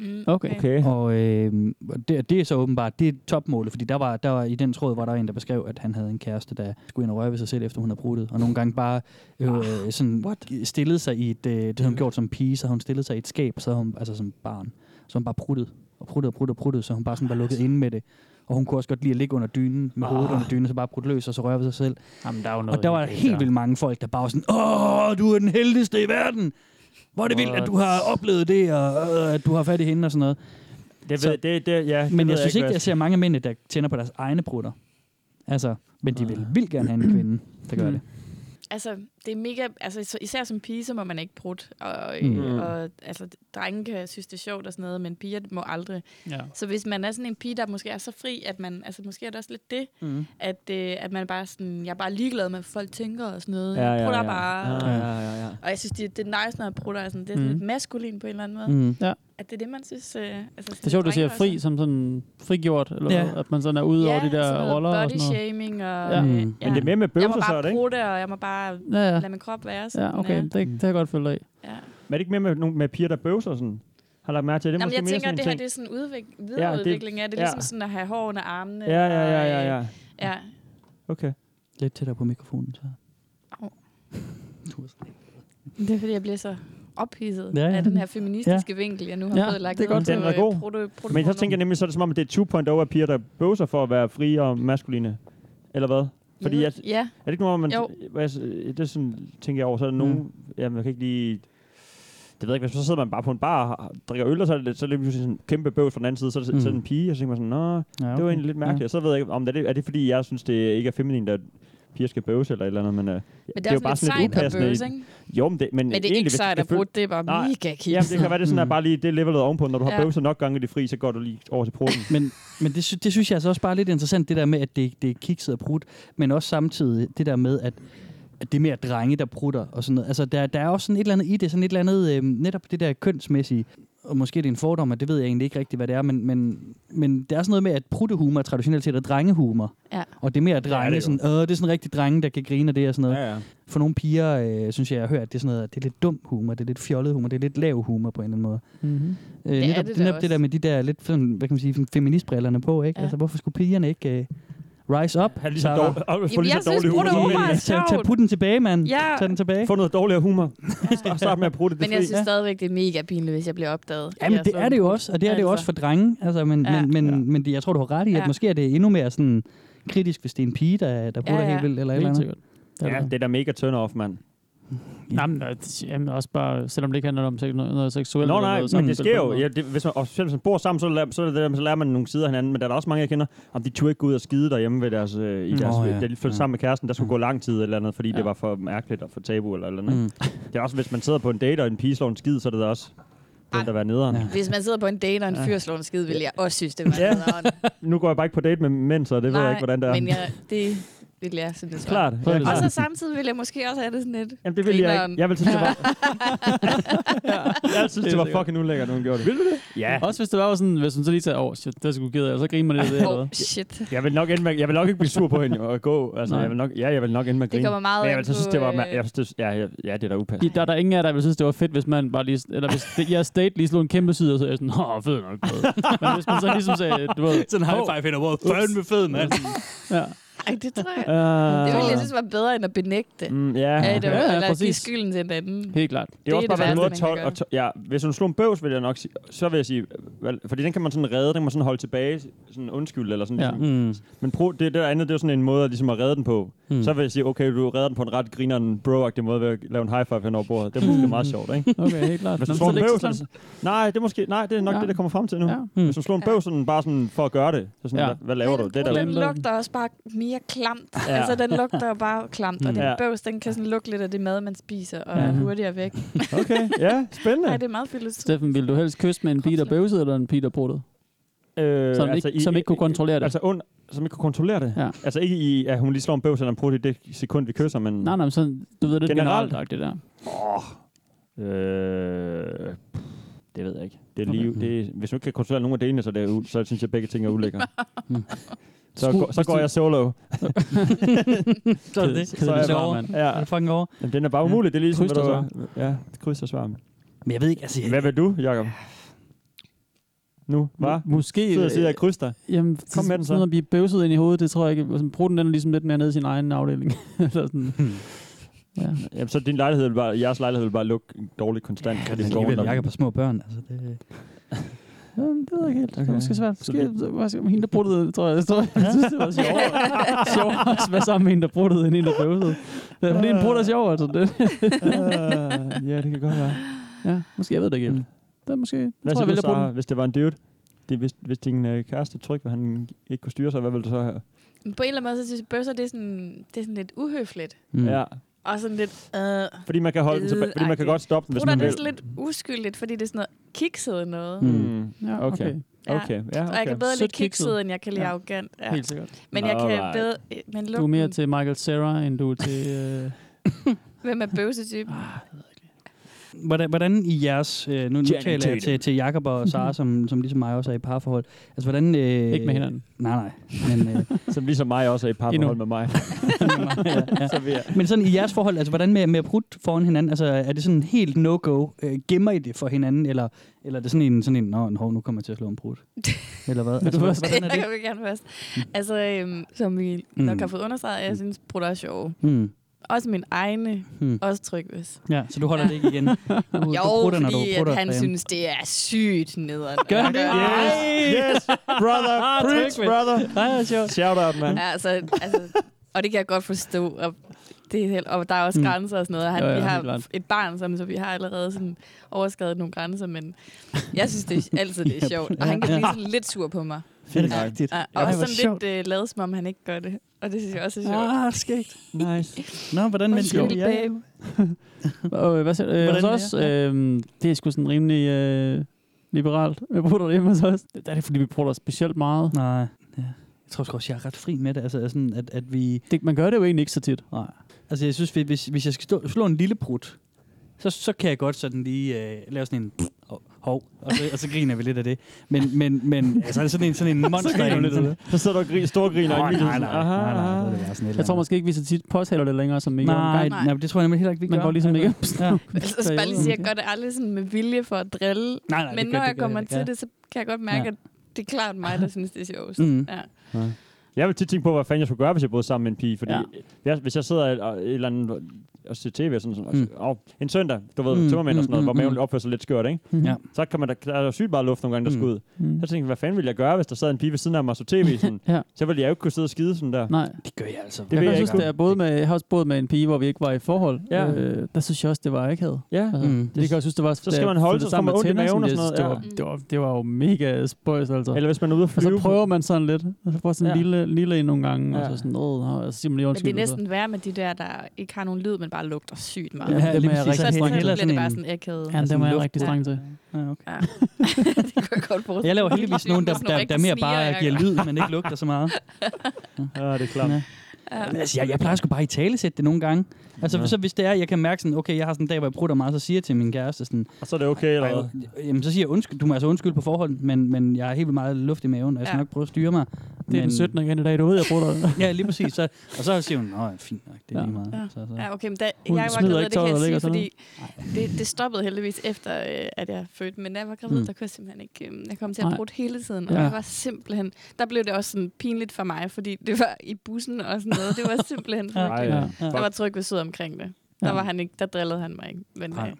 [SPEAKER 7] Mm,
[SPEAKER 5] okay.
[SPEAKER 6] okay.
[SPEAKER 4] Og øh, og det, det, er så åbenbart, det er topmålet, fordi der var, der var, i den tråd var der en, der beskrev, at han havde en kæreste, der skulle ind og røre ved sig selv, efter hun havde bruttet, og nogle gange bare øh, sådan stillede sig i et, øh, det havde hun gjort som pige, så havde hun stillet sig i et skab, så havde hun, altså som barn, så havde hun bare pruttet, og pruttet og pruttet og pruttet, så havde hun bare sådan var lukket inde med det. Og hun kunne også godt lide at ligge under dynen, med hovedet under dynen, og så bare brudt løs, og så røre ved sig selv.
[SPEAKER 5] Jamen, der er jo
[SPEAKER 4] og der var
[SPEAKER 5] helt
[SPEAKER 4] helt
[SPEAKER 5] der.
[SPEAKER 4] vildt mange folk, der bare var sådan, åh, du er den heldigste i verden! Hvor er det vildt, at du har oplevet det, og øh, at du har fat i hende og sådan noget.
[SPEAKER 6] Det,
[SPEAKER 4] Så-
[SPEAKER 6] ved, det, det, ja, det
[SPEAKER 4] Men
[SPEAKER 6] ved
[SPEAKER 4] jeg synes
[SPEAKER 6] hvad
[SPEAKER 4] ikke, jeg ser mange af mændene, der tænder på deres egne brutter. Altså, men de
[SPEAKER 6] Ah.
[SPEAKER 4] vil vildt gerne have en kvinde, der gør
[SPEAKER 6] Hmm.
[SPEAKER 5] Mm.
[SPEAKER 4] det.
[SPEAKER 7] Altså, det er mega... Altså, så- især som pige, så må man ikke brudt. Og,
[SPEAKER 4] Mm.
[SPEAKER 7] mm. og altså, drenge kan synes, det er sjovt og sådan noget, men piger må aldrig.
[SPEAKER 5] Ja.
[SPEAKER 7] Så hvis man er sådan en pige, der måske er så fri, at man... Altså, måske er det også lidt det,
[SPEAKER 5] Mm.
[SPEAKER 7] mm. at, øh, at man bare sådan... Jeg er bare ligeglad med, hvad folk tænker og sådan noget.
[SPEAKER 5] Ja,
[SPEAKER 7] Ja,
[SPEAKER 5] ja,
[SPEAKER 7] ja, prutter
[SPEAKER 5] ja.
[SPEAKER 7] bare.
[SPEAKER 5] Ja,
[SPEAKER 7] og-
[SPEAKER 5] ja, ja, ja.
[SPEAKER 7] Og jeg synes, det, det er nice, når jeg prutter. er Sådan, det er mm.
[SPEAKER 5] Mm.
[SPEAKER 7] lidt maskulin på en eller anden måde.
[SPEAKER 5] Mm. Ja.
[SPEAKER 7] at det er det, man synes... Øh, altså sådan
[SPEAKER 5] Det er sjovt, du siger
[SPEAKER 7] drenge
[SPEAKER 5] fri, som sådan frigjort, eller
[SPEAKER 7] Ja.
[SPEAKER 5] ja. at man sådan er ude over
[SPEAKER 7] Ja,
[SPEAKER 5] de der roller og
[SPEAKER 7] body
[SPEAKER 5] sådan noget.
[SPEAKER 7] shaming og...
[SPEAKER 5] Ja.
[SPEAKER 7] øh,
[SPEAKER 5] Mm. Men det er mere med
[SPEAKER 7] Jeg må
[SPEAKER 6] bøvser så, er
[SPEAKER 7] bare
[SPEAKER 6] det ikke?
[SPEAKER 7] bruge det, og jeg må bare
[SPEAKER 5] Ja, ja.
[SPEAKER 7] lade min krop være. Sådan,
[SPEAKER 5] Ja, okay,
[SPEAKER 7] øh.
[SPEAKER 5] det, det kan jeg godt følge dig af.
[SPEAKER 7] Ja.
[SPEAKER 6] Men er det ikke mere med, nogle- med piger, der bøvser sådan? Har lagt mærke til, at det
[SPEAKER 7] Nå,
[SPEAKER 6] er
[SPEAKER 7] men
[SPEAKER 6] måske
[SPEAKER 7] jeg
[SPEAKER 6] mere
[SPEAKER 7] tænker,
[SPEAKER 6] sådan
[SPEAKER 7] at
[SPEAKER 6] en
[SPEAKER 7] det her
[SPEAKER 6] ting.
[SPEAKER 7] det er sådan udvik- videreudvikling. Ja, det, er ligesom
[SPEAKER 6] ja.
[SPEAKER 7] sådan at have hår under armene.
[SPEAKER 6] Ja, ja, ja, ja,
[SPEAKER 7] og, øh,
[SPEAKER 6] ja.
[SPEAKER 7] ja.
[SPEAKER 6] Okay.
[SPEAKER 4] Lidt tættere på mikrofonen, så.
[SPEAKER 7] Det er fordi, jeg bliver så ophidset
[SPEAKER 6] Ja,
[SPEAKER 7] ja,
[SPEAKER 6] ja.
[SPEAKER 7] ja. af den her feministiske ja. vinkel, jeg nu har fået lagt
[SPEAKER 6] det er godt.
[SPEAKER 7] ned
[SPEAKER 6] Den
[SPEAKER 7] på
[SPEAKER 6] er
[SPEAKER 7] øh, proto-
[SPEAKER 6] god.
[SPEAKER 7] proto-
[SPEAKER 6] Men så tænker jeg nemlig, så er det som om, at det er 2.0 af piger, der bøvser for at være frie og maskuline. Eller hvad? Fordi
[SPEAKER 7] ved-
[SPEAKER 6] jeg,
[SPEAKER 7] ja.
[SPEAKER 6] er det ikke noget, man...
[SPEAKER 7] Jo.
[SPEAKER 6] Hvor jeg, det er sådan, tænker jeg over, så er der nogen... Mm. Jamen, jeg kan ikke lige... Det ved jeg ikke, hvis så sidder man bare på en bar og drikker øl, og så er det, så er det pludselig sådan en kæmpe bøvs fra den anden side, så er det, mm.
[SPEAKER 4] Mm.
[SPEAKER 6] så er det en pige, og så tænker man sådan, nå, ja, okay. det var
[SPEAKER 4] okay.
[SPEAKER 6] egentlig lidt mærkeligt.
[SPEAKER 4] Ja.
[SPEAKER 6] Og så ved jeg ikke, om det er, det- er det fordi, jeg synes, det ikke er feminin, der piger skal bøvse eller et eller andet, men, øh, men
[SPEAKER 7] det er også lidt sejt at bøvse, ikke?
[SPEAKER 6] Jo, men det, men
[SPEAKER 7] Men det er
[SPEAKER 6] egentlig,
[SPEAKER 7] ikke
[SPEAKER 6] hvis du
[SPEAKER 7] sejt
[SPEAKER 6] skal
[SPEAKER 7] at bruge,
[SPEAKER 6] følge-
[SPEAKER 7] det er bare
[SPEAKER 6] Nej,
[SPEAKER 7] mega kikset.
[SPEAKER 6] Jamen, det kan være, det er
[SPEAKER 7] Mm.
[SPEAKER 6] sådan, at bare lige det levelet ovenpå, når du har
[SPEAKER 7] Ja.
[SPEAKER 6] ja. bøvset nok gange i det fri, så går du lige over til proten.
[SPEAKER 4] Men, men det, sy- det synes jeg altså også bare er lidt interessant, det der med, at det, det er kikset og prut, men også samtidig det der med, at, at det er mere drenge, der prutter og sådan noget. Altså, der, der er også sådan et eller andet i det, sådan et eller andet, øh, netop det der kønsmæssige, og måske det er en fordom, og det ved jeg egentlig ikke rigtigt, hvad det er, men, men, men der er sådan noget med, at pruttehumor traditionelt set er drengehumor.
[SPEAKER 7] Ja.
[SPEAKER 4] Og det er mere drenge, ja, det, er
[SPEAKER 7] jo.
[SPEAKER 4] sådan, Åh, det er sådan rigtig drenge, der kan grine af det og sådan noget.
[SPEAKER 6] Ja, ja.
[SPEAKER 4] For nogle piger, øh, synes jeg, jeg har hørt, at det er sådan noget, at det er lidt dum humor, det er lidt fjollet humor, det er lidt lav humor på en eller anden måde.
[SPEAKER 5] Mm-hmm.
[SPEAKER 4] Øh,
[SPEAKER 5] Det er
[SPEAKER 4] det
[SPEAKER 5] det
[SPEAKER 4] netop, det,
[SPEAKER 5] da
[SPEAKER 4] netop
[SPEAKER 5] også.
[SPEAKER 4] det der med de der lidt sådan, hvad kan man sige, sådan feministbrillerne på, ikke? Ja. Altså, hvorfor skulle pigerne ikke øh, rise up? Ja,
[SPEAKER 6] lige så ligesom dårlig- og få Jamen, lige så jeg synes, dårlig humor brudte som humor muligt. er
[SPEAKER 4] Tag, tag
[SPEAKER 6] sjovt.
[SPEAKER 4] putten tilbage, mand.
[SPEAKER 7] Ja.
[SPEAKER 4] Tag den tilbage.
[SPEAKER 6] Få noget dårligere humor. Og start med at bruge det, det
[SPEAKER 7] Men jeg
[SPEAKER 6] fri.
[SPEAKER 7] synes stadigvæk, det er mega pinligt, hvis jeg bliver opdaget.
[SPEAKER 4] Ja, men det er det jo også, og det er det jo også for drenge. Altså, men,
[SPEAKER 7] Ja.
[SPEAKER 4] ja. men, men, men det- jeg tror, du har ret i, at
[SPEAKER 7] Ja.
[SPEAKER 4] måske er det endnu mere sådan kritisk, hvis det er en pige, der, der bruger ja,
[SPEAKER 5] ja.
[SPEAKER 4] det helt vildt, eller et
[SPEAKER 5] Helt
[SPEAKER 4] eller andet.
[SPEAKER 5] sikkert.
[SPEAKER 6] <laughs>
[SPEAKER 4] Ja,
[SPEAKER 6] Ja, det er da mega turn-off, mand.
[SPEAKER 5] Nej, men, øh, det- jamen, også bare, selvom det ikke handler om sek- noget seksuelt.
[SPEAKER 6] Nå
[SPEAKER 5] eller
[SPEAKER 6] nej,
[SPEAKER 5] noget
[SPEAKER 6] men det
[SPEAKER 5] samspil på
[SPEAKER 6] sker
[SPEAKER 5] den
[SPEAKER 6] jo.
[SPEAKER 5] måde.
[SPEAKER 6] Ja, det, hvis man, og selv hvis man bor sammen, så lærer, så, er det det der med, så lærer man nogle sider af hinanden.
[SPEAKER 5] <laughs>
[SPEAKER 6] Men der er der også mange, jeg kender, om de turde ikke gå ud og skide derhjemme ved deres, øh, i
[SPEAKER 4] Nå,
[SPEAKER 6] deres,
[SPEAKER 4] ja.
[SPEAKER 6] ja. de flyttede sammen med kæresten. Der skulle gå lang tid eller andet, fordi ja.
[SPEAKER 4] Ja.
[SPEAKER 6] det var for mærkeligt og for tabu eller et eller andet. Mm. Det er også, hvis man sidder på en date, og en pige slår en skid, så er det da også den, der være nederen. Ja.
[SPEAKER 7] Hvis man sidder på en date, og en
[SPEAKER 6] Ja.
[SPEAKER 7] fyr slår en skid, vil jeg også synes, det var ja.
[SPEAKER 6] Nu går jeg bare ikke på date med mænd, så det ved jeg ikke, hvordan det er.
[SPEAKER 7] men jeg, det vil jeg simpelthen svare.
[SPEAKER 6] Klart, ja,
[SPEAKER 7] Og
[SPEAKER 6] klart.
[SPEAKER 7] så samtidig vil jeg måske også have det sådan lidt
[SPEAKER 6] Jamen, det vil jeg ikke. Jeg vil synes, det var... jeg synes, det var
[SPEAKER 5] sikkert.
[SPEAKER 6] fucking ulækkert, når hun gjorde det. Vil du det? Ja.
[SPEAKER 5] Også hvis det var sådan, hvis hun så lige sagde, åh, oh, shit, det skulle givet, og så griner man lidt af det. eller hvad?
[SPEAKER 7] shit.
[SPEAKER 6] Jeg vil nok ende med, jeg vil nok ikke blive sur på hende og gå. Altså,
[SPEAKER 5] Nej.
[SPEAKER 6] jeg vil nok, ja, jeg vil nok ende med at grine.
[SPEAKER 5] kommer meget
[SPEAKER 6] Men jeg
[SPEAKER 5] an
[SPEAKER 6] vil så synes,
[SPEAKER 5] på,
[SPEAKER 6] det var,
[SPEAKER 5] øh,
[SPEAKER 6] ma- jeg synes, ja, ja, ja, det er da upassende.
[SPEAKER 5] I- Der er der ingen af jer, der vil synes, det var fedt, hvis man bare lige... Eller hvis det, jeres date lige slog en kæmpe side, og så er jeg sådan, åh, fed nok. du ved." Men hvis man så ligesom sagde, du ved...
[SPEAKER 4] <laughs> Sådan en high five hen over, "Fandme fed, mand."
[SPEAKER 5] Ja.
[SPEAKER 7] <laughs> Ej, det tror jeg.
[SPEAKER 5] Øh.
[SPEAKER 7] det ville jeg synes var bedre, end at benægte det.
[SPEAKER 6] Ah. Mm, ja.
[SPEAKER 7] ja, det var,
[SPEAKER 6] Ja, ja,
[SPEAKER 7] eller give
[SPEAKER 6] præcis.
[SPEAKER 7] skylden til en anden.
[SPEAKER 5] Helt klart.
[SPEAKER 6] Det er også bare været en måde at
[SPEAKER 7] værste, man
[SPEAKER 6] tol-
[SPEAKER 7] kan
[SPEAKER 6] og tol- ja, hvis hun slog en bøvs, vil jeg nok sige, så vil jeg sige, vel, fordi den kan man sådan redde, den kan man sådan holde tilbage, sådan undskyld eller sådan.
[SPEAKER 5] Ja.
[SPEAKER 6] Ligesom,
[SPEAKER 5] Mm.
[SPEAKER 6] Men pro, det, det der andet, det er sådan en måde at, ligesom at redde den på.
[SPEAKER 5] Mm.
[SPEAKER 6] Så vil jeg sige, okay, du redder den på en ret grineren bro måde ved at lave en high five hen over bordet. Det er måske
[SPEAKER 5] Mm.
[SPEAKER 6] meget sjovt, ikke?
[SPEAKER 5] <laughs> Okay, helt klart.
[SPEAKER 6] Hvis
[SPEAKER 5] Nå,
[SPEAKER 6] du
[SPEAKER 5] men
[SPEAKER 6] slår
[SPEAKER 5] så
[SPEAKER 6] en
[SPEAKER 5] er det ikke
[SPEAKER 6] bøvs,
[SPEAKER 5] så
[SPEAKER 6] så- nej, det er måske, nej, det er nok
[SPEAKER 5] Ja.
[SPEAKER 6] det, der kommer frem til nu.
[SPEAKER 5] Ja.
[SPEAKER 6] Hvis du slår en bøvs, sådan bare sådan for at gøre det, så sådan,
[SPEAKER 5] Ja.
[SPEAKER 6] hvad, hvad laver du? Det er
[SPEAKER 7] gøre.
[SPEAKER 6] der-
[SPEAKER 7] Den lugter også bare mere klamt.
[SPEAKER 6] Ja.
[SPEAKER 7] Ja. Altså, den lugter jo bare klamt. Og
[SPEAKER 6] Mm.
[SPEAKER 7] den
[SPEAKER 6] Ja.
[SPEAKER 7] bøvs, den kan sådan lugte lidt af det mad, man spiser, og
[SPEAKER 5] Ja.
[SPEAKER 7] er hurtigere væk.
[SPEAKER 6] Okay, ja, spændende.
[SPEAKER 7] Nej, det er meget filosofiskt.
[SPEAKER 5] Steffen, vil du helst kysse med en pige, der bøvsede, eller en pige, der pruttede?
[SPEAKER 6] Øh,
[SPEAKER 5] Som ikke- som ikke kunne kontrollere det.
[SPEAKER 6] Altså, und, som ikke kunne kontrollere det. Ja. Altså ikke i, at hun lige slår en bøvs eller en brud i det sekund, vi kysser, men...
[SPEAKER 5] Nej, nej, men sådan, du ved, det er
[SPEAKER 6] Generelt?
[SPEAKER 5] generelt, det der.
[SPEAKER 6] Øh, pff, det ved jeg ikke. Mm. Det er lige, det, er- hvis du ikke kan kontrollere nogen af delene, så, er det, u- så synes jeg, at begge ting er ulækre. Mm. så,
[SPEAKER 4] Skru-
[SPEAKER 6] går, så
[SPEAKER 4] hvis
[SPEAKER 6] går
[SPEAKER 4] du-
[SPEAKER 6] jeg solo. <laughs>
[SPEAKER 4] Så er det det.
[SPEAKER 6] er jeg
[SPEAKER 4] Kedelig
[SPEAKER 6] bare-
[SPEAKER 4] svar, mand.
[SPEAKER 6] Ja.
[SPEAKER 4] Det er fucking over.
[SPEAKER 6] Jamen, den er bare umulig. Det er ligesom,
[SPEAKER 4] Kryds
[SPEAKER 6] hvad
[SPEAKER 4] dig
[SPEAKER 6] du... Ja, kryds og svar.
[SPEAKER 4] Men jeg ved ikke, altså...
[SPEAKER 6] Hvad vil du, Jacob? Nu, hva?
[SPEAKER 5] Måske... øh,
[SPEAKER 6] Sidder og siger, at jeg krydser dig.
[SPEAKER 5] Jamen,
[SPEAKER 6] Kom med den så.
[SPEAKER 5] Sådan at blive bøvset ind i hovedet, det tror jeg ikke. Sådan, Prutten, den er ligesom lidt mere nede i sin egen afdeling. <laughs> eller sådan.
[SPEAKER 6] Hmm.
[SPEAKER 5] Ja.
[SPEAKER 6] Jamen, så din lejlighed vil bare, jeres lejlighed vil bare lukke dårligt konstant. Ja, fordi hun
[SPEAKER 4] Men
[SPEAKER 6] går rundt
[SPEAKER 4] alligevel,
[SPEAKER 6] om-
[SPEAKER 4] Jakob har små børn, altså det...
[SPEAKER 5] Ja, det ved jeg ikke helt. Det
[SPEAKER 4] Okay.
[SPEAKER 5] er måske svært.
[SPEAKER 4] Så
[SPEAKER 5] Måske det... var hende, der bruttede, tror jeg. Jeg, tror, <laughs> jeg synes, det var sjovt. sjovt at være sammen med hende, der bruttede, end en, der bøvsede. Det er fordi, en brut er sjov, altså. Det.
[SPEAKER 6] Øh, ja, det kan godt være.
[SPEAKER 5] Ja, måske jeg ved det ikke helt. Det er måske... Jeg
[SPEAKER 6] Mm. Hvad
[SPEAKER 5] tror,
[SPEAKER 6] tror,
[SPEAKER 5] jeg vælger
[SPEAKER 6] du, Sara,
[SPEAKER 5] brutten.
[SPEAKER 6] hvis det var en dude? Det, hvis, hvis din øh, kæreste tryk, og han ikke kunne styre sig, hvad ville du så have?
[SPEAKER 7] Men På en eller anden måde, så synes jeg, bøsser, det er sådan, det er sådan lidt uhøfligt.
[SPEAKER 6] Mm. Ja,
[SPEAKER 7] Og sådan lidt... Øh,
[SPEAKER 6] fordi man kan holde den tilbage, fordi man kan godt stoppe den, hvis
[SPEAKER 7] Brutter,
[SPEAKER 6] man
[SPEAKER 7] det er
[SPEAKER 6] vil.
[SPEAKER 7] sådan lidt uskyldigt, fordi det er sådan noget kikset noget.
[SPEAKER 6] Mm. okay.
[SPEAKER 5] Ja, okay.
[SPEAKER 7] Ja.
[SPEAKER 6] Okay, ja, okay.
[SPEAKER 7] Og jeg kan bedre lide
[SPEAKER 5] Sødt kikset.
[SPEAKER 7] kikset, end jeg kan lide
[SPEAKER 5] Ja.
[SPEAKER 7] arrogant. Ja.
[SPEAKER 5] Helt sikkert.
[SPEAKER 7] Men jeg kan
[SPEAKER 5] Alright.
[SPEAKER 7] bedre... Men
[SPEAKER 5] Du er
[SPEAKER 7] luk,
[SPEAKER 5] mere <laughs> til Michael Cera, end du er til... Øh...
[SPEAKER 7] hvem er bøvsetypen?
[SPEAKER 4] Hvordan, hvordan i jeres... Øh, nu, nu taler
[SPEAKER 5] Genitalia.
[SPEAKER 4] jeg til, til Jakob og
[SPEAKER 7] Mhm.
[SPEAKER 4] Sara, som, som ligesom mig også er i parforhold. Altså, hvordan... Øh,
[SPEAKER 5] Ikke med hinanden.
[SPEAKER 4] Nej, nej. Men, øh,
[SPEAKER 6] <laughs> som ligesom mig også er i parforhold
[SPEAKER 4] <laughs> Endnu.
[SPEAKER 6] med mig.
[SPEAKER 4] ja.
[SPEAKER 6] <laughs> Så vi er-
[SPEAKER 4] Men sådan i jeres forhold, altså hvordan med, med at prutte foran hinanden, altså er det sådan helt no-go? Øh, gemmer I det for hinanden, eller, eller er det sådan en, sådan en, nå, nå, nu kommer jeg til at slå en
[SPEAKER 7] <laughs>
[SPEAKER 4] prut? Eller hvad? Altså, hvordan hvordan er
[SPEAKER 7] Jeg
[SPEAKER 4] det?
[SPEAKER 7] vil gerne først. Altså, øhm, som vi
[SPEAKER 4] Mm.
[SPEAKER 7] nok har fået understreget, jeg synes, brutter er sjove.
[SPEAKER 4] Mm.
[SPEAKER 7] Også min egne,
[SPEAKER 4] Mm.
[SPEAKER 7] også trygves.
[SPEAKER 4] Ja, så du holder det ikke
[SPEAKER 7] <laughs>
[SPEAKER 4] igen? Du,
[SPEAKER 7] Jo,
[SPEAKER 4] prutter, når
[SPEAKER 7] fordi
[SPEAKER 4] prutter
[SPEAKER 7] at han
[SPEAKER 4] derhjemme.
[SPEAKER 7] synes, det er sygt nederen.
[SPEAKER 4] Gør han det?
[SPEAKER 6] Yes, brother. Preach, brother. Shout out, mand.
[SPEAKER 7] Ja, altså, altså, og det kan jeg godt forstå. Og, det er helt, og der er også
[SPEAKER 6] Mm.
[SPEAKER 7] grænser og sådan noget. og Han,
[SPEAKER 6] Jo,
[SPEAKER 7] jo,
[SPEAKER 6] jo,
[SPEAKER 7] jo, vi
[SPEAKER 6] helt
[SPEAKER 7] har
[SPEAKER 6] klart.
[SPEAKER 7] et barn, som, så vi har allerede sådan overskrevet nogle grænser, men jeg synes det
[SPEAKER 4] <laughs>
[SPEAKER 7] er, altid, det er sjovt. Og han kan
[SPEAKER 4] Ja.
[SPEAKER 7] blive sådan lidt sur på mig.
[SPEAKER 4] Fedt nok.
[SPEAKER 7] Ja,
[SPEAKER 4] Ej,
[SPEAKER 7] og
[SPEAKER 4] hvor
[SPEAKER 7] sådan
[SPEAKER 4] sjovt.
[SPEAKER 7] lidt øh, lavet, som om han ikke gør det. Og det synes jeg også er sjovt.
[SPEAKER 4] Ah, skægt. Nice. Nå, hvordan vendte I det? Ja,
[SPEAKER 5] Og, øh, hvad siger, øh, hos
[SPEAKER 4] Hvordan er
[SPEAKER 5] os, øh, det er sgu sådan rimelig øh, liberalt. Vi bruger det hjemme hos os. Det er det, fordi vi bruger det specielt meget.
[SPEAKER 4] Nej, ja. Jeg tror sgu også, jeg er ret fri med det, altså sådan, at, at vi...
[SPEAKER 5] Det, man gør det jo egentlig ikke så tit.
[SPEAKER 4] Nej. Altså, jeg synes, hvis, hvis jeg skal stå, slå en lille prut, så, så kan jeg godt sådan lige øh, lave sådan en og- hov, og så, og så griner vi lidt af det. Men, men, men altså, sådan
[SPEAKER 5] <laughs>
[SPEAKER 4] en, sådan en monster.
[SPEAKER 6] Så griner du lidt af det. Så sidder du og gri- storgriner.
[SPEAKER 4] Nej,
[SPEAKER 6] Emil.
[SPEAKER 4] nej, nej, nej, nej, så er det bare sådan et eller
[SPEAKER 5] Jeg tror måske ikke, vi så tit påtaler det længere, som vi gjorde
[SPEAKER 4] Nej,
[SPEAKER 5] engang.
[SPEAKER 4] nej, det tror jeg nemlig heller ikke, vi
[SPEAKER 5] Man
[SPEAKER 4] gør.
[SPEAKER 5] går ligesom ikke <laughs>
[SPEAKER 4] Ja.
[SPEAKER 7] Altså, <laughs> så bare lige sige, jeg gør det aldrig sådan med vilje for at drille.
[SPEAKER 4] Nej, nej, det
[SPEAKER 7] men
[SPEAKER 4] gør-
[SPEAKER 7] når
[SPEAKER 4] det
[SPEAKER 7] jeg
[SPEAKER 4] gør
[SPEAKER 7] kommer
[SPEAKER 4] jeg,
[SPEAKER 7] til
[SPEAKER 4] ja.
[SPEAKER 7] det, så kan jeg godt mærke,
[SPEAKER 6] Ja.
[SPEAKER 7] at det er klart mig, der synes, det er
[SPEAKER 4] <laughs>
[SPEAKER 7] sjovest.
[SPEAKER 4] Mm.
[SPEAKER 5] mm.
[SPEAKER 6] Mhm.
[SPEAKER 7] Ja.
[SPEAKER 6] Jeg vil tit tænke på, hvad fanden jeg skulle gøre, hvis jeg boede sammen med en pige. Fordi ja. hvis jeg sidder og, et eller andet og ser tv og sådan, sådan mm.
[SPEAKER 4] Mm.
[SPEAKER 6] og, en søndag, du ved, mm.
[SPEAKER 4] Mm,
[SPEAKER 6] tømmermænd og sådan noget,
[SPEAKER 4] mm,
[SPEAKER 6] hvor
[SPEAKER 4] mm,
[SPEAKER 6] maven
[SPEAKER 4] mm.
[SPEAKER 6] opfører sig lidt skørt, ikke?
[SPEAKER 4] Ja.
[SPEAKER 6] Så kan man da, der er jo sygt bare luft nogle gange, der skal ud. Så
[SPEAKER 5] Mm.
[SPEAKER 6] tænkte jeg, hvad fanden ville jeg gøre, hvis der sad en pige ved siden af mig og så tv? Sådan,
[SPEAKER 5] <laughs> Ja.
[SPEAKER 6] Så ville jeg jo ikke kunne sidde og skide sådan der.
[SPEAKER 5] Nej.
[SPEAKER 4] Det gør jeg altså.
[SPEAKER 6] Det
[SPEAKER 5] jeg
[SPEAKER 6] vil
[SPEAKER 5] kan
[SPEAKER 6] jeg ikke.
[SPEAKER 5] også huske, da jeg, boede med, jeg har også boet med en pige, hvor vi ikke var i forhold.
[SPEAKER 6] Ja.
[SPEAKER 5] Øh, der synes jeg også, det var akavet.
[SPEAKER 6] Ja.
[SPEAKER 5] Altså,
[SPEAKER 6] Mm.
[SPEAKER 5] mm. Det kan jeg også huske, det var...
[SPEAKER 6] Så
[SPEAKER 5] da
[SPEAKER 6] skal
[SPEAKER 5] jeg
[SPEAKER 6] man holde
[SPEAKER 5] flyttede
[SPEAKER 6] sig, så
[SPEAKER 5] sammen
[SPEAKER 6] får
[SPEAKER 5] med
[SPEAKER 6] man ondt i
[SPEAKER 5] Tennis,
[SPEAKER 6] maven og
[SPEAKER 5] det-
[SPEAKER 6] sådan noget,
[SPEAKER 5] Det, var, det, var, det var jo mega spøjs, altså.
[SPEAKER 6] Eller hvis man er ude at flyve.
[SPEAKER 5] Og så prøver man sådan lidt. Og så prøver sådan en
[SPEAKER 7] Ja.
[SPEAKER 5] lille, lille en nogle gange,
[SPEAKER 6] Ja.
[SPEAKER 5] og så sådan noget. Og så siger man lige
[SPEAKER 7] Men det
[SPEAKER 5] undskyld.
[SPEAKER 7] er næsten værre med de der, der ikke har nogen lyd, men bare lugter sygt meget.
[SPEAKER 5] Ja, dem er jeg
[SPEAKER 7] så,
[SPEAKER 5] rigtig
[SPEAKER 7] så, så
[SPEAKER 5] streng til.
[SPEAKER 7] bliver det bare
[SPEAKER 5] Sådan
[SPEAKER 7] sådan
[SPEAKER 5] en-
[SPEAKER 7] akavet. Altså,
[SPEAKER 5] Ja, dem er jeg rigtig streng til.
[SPEAKER 4] Ja, okay.
[SPEAKER 7] Ja. det kunne jeg godt forestille
[SPEAKER 4] Jeg laver
[SPEAKER 7] mig.
[SPEAKER 4] heldigvis nogen, der,
[SPEAKER 7] Sådan nogle
[SPEAKER 4] der, der
[SPEAKER 7] rigtig
[SPEAKER 4] mere bare
[SPEAKER 7] sniger,
[SPEAKER 4] giver
[SPEAKER 7] jeg
[SPEAKER 4] lyd,
[SPEAKER 7] gør.
[SPEAKER 4] men ikke lugter så meget.
[SPEAKER 6] Ja, det er klart.
[SPEAKER 4] Ja. Jamen, Altså, jeg, jeg plejer sgu bare i tale det nogle gange. Altså,
[SPEAKER 6] Ja.
[SPEAKER 4] ja. så hvis det er, jeg kan mærke sådan, okay, jeg har sådan en dag, hvor jeg bruger meget, så siger jeg til min kæreste sådan...
[SPEAKER 6] Og så er det okay, eller
[SPEAKER 4] "Ej,
[SPEAKER 6] hvad?
[SPEAKER 4] hvor- Jamen, så siger jeg, undskyld, du må altså undskylde på forhånd, men, men jeg har helt vildt meget luft i maven, og jeg skal
[SPEAKER 5] Ja.
[SPEAKER 4] nok prøve at styre mig.
[SPEAKER 5] Det er den 17. igen i dag, du ved, jeg bruger dig.
[SPEAKER 4] ja, lige
[SPEAKER 5] <laughs>
[SPEAKER 4] præcis. Så, <laughs> og så siger hun, nej, fint nok, det er
[SPEAKER 5] Ja.
[SPEAKER 4] lige meget.
[SPEAKER 7] Ja.
[SPEAKER 4] Så, så.
[SPEAKER 7] Ja, okay, men da,
[SPEAKER 4] Hun
[SPEAKER 7] jeg var
[SPEAKER 4] smider
[SPEAKER 7] gravid,
[SPEAKER 4] ikke
[SPEAKER 7] det kan
[SPEAKER 4] tøjet
[SPEAKER 7] jeg
[SPEAKER 4] og
[SPEAKER 7] sige,
[SPEAKER 4] ligger sådan
[SPEAKER 7] fordi det, det stoppede heldigvis efter, øh, at jeg fødte. Men da jeg var gravid,
[SPEAKER 4] Mm.
[SPEAKER 7] der kunne jeg simpelthen ikke... Øh, jeg kom til at
[SPEAKER 4] Nej.
[SPEAKER 7] bruge det hele tiden, og
[SPEAKER 4] Ja.
[SPEAKER 7] det var simpelthen... Der blev det også sådan pinligt for mig, fordi det var i bussen og sådan noget. Det var simpelthen
[SPEAKER 5] Ja.
[SPEAKER 7] frygteligt.
[SPEAKER 5] Ej, ja.
[SPEAKER 7] Der var tryk ved sød omkring det. Der,
[SPEAKER 5] Ja.
[SPEAKER 7] var han ikke, der drillede han mig ikke. Men, øh,
[SPEAKER 5] Nej.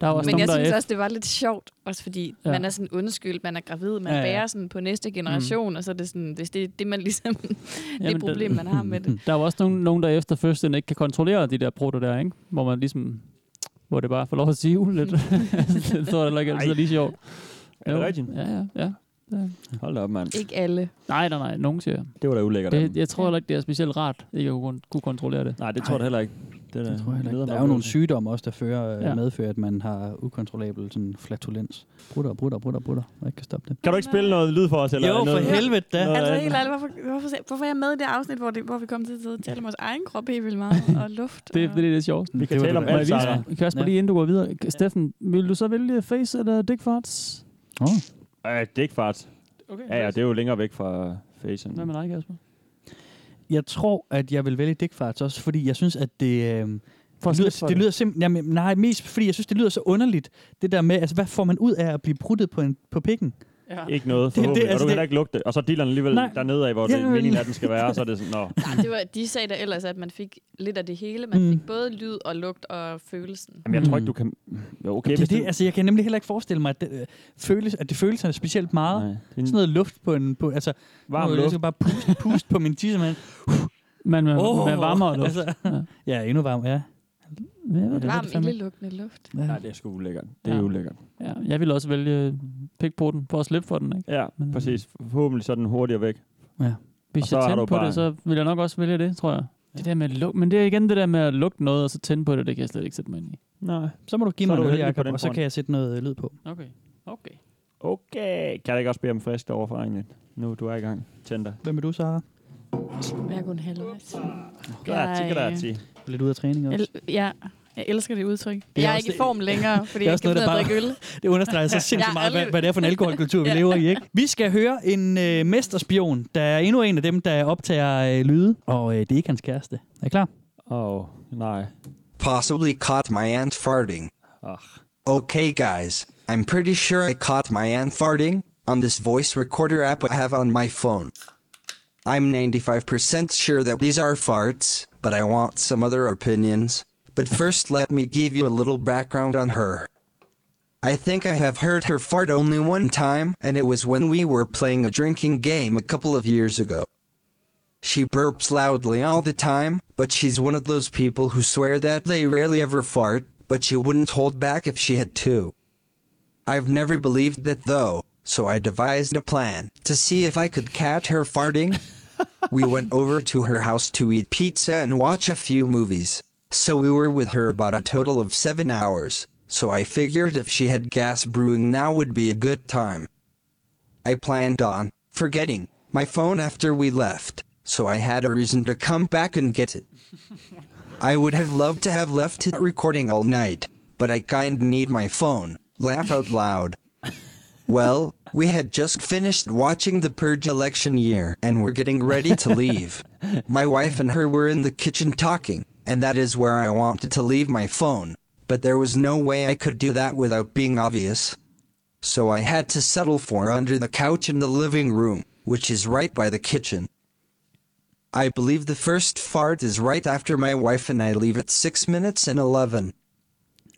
[SPEAKER 5] Der er jo også
[SPEAKER 7] men
[SPEAKER 5] nogen,
[SPEAKER 7] jeg
[SPEAKER 5] der er
[SPEAKER 7] synes
[SPEAKER 5] efter-
[SPEAKER 7] også, det var lidt sjovt, også fordi
[SPEAKER 5] Ja.
[SPEAKER 7] ja. man er sådan undskyld, man er gravid, man
[SPEAKER 5] Ja,
[SPEAKER 7] ja,
[SPEAKER 5] ja.
[SPEAKER 7] ja. bærer sådan på næste generation, mm. og så er det sådan, det, det, det man ligesom, det
[SPEAKER 5] Jamen,
[SPEAKER 7] problem, man har
[SPEAKER 5] <laughs>
[SPEAKER 7] med det.
[SPEAKER 5] Der er jo også nogen, nogen der efter fødslen ikke kan kontrollere de der prutter der, ikke? Hvor man ligesom... Hvor det bare får lov at sive <laughs> lidt. det tror jeg heller ikke altid er lige sjovt.
[SPEAKER 6] Er det
[SPEAKER 5] Jo.
[SPEAKER 6] rigtigt?
[SPEAKER 5] Ja, ja, ja. Det-
[SPEAKER 6] Hold da op, mand.
[SPEAKER 7] Ikke alle.
[SPEAKER 5] Nej, nej, nej. Nogen siger jeg.
[SPEAKER 6] Det var da ulækkert. af dem.
[SPEAKER 5] Det, jeg tror heller ikke, det er specielt rart, ikke at kunne, kunne kontrollere det.
[SPEAKER 6] Nej, det tror jeg da heller ikke. Det,
[SPEAKER 4] Det tror jeg heller ikke. Der er jo nogle sygdomme også, der fører,
[SPEAKER 5] Ja.
[SPEAKER 4] ja. medfører, at man har ukontrollabel sådan flatulens. Brutter, brutter, brutter, brutter. Jeg ikke kan stoppe det.
[SPEAKER 6] Kan du ikke spille noget lyd for os? Eller
[SPEAKER 4] Jo, for
[SPEAKER 6] noget?
[SPEAKER 4] helvede da.
[SPEAKER 6] Noget
[SPEAKER 7] Altså
[SPEAKER 6] andet?
[SPEAKER 7] helt ærligt, hvorfor, hvorfor, hvorfor er jeg med i det afsnit, hvor, det, hvor vi kom til at sidde og tale om vores egen krop helt vildt meget, og luft?
[SPEAKER 5] Det er fordi, det er sjovt.
[SPEAKER 6] Vi kan tale om alt, Sarah.
[SPEAKER 5] Kasper, lige inden du går videre. Steffen, vil du så vælge face eller dick farts?
[SPEAKER 4] Oh.
[SPEAKER 6] Øh, det er ikke fart.
[SPEAKER 5] Okay,
[SPEAKER 6] ja, ja, det er jo længere væk fra facen.
[SPEAKER 5] Hvad med dig, Kasper?
[SPEAKER 4] Jeg tror, at jeg vil vælge dick farts også, fordi jeg synes, at det... Øh,
[SPEAKER 5] For at
[SPEAKER 4] det
[SPEAKER 5] slippe
[SPEAKER 4] lyder,
[SPEAKER 5] for
[SPEAKER 4] det
[SPEAKER 5] det.
[SPEAKER 4] lyder simpelthen... Jamen, nej, mest fordi jeg synes, det lyder så underligt. Det der med, altså, hvad får man ud af at blive pruttet på, en, på pikken?
[SPEAKER 7] Ja.
[SPEAKER 6] Ikke noget,
[SPEAKER 4] Det- det-
[SPEAKER 6] forhåbentlig. Det, det, altså, og du
[SPEAKER 4] altså,
[SPEAKER 6] kan
[SPEAKER 4] det-
[SPEAKER 6] heller ikke lugte det. Og så dealeren alligevel
[SPEAKER 4] Nej.
[SPEAKER 6] dernede af, hvor det er
[SPEAKER 4] Jamen.
[SPEAKER 6] meningen, at den skal være. og Så er det
[SPEAKER 4] <laughs>
[SPEAKER 6] sådan, nå.
[SPEAKER 7] Nej, det var, de sagde da ellers, at man fik lidt af det hele. Man
[SPEAKER 4] Mm.
[SPEAKER 7] fik både lyd og lugt og følelsen.
[SPEAKER 6] Jamen, jeg tror ikke, du kan... Jo, okay,
[SPEAKER 4] Okay, Mm. det,
[SPEAKER 6] hvis
[SPEAKER 4] er det,
[SPEAKER 6] du-
[SPEAKER 4] altså, jeg kan nemlig heller ikke forestille mig, at det, øh, føles, at det føles sådan specielt meget.
[SPEAKER 6] Nej,
[SPEAKER 4] Sådan noget luft på en... På, altså,
[SPEAKER 6] Varm
[SPEAKER 4] nu,
[SPEAKER 6] luft.
[SPEAKER 4] Jeg skal bare puste, puste på min tissemand.
[SPEAKER 5] Man, man,
[SPEAKER 4] Åh,
[SPEAKER 5] man varmere luft.
[SPEAKER 4] altså. ja, endnu varm, ja.
[SPEAKER 5] Ja,
[SPEAKER 7] Varm, ildelugtende luft.
[SPEAKER 6] Nej, det er sgu ulækkert. Det er
[SPEAKER 5] Ja.
[SPEAKER 6] ulækkert.
[SPEAKER 5] Ja, jeg ville også vælge pikpoten for at slippe for den, ikke?
[SPEAKER 6] Ja, præcis. Forhåbentlig så er den hurtigere væk.
[SPEAKER 4] Ja.
[SPEAKER 6] Og
[SPEAKER 5] Hvis
[SPEAKER 6] så
[SPEAKER 5] jeg
[SPEAKER 6] har
[SPEAKER 5] tændte
[SPEAKER 6] du
[SPEAKER 5] på
[SPEAKER 6] bare-
[SPEAKER 5] det, så ville jeg nok også vælge det, tror jeg. Det der med at lugte, men det er igen det der med at lugte noget, og så tænde på det, det kan jeg slet ikke sætte mig ind i.
[SPEAKER 6] Nej.
[SPEAKER 4] Så må du give
[SPEAKER 6] Så er
[SPEAKER 4] mig
[SPEAKER 6] du
[SPEAKER 4] noget,
[SPEAKER 6] heldig på
[SPEAKER 4] Jacob,
[SPEAKER 6] den
[SPEAKER 4] og så
[SPEAKER 6] front.
[SPEAKER 4] kan jeg sætte noget øh, lyd på.
[SPEAKER 5] Okay. Okay.
[SPEAKER 6] Okay. Kan jeg ikke også bede om frisk over fra egentlig? Nu du er i gang. Tænder.
[SPEAKER 4] Hvem er du, Sara?
[SPEAKER 7] Jeg er kun halvvejs.
[SPEAKER 6] Grazie, grazie.
[SPEAKER 4] Lidt ud af træning også.
[SPEAKER 7] Jeg- Ja, Jeg elsker det udtryk.
[SPEAKER 4] Det er
[SPEAKER 7] jeg er
[SPEAKER 4] også
[SPEAKER 7] ikke i
[SPEAKER 4] det-
[SPEAKER 7] form længere, fordi
[SPEAKER 4] Det er
[SPEAKER 7] jeg
[SPEAKER 4] også
[SPEAKER 7] ikke
[SPEAKER 4] noget,
[SPEAKER 7] noget,
[SPEAKER 4] der
[SPEAKER 7] at
[SPEAKER 4] bare-
[SPEAKER 7] drikke øl.
[SPEAKER 4] <laughs> Det understreger
[SPEAKER 7] <laughs>
[SPEAKER 4] så
[SPEAKER 7] Ja,
[SPEAKER 4] sindssygt meget, hvad,
[SPEAKER 7] aldrig-
[SPEAKER 4] hvad det er for en alkoholkultur, vi
[SPEAKER 7] Ja.
[SPEAKER 4] lever i. Ikke? Vi skal høre en øh, mesterspion, der er endnu en af dem, der optager øh, lyde, og øh, det er ikke hans kæreste. Er I klar?
[SPEAKER 6] Oh, nej.
[SPEAKER 19] Possibly caught my aunt farting. Okay, guys, I'm pretty sure I caught my aunt farting on this voice recorder app I have on my phone. I'm 95% sure that these are farts, but I want some other opinions. But first, let me give you a little background on her. I think I have heard her fart only one time, and it was when we were playing a drinking game a couple of years ago. She burps loudly all the time, but she's one of those people who swear that they rarely ever fart, but she wouldn't hold back if she had to. I've never believed that though, so I devised a plan to see if I could catch her farting. we went over to her house to eat pizza and watch a few movies. So we were with her about a total of seven hours, so I figured if she had gas brewing now would be a good time. I planned on forgetting my phone after we left, so I had a reason to come back and get it. I would have loved to have left it recording all night, but I kind need my phone. Laugh out loud. Well, we had just finished watching the Purge election year and were getting ready to leave. My wife and her were in the kitchen talking, and that is where I wanted to leave my phone, but there was no way I could do that without being obvious. So I had to settle for under the couch in the living room, which is right by the kitchen. I believe the first fart is right after my wife and I leave at 6 minutes and 11.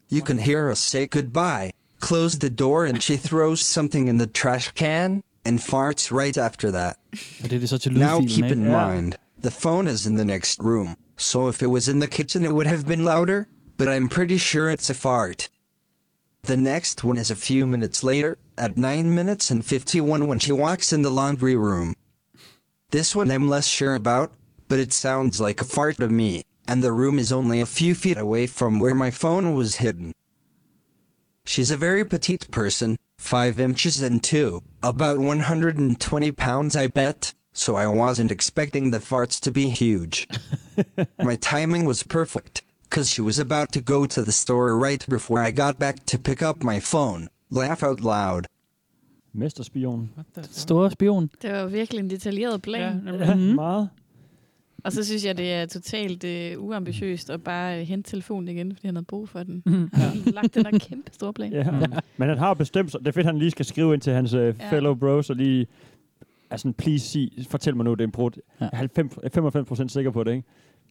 [SPEAKER 19] You can hear us say goodbye, close the door, and she throws something in the trash can and farts right after that. now
[SPEAKER 4] lydfilen,
[SPEAKER 19] keep
[SPEAKER 4] ikke?
[SPEAKER 19] in
[SPEAKER 4] Ja.
[SPEAKER 19] mind, the phone is in the next room, so if it was in the kitchen, it would have been louder, but I'm pretty sure it's a fart. The next one is a few minutes later, at 9 minutes and 51 when she walks in the laundry room. This one I'm less sure about, but it sounds like a fart to me, and the room is only a few feet away from where my phone was hidden. She's a very petite person, 5 inches and 2, about 120 pounds I bet, so I wasn't expecting the farts to be huge. My timing was perfect, cause she was about to go to the store right before I got back to pick up my phone. Laugh out loud.
[SPEAKER 6] Mesterspion.
[SPEAKER 4] Store spion.
[SPEAKER 7] Det var virkelig en detaljeret plan. Mhm.
[SPEAKER 6] Ja, meget.
[SPEAKER 7] Og så synes jeg, det er totalt øh, uambitiøst at bare øh, hente telefonen igen, fordi han havde brug for den.
[SPEAKER 5] Mm.
[SPEAKER 7] Ja. Lagt den der kæmpe store plan.
[SPEAKER 6] Mhm. Ja.
[SPEAKER 4] Mm.
[SPEAKER 6] Men han har bestemt sig. Det er fedt, han lige skal skrive ind til hans øh,
[SPEAKER 7] Ja.
[SPEAKER 6] fellow bros og lige... Altså, please sig, fortæl mig nu, det er en brud. Jeg er 90 95 sikker på det, ikke?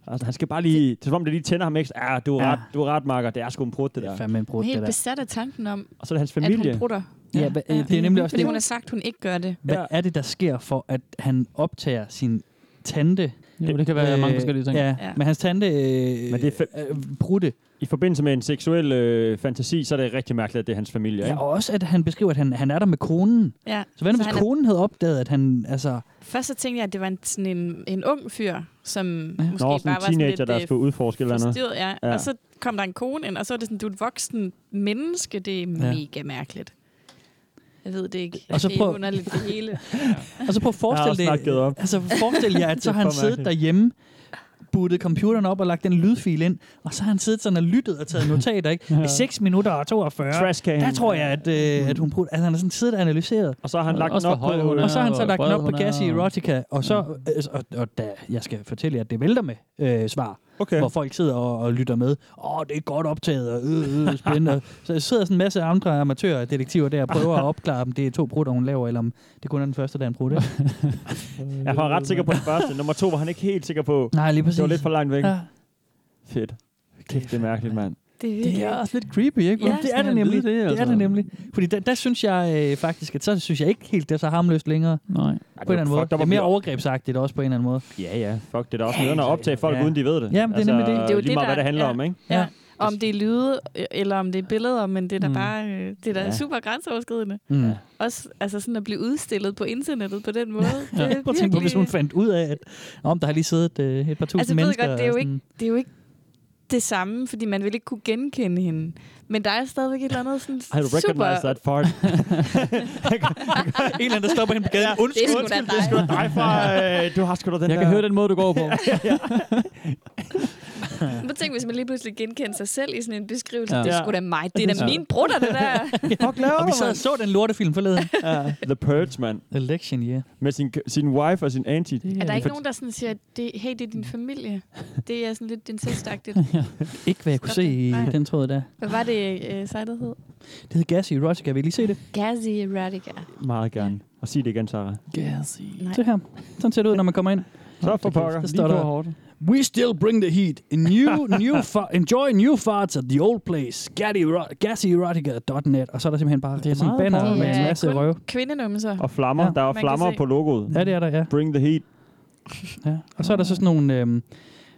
[SPEAKER 6] Altså, han skal bare lige... Det er som om, det lige tænder ham ekstra. Ja, du er
[SPEAKER 4] Ja.
[SPEAKER 6] ret, du er ret, Marker. Det er sgu en brud, det der. Det er
[SPEAKER 4] fandme en brud,
[SPEAKER 7] Hun er helt besat af tanken om,
[SPEAKER 6] Og så er det hans
[SPEAKER 7] at
[SPEAKER 6] familie.
[SPEAKER 7] hun brutter.
[SPEAKER 4] Ja, hva- øh, det er nemlig også
[SPEAKER 7] Fordi
[SPEAKER 4] det.
[SPEAKER 7] hun har sagt, hun ikke gør det.
[SPEAKER 4] Hvad er det, der sker for, at han optager sin tante? Øh,
[SPEAKER 5] Jo, det kan være mange forskellige ting.
[SPEAKER 4] Ja,
[SPEAKER 5] Ja.
[SPEAKER 4] men hans tante... Øh,
[SPEAKER 6] Øh, Men det er fe-
[SPEAKER 4] brudte.
[SPEAKER 6] I forbindelse med en seksuel øh, fantasi, så er det rigtig mærkeligt, at det er hans familie,
[SPEAKER 4] ja,
[SPEAKER 6] ikke?
[SPEAKER 4] og også, at han beskriver, at han, han er der med konen.
[SPEAKER 7] Ja.
[SPEAKER 4] Så hvad nu,
[SPEAKER 7] Så
[SPEAKER 4] hvis
[SPEAKER 7] han er-
[SPEAKER 4] konen havde opdaget, at han... Altså,
[SPEAKER 7] Først så tænkte jeg, at det var en, sådan en, en ung fyr, som måske bare
[SPEAKER 6] Nå, sådan
[SPEAKER 7] var
[SPEAKER 6] en
[SPEAKER 7] sådan
[SPEAKER 6] teenager,
[SPEAKER 7] lidt,
[SPEAKER 6] der
[SPEAKER 7] øh,
[SPEAKER 6] skulle udforske eller noget.
[SPEAKER 7] forstyrret, ja. ja. Og så kom der en kone ind, og så var det sådan, du er et voksen menneske, det er mega mærkeligt. Jeg ved det ikke.
[SPEAKER 4] Og så
[SPEAKER 7] det er
[SPEAKER 4] prøv-
[SPEAKER 7] underligt det hele.
[SPEAKER 4] <laughs> Og så prøv
[SPEAKER 6] Jeg har
[SPEAKER 4] at forestille
[SPEAKER 6] også snart givet op.
[SPEAKER 4] Altså forestil jer, at så
[SPEAKER 6] Det er
[SPEAKER 4] har han
[SPEAKER 6] for
[SPEAKER 4] siddet
[SPEAKER 6] mærkeligt.
[SPEAKER 4] derhjemme, bootet computeren op og lagt den lydfil ind, og så har han siddet sådan og lyttet
[SPEAKER 6] <laughs>
[SPEAKER 4] og taget notater, ikke? I 6 minutter og 42.
[SPEAKER 6] Trashcan.
[SPEAKER 4] Der tror jeg, at, øh, at hun brugte, altså, han har sådan siddet og analyseret.
[SPEAKER 6] Mm. Og så har han
[SPEAKER 4] Og
[SPEAKER 6] lagt
[SPEAKER 4] også
[SPEAKER 6] den op
[SPEAKER 4] hvor høj
[SPEAKER 6] på- Mm.
[SPEAKER 4] hun er, Og så har han så
[SPEAKER 6] hvor
[SPEAKER 4] lagt den
[SPEAKER 6] bred
[SPEAKER 4] op på
[SPEAKER 6] hun er,
[SPEAKER 4] gas i
[SPEAKER 6] og-
[SPEAKER 4] erotica, og så, øh, og, og da, jeg skal fortælle jer, at det vælter med øh, svar.
[SPEAKER 6] Okay.
[SPEAKER 4] Hvor folk sidder og, og lytter med. Åh, oh, det er godt optaget, og øh, øh, spændende.
[SPEAKER 6] <laughs>
[SPEAKER 4] så der sidder sådan en masse andre amatører og detektiver der og prøver at opklare, om det er to brutter, hun laver, eller om det kun er den første, der er en
[SPEAKER 6] <laughs>
[SPEAKER 4] brud. ikke?
[SPEAKER 6] Jeg var ret sikker på den første. Nummer to var han ikke helt sikker på.
[SPEAKER 4] Nej, lige
[SPEAKER 6] Det var
[SPEAKER 4] præcis.
[SPEAKER 6] lidt for langt væk.
[SPEAKER 4] Ja.
[SPEAKER 6] Fedt. Kæft, det er mærkeligt, mand.
[SPEAKER 7] Det er,
[SPEAKER 4] det er også lidt creepy, ikke?
[SPEAKER 6] Ja,
[SPEAKER 4] Ja, det er
[SPEAKER 6] skal
[SPEAKER 4] det
[SPEAKER 6] han
[SPEAKER 4] nemlig.
[SPEAKER 6] vide det,
[SPEAKER 4] Det, det er
[SPEAKER 6] altså?
[SPEAKER 4] det nemlig. Fordi der, der synes jeg øh, faktisk, at så synes jeg ikke helt, det er så harmløst længere.
[SPEAKER 5] Nej.
[SPEAKER 4] På
[SPEAKER 5] Ej,
[SPEAKER 4] en
[SPEAKER 5] det
[SPEAKER 6] var-
[SPEAKER 4] eller anden
[SPEAKER 6] fuck,
[SPEAKER 4] måde.
[SPEAKER 6] der
[SPEAKER 4] Det
[SPEAKER 6] var
[SPEAKER 4] er mere
[SPEAKER 6] flere-
[SPEAKER 4] overgrebsagtigt også på en eller anden måde.
[SPEAKER 6] Ja, ja. Fuck, det er da også nederen at optage folk, uden de ved det. Altså.
[SPEAKER 4] Jamen, det er nemlig det.
[SPEAKER 7] Det Altså, er jo
[SPEAKER 6] lige
[SPEAKER 7] det,
[SPEAKER 6] meget,
[SPEAKER 7] der-
[SPEAKER 6] hvad det handler
[SPEAKER 7] ja.
[SPEAKER 6] om, ikke?
[SPEAKER 7] Ja. Om det er lyde, øh, eller om det er billeder, men det er da
[SPEAKER 6] Mm.
[SPEAKER 7] bare øh, det er da
[SPEAKER 6] Ja.
[SPEAKER 7] ja. super grænseoverskridende.
[SPEAKER 4] Mm.
[SPEAKER 7] Også altså sådan at blive udstillet på internettet på den måde. Det er
[SPEAKER 4] Ja. Prøv at tænke på, hvis hun fandt ud af, at om der har lige siddet øh, et par tusind
[SPEAKER 7] altså, jeg ved
[SPEAKER 4] mennesker.
[SPEAKER 7] godt, det er, jo
[SPEAKER 4] og
[SPEAKER 7] ikke, det er jo ikke det samme, fordi man vil ikke kunne genkende hende. Men der er stadigvæk et eller andet sådan
[SPEAKER 6] I recognize
[SPEAKER 7] super...
[SPEAKER 6] that
[SPEAKER 5] <laughs>
[SPEAKER 6] fart.
[SPEAKER 4] en eller anden, der stopper hende på gaden.
[SPEAKER 7] Undskyld, det er sgu da undskyld, det er sgu
[SPEAKER 5] <laughs>
[SPEAKER 6] dig fra... Øh, du har sgu da den
[SPEAKER 5] Jeg
[SPEAKER 6] der...
[SPEAKER 5] kan høre den måde, du går på.
[SPEAKER 7] Men tænk, hvis man lige pludselig genkendte sig selv i sådan en beskrivelse.
[SPEAKER 4] Ja.
[SPEAKER 7] Ja. Det er sgu da mig. Det er da
[SPEAKER 4] <laughs> Ja.
[SPEAKER 7] mine brutter, det der.
[SPEAKER 6] <laughs> Fuck laver
[SPEAKER 4] og vi sad og så den lortefilm forleden.
[SPEAKER 6] The Purge, man.
[SPEAKER 4] Election, ja. Yeah.
[SPEAKER 6] Med sin, sin wife og sin auntie.
[SPEAKER 7] Er der ikke nogen, der sådan siger, det, hey, det er
[SPEAKER 4] <laughs>
[SPEAKER 7] din familie? Det er sådan lidt incestagtigt.
[SPEAKER 4] Ikke hvad jeg kunne se i
[SPEAKER 7] Nej.
[SPEAKER 4] den tråd der.
[SPEAKER 7] Hvad var det, øh, sejtet hed?
[SPEAKER 4] Det hedder Gassy Erotica. Vil I lige se det?
[SPEAKER 7] Gazi Erotica.
[SPEAKER 6] Meget gerne. Og sig det igen, Sarah.
[SPEAKER 4] Gassy.
[SPEAKER 7] Nej.
[SPEAKER 4] Se her. Sådan ser det ud, når man kommer ind.
[SPEAKER 6] Så for pokker.
[SPEAKER 4] Så
[SPEAKER 6] Lige
[SPEAKER 4] står
[SPEAKER 6] på
[SPEAKER 4] der,
[SPEAKER 6] hårdt.
[SPEAKER 4] We still bring the heat. A <laughs> New, new fa- enjoy new farts at the old place. Gassyerotica.net. Og så er der simpelthen bare det er sådan en banner med en masse røv.
[SPEAKER 7] Kvindenumser.
[SPEAKER 6] Og flammer. Ja. Der er
[SPEAKER 7] Altså, Man kan
[SPEAKER 6] flammer
[SPEAKER 7] se.
[SPEAKER 6] på logoet.
[SPEAKER 4] Ja, det er der, ja.
[SPEAKER 6] Bring the heat.
[SPEAKER 4] <laughs> Ja. Og så er der så sådan nogle, øhm,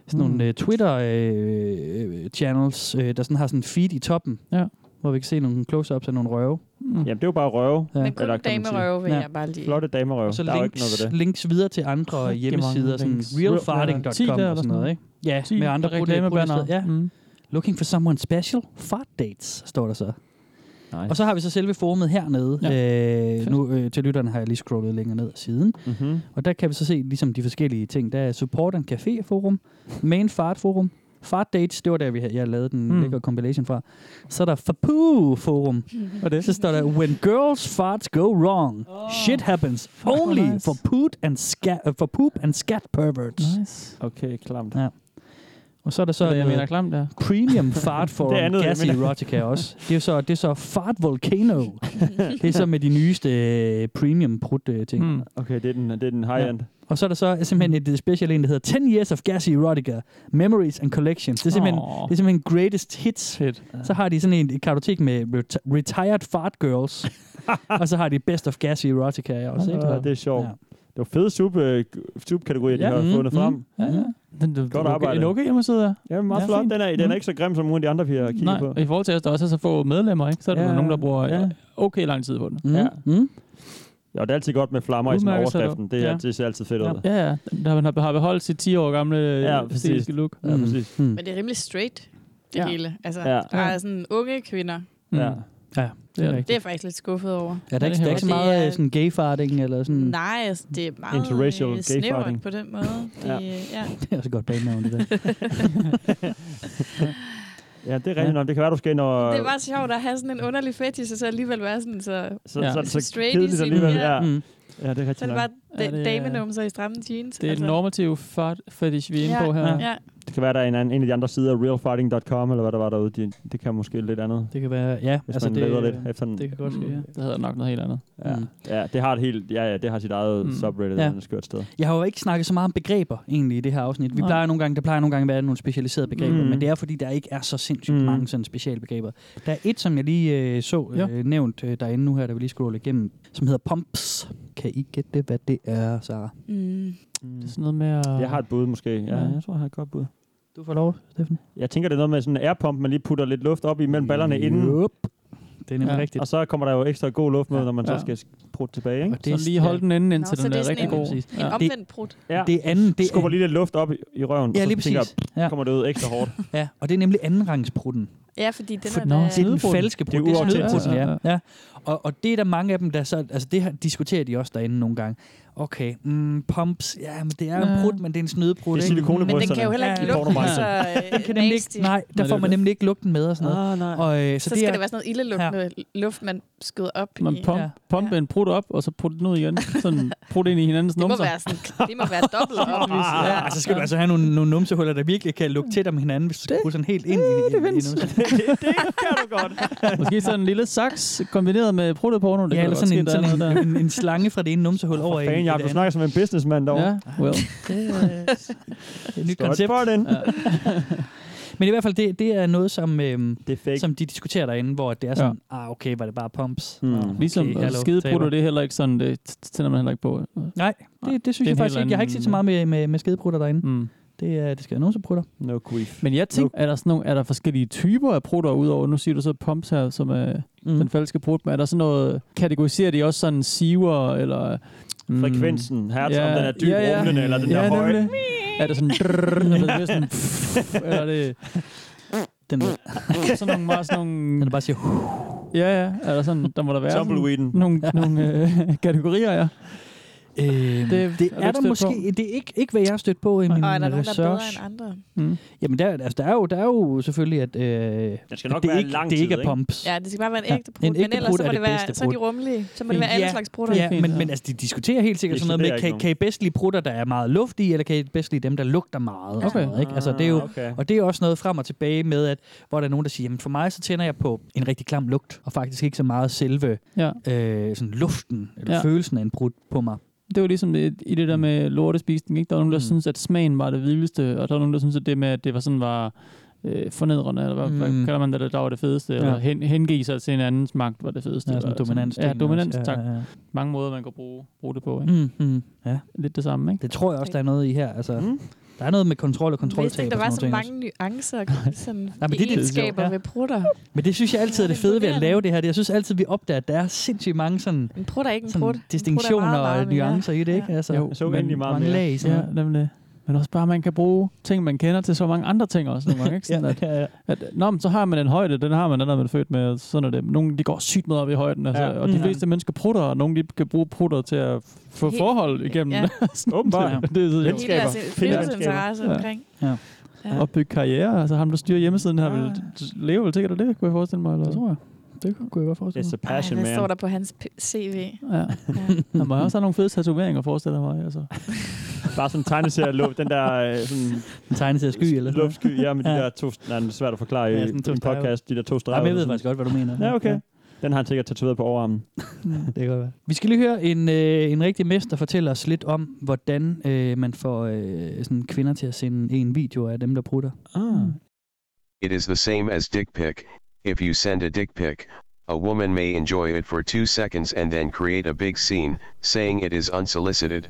[SPEAKER 4] sådan
[SPEAKER 6] Mm.
[SPEAKER 4] nogle øh, Twitter-channels, øh, der sådan har sådan en feed i toppen,
[SPEAKER 5] ja.
[SPEAKER 4] hvor vi kan se nogle close-ups af nogle røve.
[SPEAKER 5] Mm.
[SPEAKER 6] Jamen, det er jo bare røve.
[SPEAKER 4] Ja.
[SPEAKER 7] Men kun damerøve vil jeg bare lige-
[SPEAKER 6] Flotte damerøve.
[SPEAKER 4] Og så
[SPEAKER 6] der er jo ikke noget
[SPEAKER 4] links,
[SPEAKER 6] ved det.
[SPEAKER 4] links videre til andre
[SPEAKER 6] Rigtig
[SPEAKER 4] hjemmesider,
[SPEAKER 6] mange
[SPEAKER 4] sådan
[SPEAKER 6] links.
[SPEAKER 4] realfarting.com og
[SPEAKER 6] Ti der eller
[SPEAKER 4] sådan noget, ikke? Ja,
[SPEAKER 6] Ti
[SPEAKER 4] med andre
[SPEAKER 6] reklamebannere.
[SPEAKER 4] reklamebanner. Ja.
[SPEAKER 5] Mm.
[SPEAKER 4] Looking for someone special, fart dates, står der så. Nice. Og så har vi så selve forumet hernede. Ja. Øh, nu øh, til lytterne har jeg lige scrollet længere ned ad siden.
[SPEAKER 6] Mm-hmm.
[SPEAKER 4] Og der kan vi så se ligesom de forskellige ting. Der er Support and Café Forum, Main Fart Forum, Fart Dates, det var der, vi havde, jeg lavede den
[SPEAKER 5] Mm.
[SPEAKER 4] mm. lækre compilation fra. Så er der Fapu Forum.
[SPEAKER 5] <laughs> Og det?
[SPEAKER 4] Så står der, When girls farts go wrong, oh. shit happens only
[SPEAKER 6] Hvor nice.
[SPEAKER 4] for, poot and scat, uh, for poop and scat perverts.
[SPEAKER 5] Nice.
[SPEAKER 6] Okay, klamt.
[SPEAKER 4] Ja. Og så er der så øh,
[SPEAKER 5] Det Øh, er det, jeg mener,
[SPEAKER 4] noget
[SPEAKER 5] klamt, ja.
[SPEAKER 4] Mhm.
[SPEAKER 6] <laughs>
[SPEAKER 4] Premium Fart
[SPEAKER 5] Det er
[SPEAKER 4] Forum
[SPEAKER 5] andet, jeg
[SPEAKER 4] Gassy
[SPEAKER 5] mener.
[SPEAKER 4] Erotica også. Det er så, det er så Fart Volcano. det er så med de nyeste øh, premium prut øh, ting.
[SPEAKER 6] Mm. Okay, det er den, det er den high-end. Ja.
[SPEAKER 4] Og så er der så øh, simpelthen et special en, der hedder 10 Years of Gassy Erotica, Memories and Collections. Det er simpelthen,
[SPEAKER 5] Åh.
[SPEAKER 4] oh. det er simpelthen greatest hits. Hit. Så har de sådan en, et kartotek med reti- Retired Fart
[SPEAKER 6] <laughs>
[SPEAKER 4] Girls, og så har de Best of Gassy Erotica også. Ikke?
[SPEAKER 6] Ah, det er sjovt. Ja. Det var fede sub, øh, subkategorier, de
[SPEAKER 4] Ja.
[SPEAKER 6] har
[SPEAKER 4] Mm,
[SPEAKER 6] fundet
[SPEAKER 4] mm.
[SPEAKER 6] frem.
[SPEAKER 5] Ja, ja. Den, den,
[SPEAKER 6] Godt
[SPEAKER 5] okay,
[SPEAKER 6] arbejde.
[SPEAKER 5] En okay hjemmeside der.
[SPEAKER 6] Ja, meget
[SPEAKER 5] Ja,
[SPEAKER 6] flot.
[SPEAKER 5] fint.
[SPEAKER 6] Den er, den
[SPEAKER 4] Mhm.
[SPEAKER 5] Mm.
[SPEAKER 6] er ikke så grim som nogle af de andre, vi har kigget
[SPEAKER 5] Nej, Mhm.
[SPEAKER 6] på.
[SPEAKER 5] og i forhold til, at der også er så få medlemmer, ikke? så er der
[SPEAKER 6] Ja,
[SPEAKER 5] nogen, der bruger
[SPEAKER 6] ja.
[SPEAKER 5] ja. okay lang tid på den.
[SPEAKER 6] Ja.
[SPEAKER 4] Mm.
[SPEAKER 6] Ja, og det er altid godt med flammer i sådan
[SPEAKER 5] Mhm. Udmærket setup.
[SPEAKER 6] overskriften. Det, er,
[SPEAKER 5] Ja.
[SPEAKER 6] ja. det ser altid fedt
[SPEAKER 5] Ja,
[SPEAKER 6] ud.
[SPEAKER 5] ja, ja. Der man har har beholdt sit 10 år gamle
[SPEAKER 6] Ja,
[SPEAKER 5] ja,
[SPEAKER 6] præcis.
[SPEAKER 5] æstetiske look.
[SPEAKER 6] Ja, præcis.
[SPEAKER 4] Mm.
[SPEAKER 7] Men det er rimelig straight, det
[SPEAKER 5] Ja.
[SPEAKER 7] ja. hele. Altså,
[SPEAKER 5] Ja.
[SPEAKER 7] ja. der er sådan unge kvinder.
[SPEAKER 6] Ja.
[SPEAKER 4] Mm. Ja, det
[SPEAKER 7] Det
[SPEAKER 4] er
[SPEAKER 7] er, det er
[SPEAKER 4] rigtigt.
[SPEAKER 7] jeg faktisk lidt skuffet over.
[SPEAKER 4] Ja, der er ikke, der er ikke så
[SPEAKER 7] Og det
[SPEAKER 4] meget
[SPEAKER 7] er-
[SPEAKER 4] øh, sådan gay-farting eller sådan...
[SPEAKER 7] Nej, altså, det er meget
[SPEAKER 4] Interracial
[SPEAKER 7] Interracial snævert
[SPEAKER 4] gayfarting.
[SPEAKER 7] på den måde. Det,
[SPEAKER 4] Ja.
[SPEAKER 7] ja. ja.
[SPEAKER 4] <laughs> Det er også et godt bagenavn, det der.
[SPEAKER 6] Ja, det er
[SPEAKER 4] Ja.
[SPEAKER 6] rigtigt nok. Det kan være, du skal ind og...
[SPEAKER 7] det var sjovt at have sådan en underlig fetish, og så alligevel være sådan så,
[SPEAKER 6] så, ja. så, så, så
[SPEAKER 7] straight i
[SPEAKER 6] kedeligt
[SPEAKER 7] sin...
[SPEAKER 6] alligevel.
[SPEAKER 7] Ja.
[SPEAKER 6] Ja.
[SPEAKER 4] Mm.
[SPEAKER 6] ja, det er
[SPEAKER 7] Så
[SPEAKER 6] rigtigt
[SPEAKER 7] er det
[SPEAKER 6] nok.
[SPEAKER 7] bare
[SPEAKER 5] Ja, det er-
[SPEAKER 7] da- damenumser i stramme jeans.
[SPEAKER 5] Det er altså. normativ fart, fetish, vi er inde
[SPEAKER 7] Ja,
[SPEAKER 5] på her.
[SPEAKER 7] ja.
[SPEAKER 6] Det kan være, der er en, anden- en af de andre sider, realfighting.com, eller hvad der var derude. De, det kan måske lidt andet.
[SPEAKER 4] Det kan være, ja.
[SPEAKER 6] Hvis altså man det, lidt efter den.
[SPEAKER 4] det kan godt ske, ja.
[SPEAKER 5] Det hedder nok noget helt andet.
[SPEAKER 6] Ja. ja, det har et helt, ja, ja, det har sit eget
[SPEAKER 4] Mm.
[SPEAKER 6] mm. subreddit,
[SPEAKER 4] Ja.
[SPEAKER 6] ja. et skørt sted.
[SPEAKER 4] Jeg har jo ikke snakket så meget om begreber egentlig i det her afsnit. Vi
[SPEAKER 5] Nej.
[SPEAKER 4] plejer nogle gange, der plejer nogle gange at være nogle specialiserede begreber,
[SPEAKER 5] Mm.
[SPEAKER 4] mm. men det er fordi, der ikke er så sindssygt
[SPEAKER 5] Mm.
[SPEAKER 4] mm. mange sådan specialbegreber. Der er et, som jeg lige øh, så øh,
[SPEAKER 5] Ja.
[SPEAKER 4] nævnt øh, derinde nu her, der vi lige scroller igennem, som hedder pumps. Kan I gætte, hvad det er, Sarah?
[SPEAKER 7] Mm.
[SPEAKER 5] Det er sådan noget med at...
[SPEAKER 6] Jeg har et bud måske. Ja,
[SPEAKER 5] Ja.
[SPEAKER 6] jeg tror, jeg har et godt bud.
[SPEAKER 4] Du får lov, Steffen.
[SPEAKER 6] Jeg tænker, det er noget med sådan en airpump, man lige putter lidt luft op imellem ballerne inden.
[SPEAKER 4] Det er nemlig
[SPEAKER 6] ja.
[SPEAKER 4] rigtigt.
[SPEAKER 6] Og så kommer der jo ekstra god luft med, når man
[SPEAKER 4] Ja.
[SPEAKER 6] så skal prutte tilbage. Ikke?
[SPEAKER 4] Og det er- Så lige holde ja. den inde,
[SPEAKER 7] Nå, så det er sådan en, en omvendt brud.
[SPEAKER 6] Ja.
[SPEAKER 4] Det anden, det
[SPEAKER 6] skubber lige lidt luft op i, i røven,
[SPEAKER 4] Ja,
[SPEAKER 6] og så
[SPEAKER 4] lige
[SPEAKER 6] tænker
[SPEAKER 4] præcis.
[SPEAKER 6] jeg, kommer det ud ekstra hårdt.
[SPEAKER 4] <laughs> Ja, og det er nemlig andenrangsprutten.
[SPEAKER 7] Ja, fordi den
[SPEAKER 4] For,
[SPEAKER 7] er
[SPEAKER 4] Nå,
[SPEAKER 7] da-
[SPEAKER 4] det er den falske brud. Det er snydebrutten,
[SPEAKER 6] uautentisk.
[SPEAKER 4] ja. ja. Og, og det er der mange af dem, der så... Altså, det her, diskuterer de også derinde nogle gange. Okay, mm, pumps, ja, men det er jo en
[SPEAKER 5] Ja.
[SPEAKER 4] brud, men det er en snydebrud.
[SPEAKER 6] Det er
[SPEAKER 4] ikke?
[SPEAKER 6] silikonebryster, Men den kan jo
[SPEAKER 7] heller ikke
[SPEAKER 4] Ja,
[SPEAKER 7] lugte
[SPEAKER 6] pornobranchen. <laughs>
[SPEAKER 7] så, øh,
[SPEAKER 4] Den kan nemlig
[SPEAKER 7] nasty.
[SPEAKER 4] ikke, nej,
[SPEAKER 7] Nej,
[SPEAKER 4] der
[SPEAKER 7] det
[SPEAKER 4] får
[SPEAKER 7] er
[SPEAKER 4] man
[SPEAKER 7] det.
[SPEAKER 4] nemlig ikke lugten med og sådan noget.
[SPEAKER 6] Ah, nej.
[SPEAKER 4] Og, øh,
[SPEAKER 7] Så,
[SPEAKER 4] så,
[SPEAKER 7] så
[SPEAKER 4] det
[SPEAKER 7] skal
[SPEAKER 4] er,
[SPEAKER 7] det være sådan noget ildelugtende luft, man skyder op
[SPEAKER 5] Man
[SPEAKER 7] i.
[SPEAKER 5] pump,
[SPEAKER 7] Ja.
[SPEAKER 5] ja. pumpe en prut op, og så putte den ud igen. Sådan prut ind i hinandens
[SPEAKER 7] Det må
[SPEAKER 5] numser.
[SPEAKER 7] være sådan, det må være dobbelt
[SPEAKER 4] <laughs>
[SPEAKER 7] op.
[SPEAKER 4] Ah, ja, så skal du altså have nogle, nogle numsehuller, der virkelig kan lugte tæt om hinanden, hvis du skal bruge sådan helt ind i,
[SPEAKER 6] Øh,
[SPEAKER 4] i, i, i
[SPEAKER 6] <laughs>
[SPEAKER 7] <laughs>
[SPEAKER 5] Måske sådan en lille saks kombineret med prutteporno. Det
[SPEAKER 4] Ja,
[SPEAKER 5] kan
[SPEAKER 4] eller
[SPEAKER 5] da godt
[SPEAKER 4] sådan, en,
[SPEAKER 5] ske, der er
[SPEAKER 4] sådan
[SPEAKER 5] noget
[SPEAKER 4] en,
[SPEAKER 5] der.
[SPEAKER 4] en, en, slange fra det ene numsehul over i
[SPEAKER 6] Fan,
[SPEAKER 4] i det
[SPEAKER 6] Jacob, du
[SPEAKER 4] andet.
[SPEAKER 6] snakker som en businessman derovre.
[SPEAKER 4] Ja, well. Et nyt
[SPEAKER 6] Skål
[SPEAKER 4] koncept.
[SPEAKER 6] for den.
[SPEAKER 4] Men i hvert fald, det, det er noget, som, øhm,
[SPEAKER 6] det er
[SPEAKER 4] som de diskuterer derinde, hvor det er sådan, ah, okay, var det bare pumps?
[SPEAKER 5] Mm.
[SPEAKER 6] Hmm.
[SPEAKER 4] Ah, okay,
[SPEAKER 5] Ligesom okay,
[SPEAKER 4] hallo,
[SPEAKER 5] skideprutter,
[SPEAKER 4] taber.
[SPEAKER 5] det er heller ikke sådan, det t- tænder man heller ikke på.
[SPEAKER 4] Nej, det, det synes
[SPEAKER 5] Det er en
[SPEAKER 4] jeg faktisk
[SPEAKER 5] helt
[SPEAKER 4] ikke. Jeg har ikke set så meget med, med, med skideprutter derinde.
[SPEAKER 5] Mm.
[SPEAKER 4] Det, er, det skal være nogen, som prutter.
[SPEAKER 6] No grief.
[SPEAKER 5] Men jeg tænkte, er der, sådan nogle, er der forskellige typer af prutter udover, nu siger du så pumps her, som er mm. den falske prut, men er der sådan noget, kategoriserer de også sådan siver, eller... Mm,
[SPEAKER 6] Frekvensen, hertz, om den er dyb rumlende, eller den
[SPEAKER 5] ja,
[SPEAKER 6] der høje.
[SPEAKER 5] nemlig. Er det sådan... Drrr, eller er det
[SPEAKER 6] <laughs>
[SPEAKER 5] mere sådan pff, <laughs> eller er det...
[SPEAKER 4] Den der.
[SPEAKER 5] sådan nogle meget sådan nogle...
[SPEAKER 4] Den bare siger...
[SPEAKER 5] Ja, ja. Er der sådan, der må der være sådan
[SPEAKER 6] Tumbleweeden.
[SPEAKER 5] nogle, nogle øh, kategorier, ja.
[SPEAKER 4] Øhm, det, det
[SPEAKER 5] du
[SPEAKER 4] er
[SPEAKER 5] ikke
[SPEAKER 4] der
[SPEAKER 5] stødt
[SPEAKER 4] måske...
[SPEAKER 5] på?
[SPEAKER 4] Det er ikke, ikke, hvad jeg har stødt på i min
[SPEAKER 7] Og er der nogen, der er
[SPEAKER 4] research.
[SPEAKER 7] bedre end andre?
[SPEAKER 4] Mm. Jamen, der, altså, der, er jo, der er jo selvfølgelig, at, øh, det,
[SPEAKER 6] skal nok
[SPEAKER 4] det
[SPEAKER 6] være
[SPEAKER 4] ikke,
[SPEAKER 6] lang
[SPEAKER 4] det
[SPEAKER 6] tid,
[SPEAKER 4] ikke er
[SPEAKER 6] ikke?
[SPEAKER 4] pumps.
[SPEAKER 7] Ja, det skal bare være en ægte prut,
[SPEAKER 4] en
[SPEAKER 7] men
[SPEAKER 4] ægte
[SPEAKER 7] ellers
[SPEAKER 4] prut
[SPEAKER 7] så
[SPEAKER 4] er
[SPEAKER 7] må
[SPEAKER 4] det
[SPEAKER 7] det være-
[SPEAKER 4] bedste
[SPEAKER 7] så er de
[SPEAKER 4] prut.
[SPEAKER 7] rummelige. Så må det være alle slags prutter.
[SPEAKER 4] Ja,
[SPEAKER 7] Fint,
[SPEAKER 4] men,
[SPEAKER 7] ja.
[SPEAKER 4] men altså, de diskuterer helt sikkert
[SPEAKER 6] De
[SPEAKER 4] sådan noget med,
[SPEAKER 6] inkluderer
[SPEAKER 4] kan,
[SPEAKER 6] ikke
[SPEAKER 4] kan I bedst lide prutter, der er meget luftige, eller kan I bedst lide dem, der lugter meget? Og, sådan noget, ikke? Altså, det er jo,
[SPEAKER 6] Ah, okay.
[SPEAKER 4] og det er også noget frem og tilbage med, at hvor der er nogen, der siger, jamen for mig så tænder jeg på en rigtig klam lugt, og faktisk ikke så meget selve
[SPEAKER 5] Ja.
[SPEAKER 4] øh, sådan luften, eller
[SPEAKER 5] Ja.
[SPEAKER 4] ja. følelsen af en brud på mig.
[SPEAKER 5] Det var ligesom det, i det der med lortespisning, ikke? Der var nogen, der mm. synes at smagen var det vildeste, og der var nogen, der synes at det med, at det var sådan var øh, fornedrende, eller hvad, mm. hvad
[SPEAKER 4] Mm.
[SPEAKER 5] kalder man det, der, der var det fedeste,
[SPEAKER 4] Ja.
[SPEAKER 5] ja. eller hen, hengive sig til en andens magt var det fedeste.
[SPEAKER 4] Ja, sådan
[SPEAKER 5] eller
[SPEAKER 4] dominans-
[SPEAKER 5] Ja,
[SPEAKER 4] ting
[SPEAKER 5] dominans,
[SPEAKER 4] også.
[SPEAKER 5] tak.
[SPEAKER 4] Ja,
[SPEAKER 5] Ja,
[SPEAKER 4] ja,
[SPEAKER 5] ja.
[SPEAKER 4] ja.
[SPEAKER 5] Mange måder, man kan bruge, bruge det på, ikke?
[SPEAKER 4] Mm, mm, ja.
[SPEAKER 5] Lidt det samme, ikke?
[SPEAKER 4] Det tror jeg også, der er noget i her. Altså, mm. Der er noget med kontrol og
[SPEAKER 7] Jeg vidste
[SPEAKER 4] kontroltab.
[SPEAKER 7] ikke,
[SPEAKER 4] og
[SPEAKER 7] der
[SPEAKER 4] sådan
[SPEAKER 7] var
[SPEAKER 4] nogle
[SPEAKER 7] så
[SPEAKER 4] ting også.
[SPEAKER 7] mange nuancer og sådan
[SPEAKER 4] men det er lidt sjovt,
[SPEAKER 7] egenskaber
[SPEAKER 4] ja.
[SPEAKER 7] ved prutter.
[SPEAKER 4] Men det synes jeg altid er det fede ved at lave det her. Det- Jeg synes altid, vi opdager, at der er sindssygt mange sådan,
[SPEAKER 7] En prut er ikke en
[SPEAKER 4] sådan
[SPEAKER 7] prut. En prut er
[SPEAKER 4] distinktioner
[SPEAKER 7] meget,
[SPEAKER 4] og
[SPEAKER 7] meget mere.
[SPEAKER 4] nuancer i det, ikke? Altså,
[SPEAKER 5] Jo,
[SPEAKER 4] men- mange lag i sådan
[SPEAKER 5] ja,
[SPEAKER 4] noget.
[SPEAKER 5] nemlig. Men også bare, at man kan bruge ting, man kender til så mange andre ting også nogle gange. Ikke? Sådan, at,
[SPEAKER 4] <laughs> ja, ja.
[SPEAKER 5] At, nå, men så har man en højde, den har man, den er man født med. og Sådan er det. Nogle de går sygt meget op i højden, altså,
[SPEAKER 6] Ja.
[SPEAKER 5] og de
[SPEAKER 6] Mm.
[SPEAKER 5] fleste mennesker prutter, og nogle de kan bruge prutter til at f- få
[SPEAKER 7] Helt-
[SPEAKER 5] forhold igennem.
[SPEAKER 7] ja.
[SPEAKER 5] <laughs> Sådan,
[SPEAKER 6] Åbenbart.
[SPEAKER 5] det, det er så
[SPEAKER 7] Hele deres fritidsinteresse omkring.
[SPEAKER 4] Ja.
[SPEAKER 7] Ja. Ah.
[SPEAKER 5] Og bygge karriere. Altså ham, der styrer hjemmesiden her, vil leve vel sikkert af det, kunne jeg forestille mig. Eller? Det tror jeg. Det kunne jeg godt forestille mig.
[SPEAKER 6] It's a passion,
[SPEAKER 7] Ej, hvad står
[SPEAKER 6] man.
[SPEAKER 7] der på hans p- CV?
[SPEAKER 5] Ja. Han må også have nogle fede tatoveringer, forestiller jeg
[SPEAKER 7] <laughs>
[SPEAKER 5] mig. Altså.
[SPEAKER 6] Bare sådan en tegneserie luft, den der øh, sådan...
[SPEAKER 4] En tegneserie sky, eller?
[SPEAKER 6] Luftsky, ja, med de der to... Nej, det er svært at forklare
[SPEAKER 4] Ja,
[SPEAKER 6] ja, i
[SPEAKER 4] sådan to
[SPEAKER 6] en
[SPEAKER 4] streger.
[SPEAKER 6] podcast, de der to streger.
[SPEAKER 4] Jamen, jeg ved
[SPEAKER 6] Sådan-
[SPEAKER 4] faktisk godt, hvad du mener.
[SPEAKER 6] Ja, okay.
[SPEAKER 4] Ja.
[SPEAKER 6] Den har han sikkert tatoveret på overarmen.
[SPEAKER 4] det kan godt være. Mm. Vi skal lige høre en, øh, en rigtig mester fortælle os lidt om, hvordan øh, man får øh, sådan kvinder til at sende en video af dem, der prutter. Ah.
[SPEAKER 15] It is the same as dick pic. If you send a dick pic, a woman may enjoy it for two seconds and then create a big scene, saying it is unsolicited.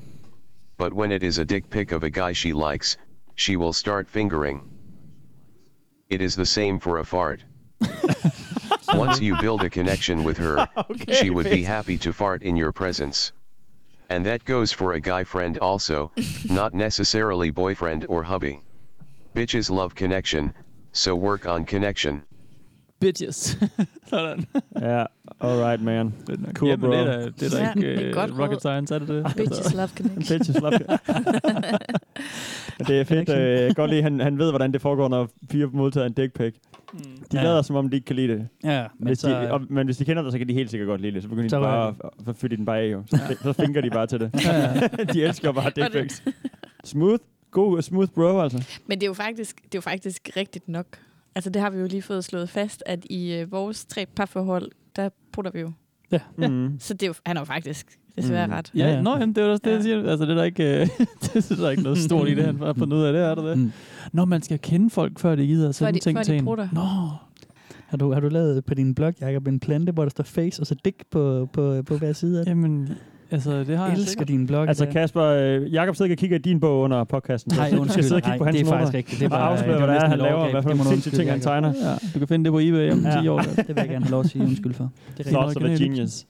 [SPEAKER 15] But when it is a dick pic of a guy she likes, she will start fingering. It is the same for a fart. Once
[SPEAKER 7] Uh-huh.
[SPEAKER 15] you build a connection with <laughs> her, she would
[SPEAKER 9] <laughs>
[SPEAKER 15] be happy to fart in your presence. And that goes for a guy friend also, not necessarily boyfriend or hubby. Bitches love connection, so work on connection.
[SPEAKER 7] <laughs>
[SPEAKER 5] Bitches. Sådan.
[SPEAKER 6] Ja, alright, man. Cool,
[SPEAKER 5] øh, Jamen,
[SPEAKER 6] bro.
[SPEAKER 5] det er da, det er da
[SPEAKER 7] Ja,
[SPEAKER 5] ikke
[SPEAKER 7] det er
[SPEAKER 5] øh,
[SPEAKER 7] godt råd.
[SPEAKER 5] rocket science, er det Altså. det?
[SPEAKER 7] Bitches love connection.
[SPEAKER 6] <laughs> Bitches love
[SPEAKER 7] <laughs>
[SPEAKER 6] Det er fedt. Øh, jeg kan godt lide, han, han ved, hvordan det foregår, når fire modtager en dick pic. De
[SPEAKER 5] Mm.
[SPEAKER 4] Ja.
[SPEAKER 6] lader, som om de ikke kan lide det.
[SPEAKER 4] Ja, men
[SPEAKER 6] men, hvis
[SPEAKER 4] så-
[SPEAKER 6] de, og, men hvis de kender dig, så kan de helt sikkert godt lide det. Så begynder
[SPEAKER 4] Så
[SPEAKER 6] de
[SPEAKER 4] rører
[SPEAKER 6] bare,
[SPEAKER 4] det.
[SPEAKER 6] at- så fylder de den bare af, jo. Så, så finger de bare til det.
[SPEAKER 4] Ja,
[SPEAKER 6] <laughs> de elsker bare dick
[SPEAKER 7] det-
[SPEAKER 6] pics. Smooth. God, smooth bro, altså.
[SPEAKER 7] Men det er, jo faktisk, det er jo faktisk rigtigt nok. Altså, det har vi jo lige fået slået fast, at i øh, vores tre parforhold, der putter vi jo.
[SPEAKER 4] Ja.
[SPEAKER 6] Mm.
[SPEAKER 7] Så det er jo, han er jo faktisk desværre mm. ret.
[SPEAKER 5] Ja, ja. Nå, jamen, det er jo også det, jeg siger. Altså, det er der ikke, øh, <laughs> det er der ikke noget stort i det, han har fundet ud af det, er der det? Mm. Når man skal kende folk, før de gider at
[SPEAKER 7] Før
[SPEAKER 5] sende
[SPEAKER 7] de-
[SPEAKER 5] ting
[SPEAKER 7] før de
[SPEAKER 5] til en.
[SPEAKER 7] prutter.
[SPEAKER 5] Nå,
[SPEAKER 4] Har du, har du lavet på din blog, Jacob, en plante, hvor der står face og så dick på, på, på hver side af den?
[SPEAKER 5] Jamen, altså det har
[SPEAKER 4] jeg elsker din blog.
[SPEAKER 6] Altså
[SPEAKER 4] der.
[SPEAKER 6] Kasper, øh, Jakob sidder ikke og kigger i din bog under podcasten.
[SPEAKER 4] Nej,
[SPEAKER 6] Så du
[SPEAKER 4] undskyld,
[SPEAKER 6] skal sidde og
[SPEAKER 4] nej,
[SPEAKER 6] kigge på hans
[SPEAKER 4] det er
[SPEAKER 6] noter
[SPEAKER 4] faktisk rigtigt. Det var-
[SPEAKER 6] og afsløre,
[SPEAKER 4] det var
[SPEAKER 6] hvad det er,
[SPEAKER 4] næsten
[SPEAKER 6] han
[SPEAKER 4] et
[SPEAKER 6] laver,
[SPEAKER 4] overgreb.
[SPEAKER 6] hvad for
[SPEAKER 4] Det må
[SPEAKER 6] nogle
[SPEAKER 4] du
[SPEAKER 6] sindssyge ting,
[SPEAKER 4] undskylde,
[SPEAKER 6] han tegner.
[SPEAKER 4] Jacob.
[SPEAKER 5] Ja, du kan finde det på eBay om
[SPEAKER 6] Ja.
[SPEAKER 5] 10 år.
[SPEAKER 4] Det vil jeg gerne have lov at sige undskyld
[SPEAKER 6] <laughs>
[SPEAKER 4] for. Det
[SPEAKER 6] Thoughts of a
[SPEAKER 4] <laughs>
[SPEAKER 6] genius.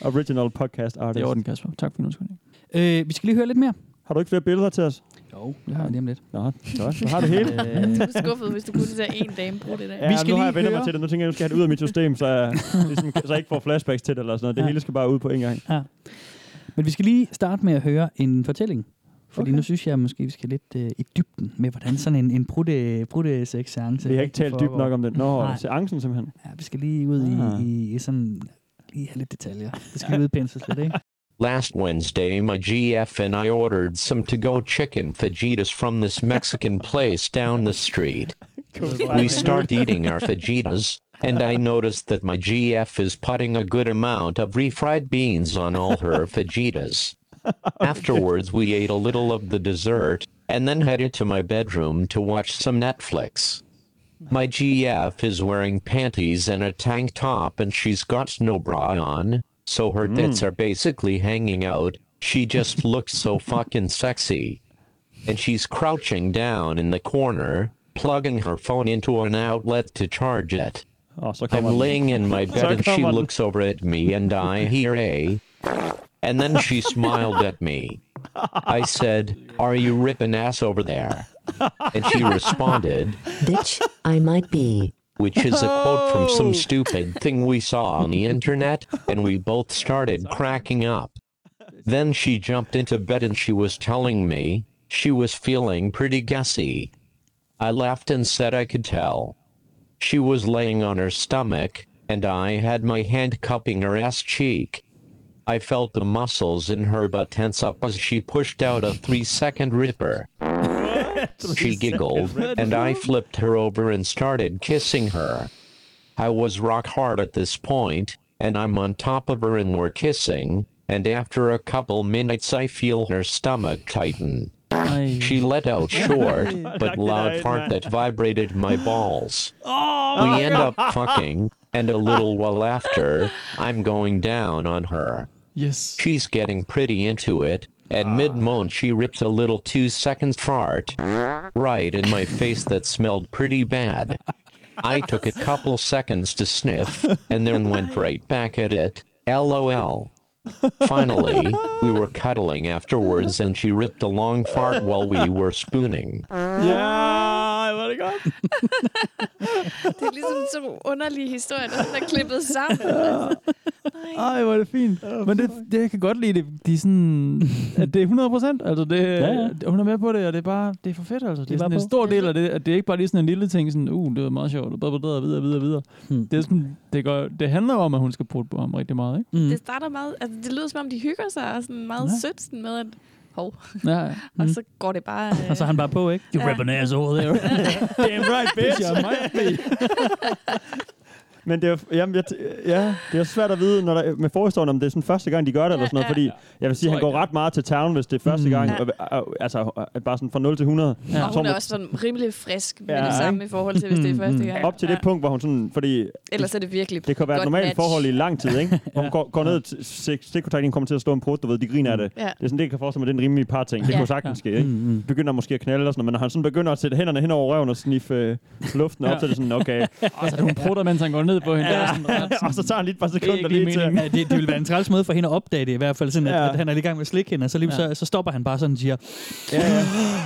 [SPEAKER 6] Original podcast artist.
[SPEAKER 5] Det er orden, Kasper. Tak for din undskyldning.
[SPEAKER 4] Øh, vi skal lige høre lidt mere.
[SPEAKER 6] Har du ikke flere billeder til os?
[SPEAKER 4] Jo, det har jeg lige om lidt.
[SPEAKER 6] Nå, godt. Du har det hele.
[SPEAKER 7] <laughs> Du er skuffet, hvis du kun ser en dame bruge det der.
[SPEAKER 6] Ja, vi skal nu har jeg vendt mig til det. Nu tænker jeg, at jeg skal have det ud af mit system, så <laughs> jeg, ligesom, så jeg ikke får flashbacks til det eller sådan noget. Det
[SPEAKER 4] Ja.
[SPEAKER 6] hele skal bare ud på en gang.
[SPEAKER 4] Ja. Men vi skal lige starte med at høre en fortælling. Fordi okay. nu synes jeg måske, vi skal lidt øh, i dybden med, hvordan sådan en, en brutte, brutte seance
[SPEAKER 6] Vi har ikke talt dybt nok om den. Nå,
[SPEAKER 4] Nej.
[SPEAKER 6] seancen simpelthen.
[SPEAKER 4] Ja, vi skal lige ud
[SPEAKER 6] Ah.
[SPEAKER 4] i, i, i sådan... Lige have lidt detaljer. Det skal lige udpensles lidt, ikke?
[SPEAKER 16] Last Wednesday, my GF and I ordered some to go chicken fajitas from this Mexican place down the street. We start eating our fajitas, and I notice that my GF is putting a good amount of refried beans on all her fajitas. Afterwards, we ate a little of the dessert, and then headed to my bedroom to watch some Netflix. My GF is wearing panties and a tank top, and she's got no bra on, so her tits
[SPEAKER 18] Mm.
[SPEAKER 16] are basically hanging out. She
[SPEAKER 6] <laughs>
[SPEAKER 16] just looks so fucking sexy. And she's crouching down in the corner, plugging her phone into an outlet to charge it. I'm
[SPEAKER 6] on.
[SPEAKER 16] laying in my bed
[SPEAKER 6] So
[SPEAKER 16] and
[SPEAKER 6] come
[SPEAKER 16] she
[SPEAKER 6] on.
[SPEAKER 16] looks over at me and I hear a. And then she smiled at me. I said, Are you ripping ass over there?
[SPEAKER 6] <laughs>
[SPEAKER 12] <laughs>
[SPEAKER 16] And she responded,
[SPEAKER 20] Bitch, I might be.
[SPEAKER 16] which is a quote from some stupid thing we saw on the internet, and we both started cracking up. Then she jumped into bed and she was telling me she was feeling pretty gassy. I laughed and said I could tell. She was laying on her stomach, and I had my hand cupping her ass cheek. I felt the muscles in her butt tense up as she pushed out a three second ripper. She giggled, and I flipped her over and started kissing her. I was rock hard at this point, and I'm on top of her and we're kissing, and after a couple minutes I feel her stomach tighten. She let out short, but loud fart that vibrated my balls.
[SPEAKER 6] Oh,
[SPEAKER 16] we end up fucking, and a little while after, I'm going down on her.
[SPEAKER 5] Yes.
[SPEAKER 16] She's getting pretty into it, and mid moan she ripped a little two seconds fart right in my face that smelled pretty bad. I took a couple seconds to sniff, and then went right back at it. LOL. Finally, we were cuddling afterwards, and she ripped a long fart while we were spooning.
[SPEAKER 6] Ja, hvor er det godt.
[SPEAKER 7] Det er ligesom sådan nogle underlige historier, der sådan er klippet
[SPEAKER 4] <laughs>
[SPEAKER 7] sammen. Altså.
[SPEAKER 5] Ej, hvor er det fint. Men det, det, jeg kan godt lide, det, de er sådan, at det er 100 procent. Altså, det,
[SPEAKER 4] Ja,
[SPEAKER 5] ja,
[SPEAKER 4] ja.
[SPEAKER 5] ja. Hun er med på det, og det er bare, det er for fedt, altså. Det,
[SPEAKER 4] Det
[SPEAKER 5] det
[SPEAKER 4] er
[SPEAKER 5] er sådan
[SPEAKER 4] bare
[SPEAKER 5] en
[SPEAKER 4] på.
[SPEAKER 5] stor del af det, at det er ikke bare lige sådan en lille ting, sådan, uh, det var meget sjovt, og bedre, bedre, videre, videre, videre.
[SPEAKER 4] Hmm.
[SPEAKER 5] Det, er sådan, det, gør, det handler om, at hun skal putte på ham rigtig meget, ikke?
[SPEAKER 4] Hmm.
[SPEAKER 7] Det
[SPEAKER 4] Mm.
[SPEAKER 7] starter meget, altså det lyder som om, de hygger sig og sådan meget ja. sødt sådan med, at hov.
[SPEAKER 5] Ja, ja.
[SPEAKER 7] <laughs> og så går det bare... Øh,
[SPEAKER 4] Mm. Og så er han bare på, ikke? You
[SPEAKER 7] Ja.
[SPEAKER 4] rip an
[SPEAKER 5] <laughs>
[SPEAKER 4] ass over there.
[SPEAKER 6] <laughs> Damn right, bitch.
[SPEAKER 4] I might
[SPEAKER 6] Men det er, jo- jamen, jeg, t- ja, det er svært at vide når der, med forhistorien, om det er sådan første gang, de gør det, ja, eller sådan noget,
[SPEAKER 5] ja.
[SPEAKER 6] fordi jeg vil sige,
[SPEAKER 5] Tror
[SPEAKER 6] han går ret meget til town, hvis det er første
[SPEAKER 5] Mm.
[SPEAKER 6] gang,
[SPEAKER 7] Ja.
[SPEAKER 6] og, og, altså at bare sådan fra 0 til 100.
[SPEAKER 7] Ja. Og
[SPEAKER 6] Så
[SPEAKER 7] hun er
[SPEAKER 6] må-
[SPEAKER 7] også sådan rimelig frisk med
[SPEAKER 6] Ja,
[SPEAKER 7] ja, det samme
[SPEAKER 6] ikke? Mm,
[SPEAKER 7] i forhold til, hvis det er første gang.
[SPEAKER 6] Op til det punkt, hvor hun sådan, fordi...
[SPEAKER 7] Ellers er det virkelig
[SPEAKER 6] Det kan være et
[SPEAKER 7] godt
[SPEAKER 6] normalt
[SPEAKER 7] match.
[SPEAKER 6] forhold i lang tid,
[SPEAKER 7] <laughs>
[SPEAKER 6] ikke? Hvor hun går, går ned til stik- stikkontakten, kommer til at stå en prut, du ved, de griner af det.
[SPEAKER 7] Ja.
[SPEAKER 6] Det er sådan, det jeg kan forestille mig, det er en rimelig par ting. Det
[SPEAKER 7] Ja.
[SPEAKER 6] kunne sagtens ske, ikke? Begynder måske at knalde og sådan noget, men når han sådan begynder at sætte hænderne hen over røven og sniffe øh, luften op,
[SPEAKER 5] Ja.
[SPEAKER 6] så er det sådan, okay.
[SPEAKER 4] <laughs>
[SPEAKER 5] Og så er hun prutter, mens han går ned på hende.
[SPEAKER 6] Ja.
[SPEAKER 5] Ja. Sådan,
[SPEAKER 6] <laughs> og så tager han lige et par
[SPEAKER 5] Det er
[SPEAKER 6] sekunder
[SPEAKER 5] ikke lige
[SPEAKER 6] lige til.
[SPEAKER 5] meningen.
[SPEAKER 4] Ja, det, det ville være en træls måde for hende at opdage det i hvert fald, sådan at,
[SPEAKER 6] Ja.
[SPEAKER 4] ja. at han er lige i gang med at slikke hende, og så, lige,
[SPEAKER 6] Ja.
[SPEAKER 4] så, så stopper han bare sådan og siger,
[SPEAKER 6] Ja, ja.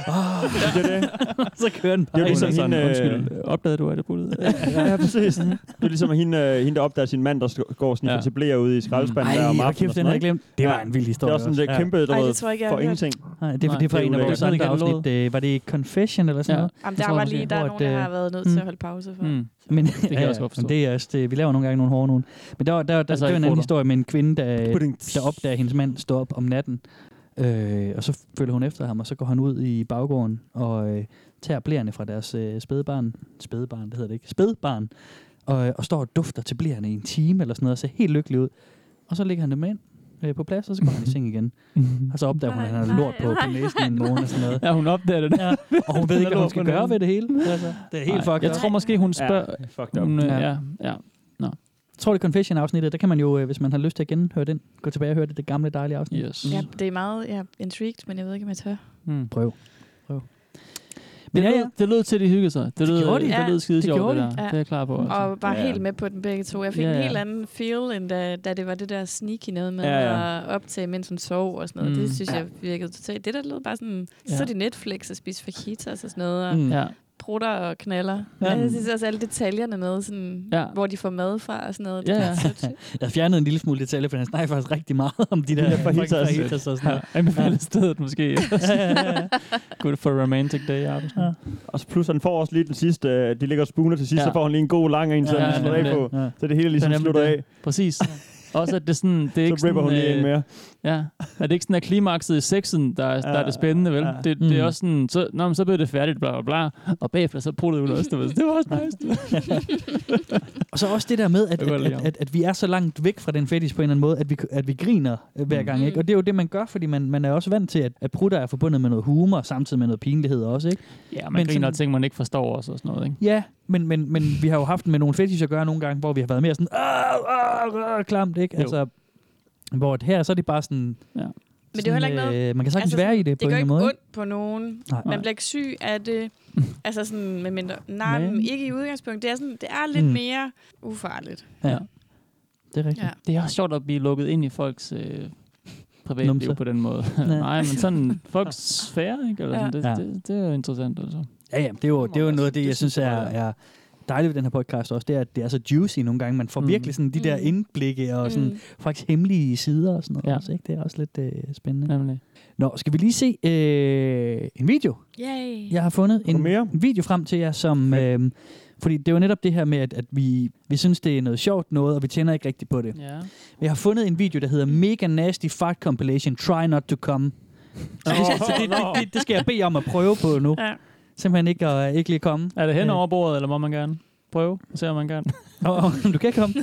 [SPEAKER 4] Ah,
[SPEAKER 6] Det er det.
[SPEAKER 5] <laughs>
[SPEAKER 4] så kører den
[SPEAKER 6] Det er jo
[SPEAKER 4] bare.
[SPEAKER 6] ligesom
[SPEAKER 4] ind.
[SPEAKER 6] hende, øh,
[SPEAKER 5] Undskyld, opdagede du, at det puttede?
[SPEAKER 6] ja, ja,
[SPEAKER 5] <laughs>
[SPEAKER 6] præcis. <laughs> Det er ligesom hende, øh, hende der opdager sin mand, der sk- går sådan
[SPEAKER 5] Ja.
[SPEAKER 6] ja. til blæer ude i skraldespanden
[SPEAKER 4] Ej,
[SPEAKER 6] der om
[SPEAKER 4] hvor
[SPEAKER 6] aftenen.
[SPEAKER 4] kæft,
[SPEAKER 6] og
[SPEAKER 4] den
[SPEAKER 6] sådan
[SPEAKER 4] har
[SPEAKER 6] noget,
[SPEAKER 4] jeg glemt.
[SPEAKER 6] ikke?
[SPEAKER 4] Det var en vild historie
[SPEAKER 6] Det er også sådan
[SPEAKER 4] også.
[SPEAKER 6] lidt kæmpe,
[SPEAKER 4] Ja.
[SPEAKER 6] du
[SPEAKER 4] Ej, det
[SPEAKER 6] ved,
[SPEAKER 4] tror
[SPEAKER 7] jeg ikke, jeg
[SPEAKER 6] for
[SPEAKER 7] har hørt.
[SPEAKER 6] ingenting.
[SPEAKER 4] Nej, det, det,
[SPEAKER 6] Nej,
[SPEAKER 4] det var
[SPEAKER 6] det er
[SPEAKER 4] en af vores
[SPEAKER 6] ulækkert.
[SPEAKER 4] andre
[SPEAKER 6] Sådan, der
[SPEAKER 4] afsnit. Øh, var det Confession eller sådan
[SPEAKER 5] Ja.
[SPEAKER 4] noget?
[SPEAKER 7] Jamen,
[SPEAKER 4] Jeg
[SPEAKER 7] der
[SPEAKER 4] tror,
[SPEAKER 7] var
[SPEAKER 4] det
[SPEAKER 7] lige, der er
[SPEAKER 4] hvor
[SPEAKER 7] nogen, der
[SPEAKER 4] at, øh,
[SPEAKER 7] har været nødt til at holde pause for.
[SPEAKER 5] Mm.
[SPEAKER 4] Men,
[SPEAKER 5] Det kan jeg også godt forstå.
[SPEAKER 4] men det er også det. Vi laver nogle gange nogle hårde nogen. Men der, var- der, der,
[SPEAKER 5] Altså
[SPEAKER 4] altså, der
[SPEAKER 5] i
[SPEAKER 4] var en anden
[SPEAKER 5] krutter.
[SPEAKER 4] historie med en kvinde, der,
[SPEAKER 5] Pudding.
[SPEAKER 4] der opdager, at hendes mand står op om natten. Øh, og så følger hun efter ham, og så går han ud i baggården og øh, tager blærene fra deres øh, spædebarn. Spædebarn, det hedder det ikke. Spædbarn. Og, øh, og står og dufter til blærene i en time eller sådan noget, og ser helt lykkelig ud. Og så lægger han dem ind øh, på plads, og så går han i
[SPEAKER 5] <laughs>
[SPEAKER 4] seng igen. Og så opdager hun, at han har lort på, på næsen i en måned og sådan noget.
[SPEAKER 5] Ja, hun opdager det. Ja.
[SPEAKER 4] Og hun ved ikke, hvad hun skal gøre ved det hele. Altså, det er helt fucked
[SPEAKER 5] Jeg
[SPEAKER 4] up.
[SPEAKER 5] tror måske, hun spørger...
[SPEAKER 6] Ja, fucked up.
[SPEAKER 5] Hun, øh,
[SPEAKER 4] Ja.
[SPEAKER 5] ja. ja. Nå.
[SPEAKER 4] Jeg tror, det er Confession-afsnittet. Der kan man jo, øh, hvis man har lyst til at genhøre den, gå tilbage og høre det, det gamle, dejlige afsnit. Mm.
[SPEAKER 5] Yes.
[SPEAKER 7] Ja, det er meget ja, intrigued, men jeg ved ikke, om jeg tør.
[SPEAKER 5] Mm.
[SPEAKER 4] Prøv. Prøv.
[SPEAKER 5] Men
[SPEAKER 4] Men
[SPEAKER 5] det,
[SPEAKER 4] ja,
[SPEAKER 5] lød,
[SPEAKER 4] ja.
[SPEAKER 5] det lød til, at de hyggede sig. Det lød,
[SPEAKER 4] gjorde de.
[SPEAKER 5] det
[SPEAKER 4] Ja,
[SPEAKER 5] lød skide
[SPEAKER 4] det
[SPEAKER 5] sjovt, det,
[SPEAKER 4] gjorde
[SPEAKER 5] der.
[SPEAKER 4] de.
[SPEAKER 5] Det er jeg klar på. Altså.
[SPEAKER 7] Og var helt med på den begge to. Jeg fik
[SPEAKER 5] Ja,
[SPEAKER 7] en
[SPEAKER 5] ja.
[SPEAKER 7] helt anden feel, end da, da det var det der sneaky noget med
[SPEAKER 5] Ja,
[SPEAKER 7] ja,
[SPEAKER 5] ja.
[SPEAKER 7] ja. at optage, mens hun sov og sådan noget. Mm.
[SPEAKER 5] Mm.
[SPEAKER 7] Det synes
[SPEAKER 5] Ja.
[SPEAKER 7] jeg virkede totalt. Det der lød bare sådan,
[SPEAKER 5] Ja.
[SPEAKER 7] så er det Netflix og spise fajitas og sådan noget, og
[SPEAKER 5] Mm. Ja.
[SPEAKER 7] prutter og knaller.
[SPEAKER 5] Ja.
[SPEAKER 7] Ja. Jeg synes også, alle detaljerne med, sådan,
[SPEAKER 5] Ja.
[SPEAKER 7] ja. hvor de får mad fra og sådan noget.
[SPEAKER 5] Ja,
[SPEAKER 7] Det
[SPEAKER 5] ja.
[SPEAKER 7] var sødt.
[SPEAKER 4] <laughs> Jeg har fjernet en lille smule detalje, for han snakker faktisk rigtig meget om de der
[SPEAKER 5] Ja,
[SPEAKER 4] fucking
[SPEAKER 5] fajitas.
[SPEAKER 4] fajitas og sådan noget.
[SPEAKER 5] Ja, anbefaler stedet
[SPEAKER 6] <laughs>
[SPEAKER 4] <laughs>
[SPEAKER 5] måske. <laughs> Good for a romantic day out. Ja.
[SPEAKER 6] Og så plus, han får også lige den sidste, øh, de ligger og spooner til sidst,
[SPEAKER 5] Ja.
[SPEAKER 6] så får han lige en god lang en, så han lige slutter af på. Så det hele ligesom
[SPEAKER 5] Det er nemlig
[SPEAKER 6] slutter
[SPEAKER 5] det.
[SPEAKER 6] af. <laughs>
[SPEAKER 5] Præcis. Også at det er sådan, det er ikke
[SPEAKER 6] ripper hun
[SPEAKER 5] sådan, øh,
[SPEAKER 6] lige en mere.
[SPEAKER 5] Ja, at det ikke sådan er klimakset i sexen, der, er- der er det spændende, vel?
[SPEAKER 6] Ja.
[SPEAKER 5] Det, det er
[SPEAKER 6] Mm.
[SPEAKER 5] også sådan, så, nå, men så blev det færdigt, bla bla bla, og bagefter så puttede hun også, du ved. det var også nice.
[SPEAKER 4] Og så også det der med, at,
[SPEAKER 5] Jeg kan
[SPEAKER 4] at,
[SPEAKER 5] godt lide ham.
[SPEAKER 4] at, at, at vi er så langt væk fra den fetish på en eller anden måde, at vi, at vi griner øh,
[SPEAKER 5] Mm.
[SPEAKER 4] hver gang. Ikke? Og det er jo det, man gør, fordi man, man er også vant til, at, at prutter er forbundet med noget humor, samtidig med noget pinlighed også. Ikke?
[SPEAKER 5] Ja, man griner af ting, man ikke forstår også og sådan noget, ikke?
[SPEAKER 4] Ja, men, men, men vi har jo haft med nogle fetish at gøre nogle gange, hvor vi har været mere sådan, "Au, au, au," klamt, ikke?
[SPEAKER 5] Jo.
[SPEAKER 4] Altså, hvor at her, så er det bare sådan...
[SPEAKER 5] Ja. Men
[SPEAKER 7] Men det er jo heller ikke noget...
[SPEAKER 5] øh,
[SPEAKER 4] man kan sagtens altså, være i det,
[SPEAKER 7] det
[SPEAKER 4] på en
[SPEAKER 7] gør
[SPEAKER 4] eller
[SPEAKER 7] ikke
[SPEAKER 4] anden måde.
[SPEAKER 7] ondt på nogen.
[SPEAKER 4] Nej.
[SPEAKER 7] Nej.
[SPEAKER 4] Nej.
[SPEAKER 7] Man bliver ikke syg af
[SPEAKER 5] <laughs>
[SPEAKER 7] det. altså sådan, med mindre... Nej,
[SPEAKER 4] Men-
[SPEAKER 7] men ikke i udgangspunktet. Det er, sådan, det er lidt
[SPEAKER 5] Mm.
[SPEAKER 7] mm. mere ufarligt.
[SPEAKER 4] Ja. Det er rigtigt.
[SPEAKER 7] Ja.
[SPEAKER 5] Det er også sjovt at blive lukket ind i folks øh, privatliv
[SPEAKER 4] Numse.
[SPEAKER 5] på den
[SPEAKER 4] <laughs>
[SPEAKER 5] måde. Nej, men sådan folks sfære, ikke? Eller sådan,
[SPEAKER 4] Ja.
[SPEAKER 5] det, det, det, er jo interessant, altså.
[SPEAKER 4] Ja, ja, det er jo, det er jo noget af det, jeg synes er, er, dejligt ved den her podcast også, det er, at det er så juicy nogle gange. Man får mm. virkelig sådan de der indblikke og sådan
[SPEAKER 5] Mm.
[SPEAKER 4] mm. faktisk hemmelige sider og sådan noget. Ja. Også, ikke? Det er også lidt øh, spændende. Nemlig. Nå, skal vi lige se øh, en video?
[SPEAKER 7] Yay.
[SPEAKER 4] Jeg har fundet en mere? video frem til jer, som... Øh, fordi det var netop det her med, at, at vi, vi synes, det er noget sjovt noget, og vi tænder ikke rigtigt på det.
[SPEAKER 5] Ja.
[SPEAKER 4] Jeg har fundet en video, der hedder Mega Nasty Fart Compilation Try Not To Come. Så det, så det, det, det, det skal jeg bede om at prøve på nu. Ja. Simpelthen ikke, at, ikke lige komme.
[SPEAKER 5] Er det hen over bordet, eller må man gerne prøve? Se, om man gerne.
[SPEAKER 4] Åh, åh, du kan komme.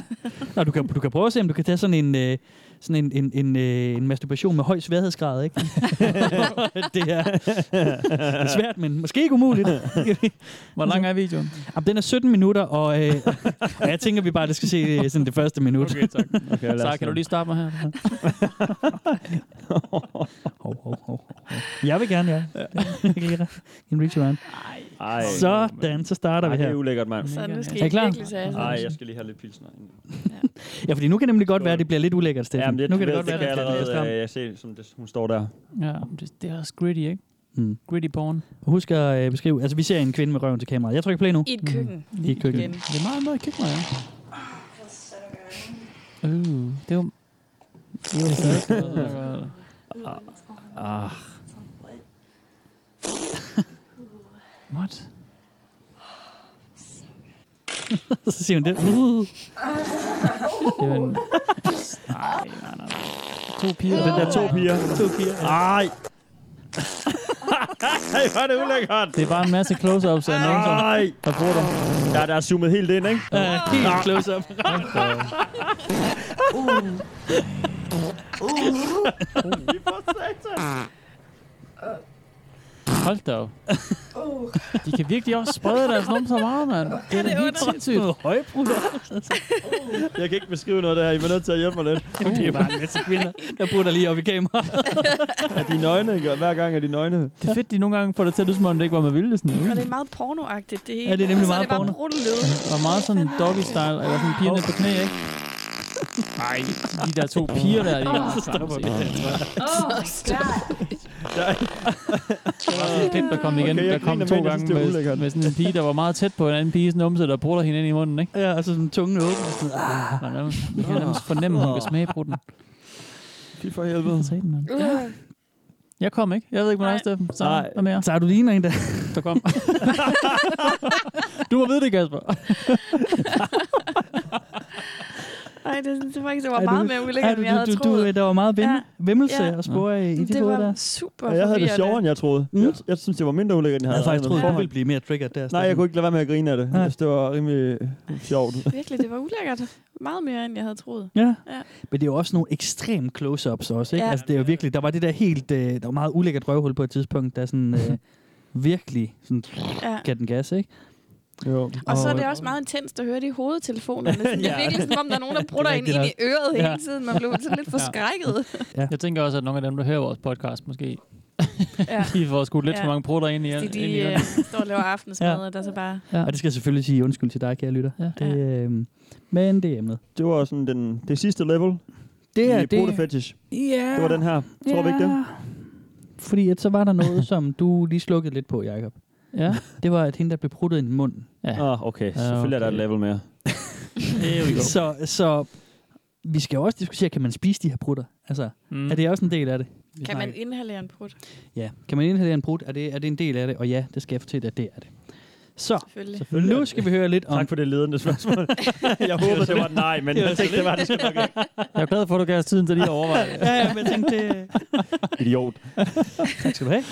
[SPEAKER 4] Nå, du kan, du kan prøve at se, om du kan tage sådan en, øh, sådan en, en, en, øh, en masturbation med høj
[SPEAKER 5] <laughs>
[SPEAKER 4] sværhedsgrad, ikke? det, er, det er svært, men måske ikke umuligt.
[SPEAKER 5] Hvor lang er videoen?
[SPEAKER 4] Jamen, den er 17 minutter, og, øh, og jeg tænker, vi bare skal se øh, sådan det første minut.
[SPEAKER 5] Okay, tak.
[SPEAKER 4] Okay, lad os
[SPEAKER 5] så kan du
[SPEAKER 4] se.
[SPEAKER 5] lige starte mig her?
[SPEAKER 4] Hov, hov, hov, hov. <laughs> Jeg vil gerne, ja. ja. en reach around.
[SPEAKER 6] Ej.
[SPEAKER 4] Sådan, så starter
[SPEAKER 6] Ej,
[SPEAKER 4] vi her.
[SPEAKER 6] det er ulækkert, mand.
[SPEAKER 4] Så nu skal I Er I klar? virkelig tage jeres
[SPEAKER 6] Nej,
[SPEAKER 4] ansvar.
[SPEAKER 6] jeg skal lige have lidt pilsner.
[SPEAKER 4] Ja, fordi nu kan det nemlig godt være, at det bliver lidt ulækkert, Steffen.
[SPEAKER 6] Jamen, det,
[SPEAKER 4] nu kan det godt
[SPEAKER 6] det
[SPEAKER 4] være,
[SPEAKER 6] kan jeg
[SPEAKER 4] at bliver lidt
[SPEAKER 6] allerede.
[SPEAKER 4] stramt.
[SPEAKER 6] øh, Jeg ser, som det, hun står der.
[SPEAKER 5] Ja, det, det er også gritty, ikke?
[SPEAKER 4] Mm.
[SPEAKER 5] Gritty porn.
[SPEAKER 4] Husk at øh, beskrive... Altså, vi ser en kvinde med røven til kameraet. Jeg trykker play nu.
[SPEAKER 5] I et køkken.
[SPEAKER 4] Mm. I et køkken.
[SPEAKER 5] Igen. Det er meget, meget køkken, ja.
[SPEAKER 4] Uh,
[SPEAKER 5] det var... Det var
[SPEAKER 6] <laughs>
[SPEAKER 5] sådan
[SPEAKER 6] Oh
[SPEAKER 5] <laughs>
[SPEAKER 6] Ah.
[SPEAKER 5] What?
[SPEAKER 4] <laughs> så siger hun
[SPEAKER 5] <laughs>
[SPEAKER 4] det. Uh.
[SPEAKER 5] Det var en... Nej, nej, nej. To piger.
[SPEAKER 6] Den der to piger.
[SPEAKER 5] To piger.
[SPEAKER 6] Ej. Ej, hvor er det ulækkert.
[SPEAKER 5] Det er bare en masse close-ups af nogen, som
[SPEAKER 6] Ej.
[SPEAKER 5] der bruger dem.
[SPEAKER 6] Ja, der er zoomet helt ind, ikke? Ah,
[SPEAKER 4] Ja, helt close-up.
[SPEAKER 5] Hold da op. De kan virkelig også sprede deres numse så meget, mand. Det er da helt sindssygt.
[SPEAKER 6] Jeg kan ikke beskrive noget der. I bliver nødt til at hjælpe mig lidt.
[SPEAKER 4] Jamen, <laughs> det er bare en masse kvinder, der bruger lige op i kameraet.
[SPEAKER 6] er de nøgne? ikke? Hver gang er de nøgne.
[SPEAKER 5] Det er fedt, de nogle gange får det til at lyde, som om det ikke var med vilje. Sådan.
[SPEAKER 7] Og det er meget pornoagtigt, det hele.
[SPEAKER 5] Ja, det er nemlig
[SPEAKER 7] så
[SPEAKER 5] meget
[SPEAKER 7] det er
[SPEAKER 5] porno.
[SPEAKER 7] bare brudt lød.
[SPEAKER 5] Og meget sådan doggy-style, eller sådan pigerne på knæ, ikke? Nej, de der to piger der, de er
[SPEAKER 4] Så stopper vi der, tror jeg.
[SPEAKER 13] Oh my god.
[SPEAKER 5] Der var sådan et klip, der kom igen.
[SPEAKER 4] Okay, jeg
[SPEAKER 5] der kom
[SPEAKER 4] griner,
[SPEAKER 5] to
[SPEAKER 4] men jeg
[SPEAKER 5] gange
[SPEAKER 4] synes, det er
[SPEAKER 5] med,
[SPEAKER 4] ulækkert.
[SPEAKER 5] med sådan en pige, der var meget tæt på en anden pige, numse, der brutter hende ind i munden, ikke?
[SPEAKER 4] Ja, og så sådan tungen åben. og sådan, ah.
[SPEAKER 5] Man, nærmest- man kan nærmest fornemme, at hun kan smage på den.
[SPEAKER 6] Fy for helvede.
[SPEAKER 5] Jeg kom ikke. Jeg ved ikke, hvor er Steffen. Så
[SPEAKER 4] Nej.
[SPEAKER 5] hvad mere?
[SPEAKER 4] Så har du ligner en, der...
[SPEAKER 5] Der kom. <laughs> du må vide det, Kasper.
[SPEAKER 7] Ej, det, det var ikke, det var
[SPEAKER 4] Ej,
[SPEAKER 7] meget mere ulækkert, end jeg havde
[SPEAKER 4] du, du,
[SPEAKER 7] troet.
[SPEAKER 4] du, Der var meget vem,
[SPEAKER 7] Ja.
[SPEAKER 4] vemmelse
[SPEAKER 7] Ja.
[SPEAKER 4] og spore i, i de
[SPEAKER 7] Det
[SPEAKER 4] hoveder
[SPEAKER 7] var
[SPEAKER 4] der.
[SPEAKER 7] super
[SPEAKER 6] Og jeg havde det
[SPEAKER 7] forvirrende.
[SPEAKER 6] sjovere, end jeg troede. Jeg, jeg synes, det var mindre ulækkert, end jeg
[SPEAKER 4] Jeg
[SPEAKER 6] havde.
[SPEAKER 4] havde faktisk
[SPEAKER 6] regnet
[SPEAKER 4] troet,
[SPEAKER 6] med.
[SPEAKER 4] at du ville blive altså. mere triggered der.
[SPEAKER 6] Nej, jeg kunne ikke lade være med at grine af det. Jeg synes, det var rimelig øh, sjovt.
[SPEAKER 7] Virkelig, det var ulækkert. Meget mere, end jeg havde troet.
[SPEAKER 4] Ja.
[SPEAKER 7] ja.
[SPEAKER 4] Men det er jo også nogle ekstrem close-ups også, ikke?
[SPEAKER 7] Ja.
[SPEAKER 4] Ja. Altså, det er jo virkelig... Der var det der helt... Øh, der var meget ulækkert røvhul på et tidspunkt, der sådan...
[SPEAKER 6] <laughs>
[SPEAKER 4] Øh, virkelig sådan...
[SPEAKER 7] Ja.
[SPEAKER 4] Ja. Gav den gas, ikke?
[SPEAKER 6] Jo.
[SPEAKER 7] Og så er det også meget intenst at høre det i hovedtelefonerne. Sådan, Det er
[SPEAKER 5] Ja.
[SPEAKER 7] virkelig som om, der er nogen, der brutter
[SPEAKER 5] Det er
[SPEAKER 7] en ind i
[SPEAKER 5] rigtigt nok.
[SPEAKER 7] øret
[SPEAKER 5] Ja.
[SPEAKER 7] hele tiden. Man blev
[SPEAKER 5] <laughs>
[SPEAKER 7] sådan lidt forskrækket.
[SPEAKER 4] Ja.
[SPEAKER 5] Jeg tænker også, at nogle af dem, der hører vores podcast, måske... Ja. <laughs> de får skudt lidt
[SPEAKER 7] Ja.
[SPEAKER 5] for mange brutter ind i
[SPEAKER 7] De,
[SPEAKER 5] ind i
[SPEAKER 7] de øh,
[SPEAKER 5] ørerne.
[SPEAKER 7] står og laver aftensmad, og der er så bare...
[SPEAKER 4] Ja. Og det skal jeg selvfølgelig sige undskyld til dig, kære lytter. Ja. Det, øh, men det er emnet.
[SPEAKER 6] Det var sådan den, det sidste level.
[SPEAKER 4] Det er
[SPEAKER 6] i
[SPEAKER 4] det.
[SPEAKER 6] Brute Fetish.
[SPEAKER 4] Ja.
[SPEAKER 6] Det var den her. Tror vi ikke det?
[SPEAKER 4] Fordi at så var der noget, som du lige slukkede lidt på, Jacob.
[SPEAKER 5] Ja.
[SPEAKER 4] Det var, at hende, der blev pruttet i munden.
[SPEAKER 5] Ja.
[SPEAKER 6] Ah, okay. Selvfølgelig er der et level mere.
[SPEAKER 4] så, så vi skal jo også diskutere, kan man spise de her prutter? Altså,
[SPEAKER 5] mm.
[SPEAKER 4] er det også en del af det? Vi
[SPEAKER 7] Kan man
[SPEAKER 4] snakker-
[SPEAKER 7] inhalere en prut?
[SPEAKER 4] Ja. Kan man inhalere en brut? Er det, er det en del af det? Og ja, det skal jeg fortælle dig, at det er det. Så,
[SPEAKER 7] Selvfølgelig.
[SPEAKER 6] Selvfølgelig er
[SPEAKER 4] nu
[SPEAKER 6] det
[SPEAKER 4] skal vi høre lidt om...
[SPEAKER 6] Tak for det ledende spørgsmål. jeg håbede, det var et nej, men jeg tænkte, det var det sgu nok ikke.
[SPEAKER 5] Jeg er glad for, at du gav os tiden til lige at overveje
[SPEAKER 7] <laughs>
[SPEAKER 5] det.
[SPEAKER 4] <laughs> ja, ja, men jeg tænkte, øh, det...
[SPEAKER 6] Idiot.
[SPEAKER 4] tak skal du have.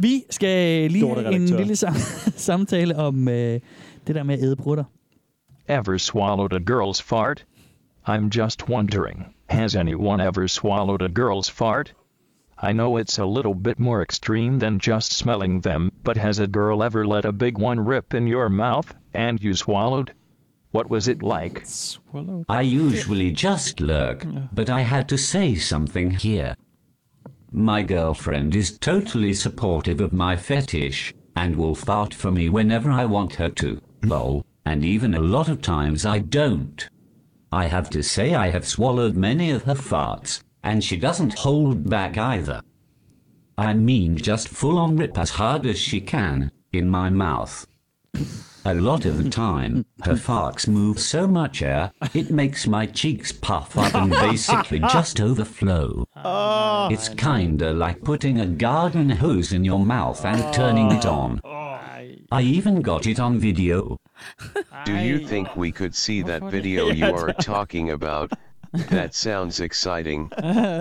[SPEAKER 4] Vi skal lige
[SPEAKER 6] Lorte
[SPEAKER 4] have en
[SPEAKER 6] redaktør.
[SPEAKER 4] lille sam- <laughs> samtale om øh, det der med at æde brutter.
[SPEAKER 9] Ever swallowed a girl's fart? I'm just wondering, has anyone ever swallowed a girl's fart? I know it's a little bit more extreme than just smelling them, but has a girl ever let a big one rip in your mouth, and you swallowed? What was it like?
[SPEAKER 21] I usually just lurk, but I had to say something here. My girlfriend is totally supportive of my fetish, and will fart for me whenever I want her to, lol, and even a lot of times I don't. I have to say I have swallowed many of her farts, and she doesn't hold back either. I mean just full on rip as hard as she can, in my mouth. A lot of the time, her farts move so much air, it makes my cheeks puff up and basically just overflow. it's kinda like putting a garden hose in your mouth and turning it on. I even got it on video.
[SPEAKER 15] Do you think we could see that video you are talking about? That sounds exciting.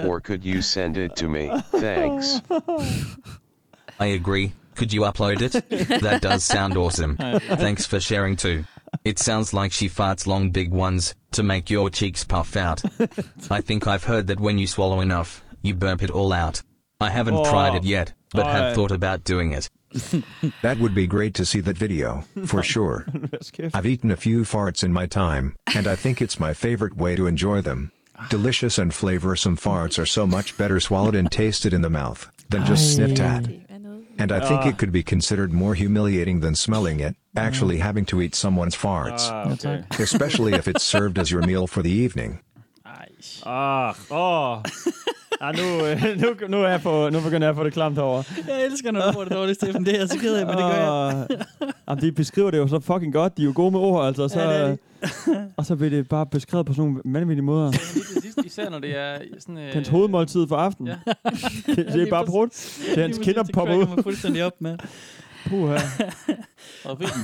[SPEAKER 15] Or could you send it to me?
[SPEAKER 9] <laughs>
[SPEAKER 15] Thanks.
[SPEAKER 17] I agree. Could you upload it? That does sound awesome. Thanks for sharing too. It sounds like she farts long big ones to make your cheeks puff out. I think I've heard that when you swallow enough, you burp it all out. I haven't
[SPEAKER 10] Oh.
[SPEAKER 17] tried it yet, but
[SPEAKER 10] Oi.
[SPEAKER 17] have thought about doing it.
[SPEAKER 10] <laughs> That would be great to see that video,
[SPEAKER 2] <laughs>
[SPEAKER 10] for sure. I've eaten a few farts in my time, and I think it's my favorite way to enjoy them. Delicious and flavorsome farts are so much better swallowed and tasted in the mouth than just sniffed at. And I think
[SPEAKER 2] Ah.
[SPEAKER 10] it could be considered more humiliating than smelling it, actually having to eat someone's farts.
[SPEAKER 2] Mm. Ah, That's okay. right.
[SPEAKER 10] Especially if it's served as your meal for the evening.
[SPEAKER 6] Ah, åh. Ah, nu, øh, nu, nu, er jeg på, nu begynder jeg at få det klamt herovre.
[SPEAKER 4] Jeg elsker, når du får det dårligt, Steffen. Det er jeg så ked af, men det gør jeg.
[SPEAKER 6] Åh. Ah, Jamen, de beskriver det jo så fucking godt. De er jo gode med ord, altså. og Så, øh,
[SPEAKER 4] Ja, det
[SPEAKER 5] øh,
[SPEAKER 4] er
[SPEAKER 6] og så bliver det bare beskrevet på sådan nogle vanvittige måder.
[SPEAKER 5] Især når det er sådan... Øh,
[SPEAKER 6] Hans hovedmåltid for aftenen.
[SPEAKER 5] Ja.
[SPEAKER 6] <laughs> det, det er bare brudt. Det er hans kinder popper
[SPEAKER 4] Det mig
[SPEAKER 6] ud.
[SPEAKER 4] fuldstændig op med.
[SPEAKER 6] Puh,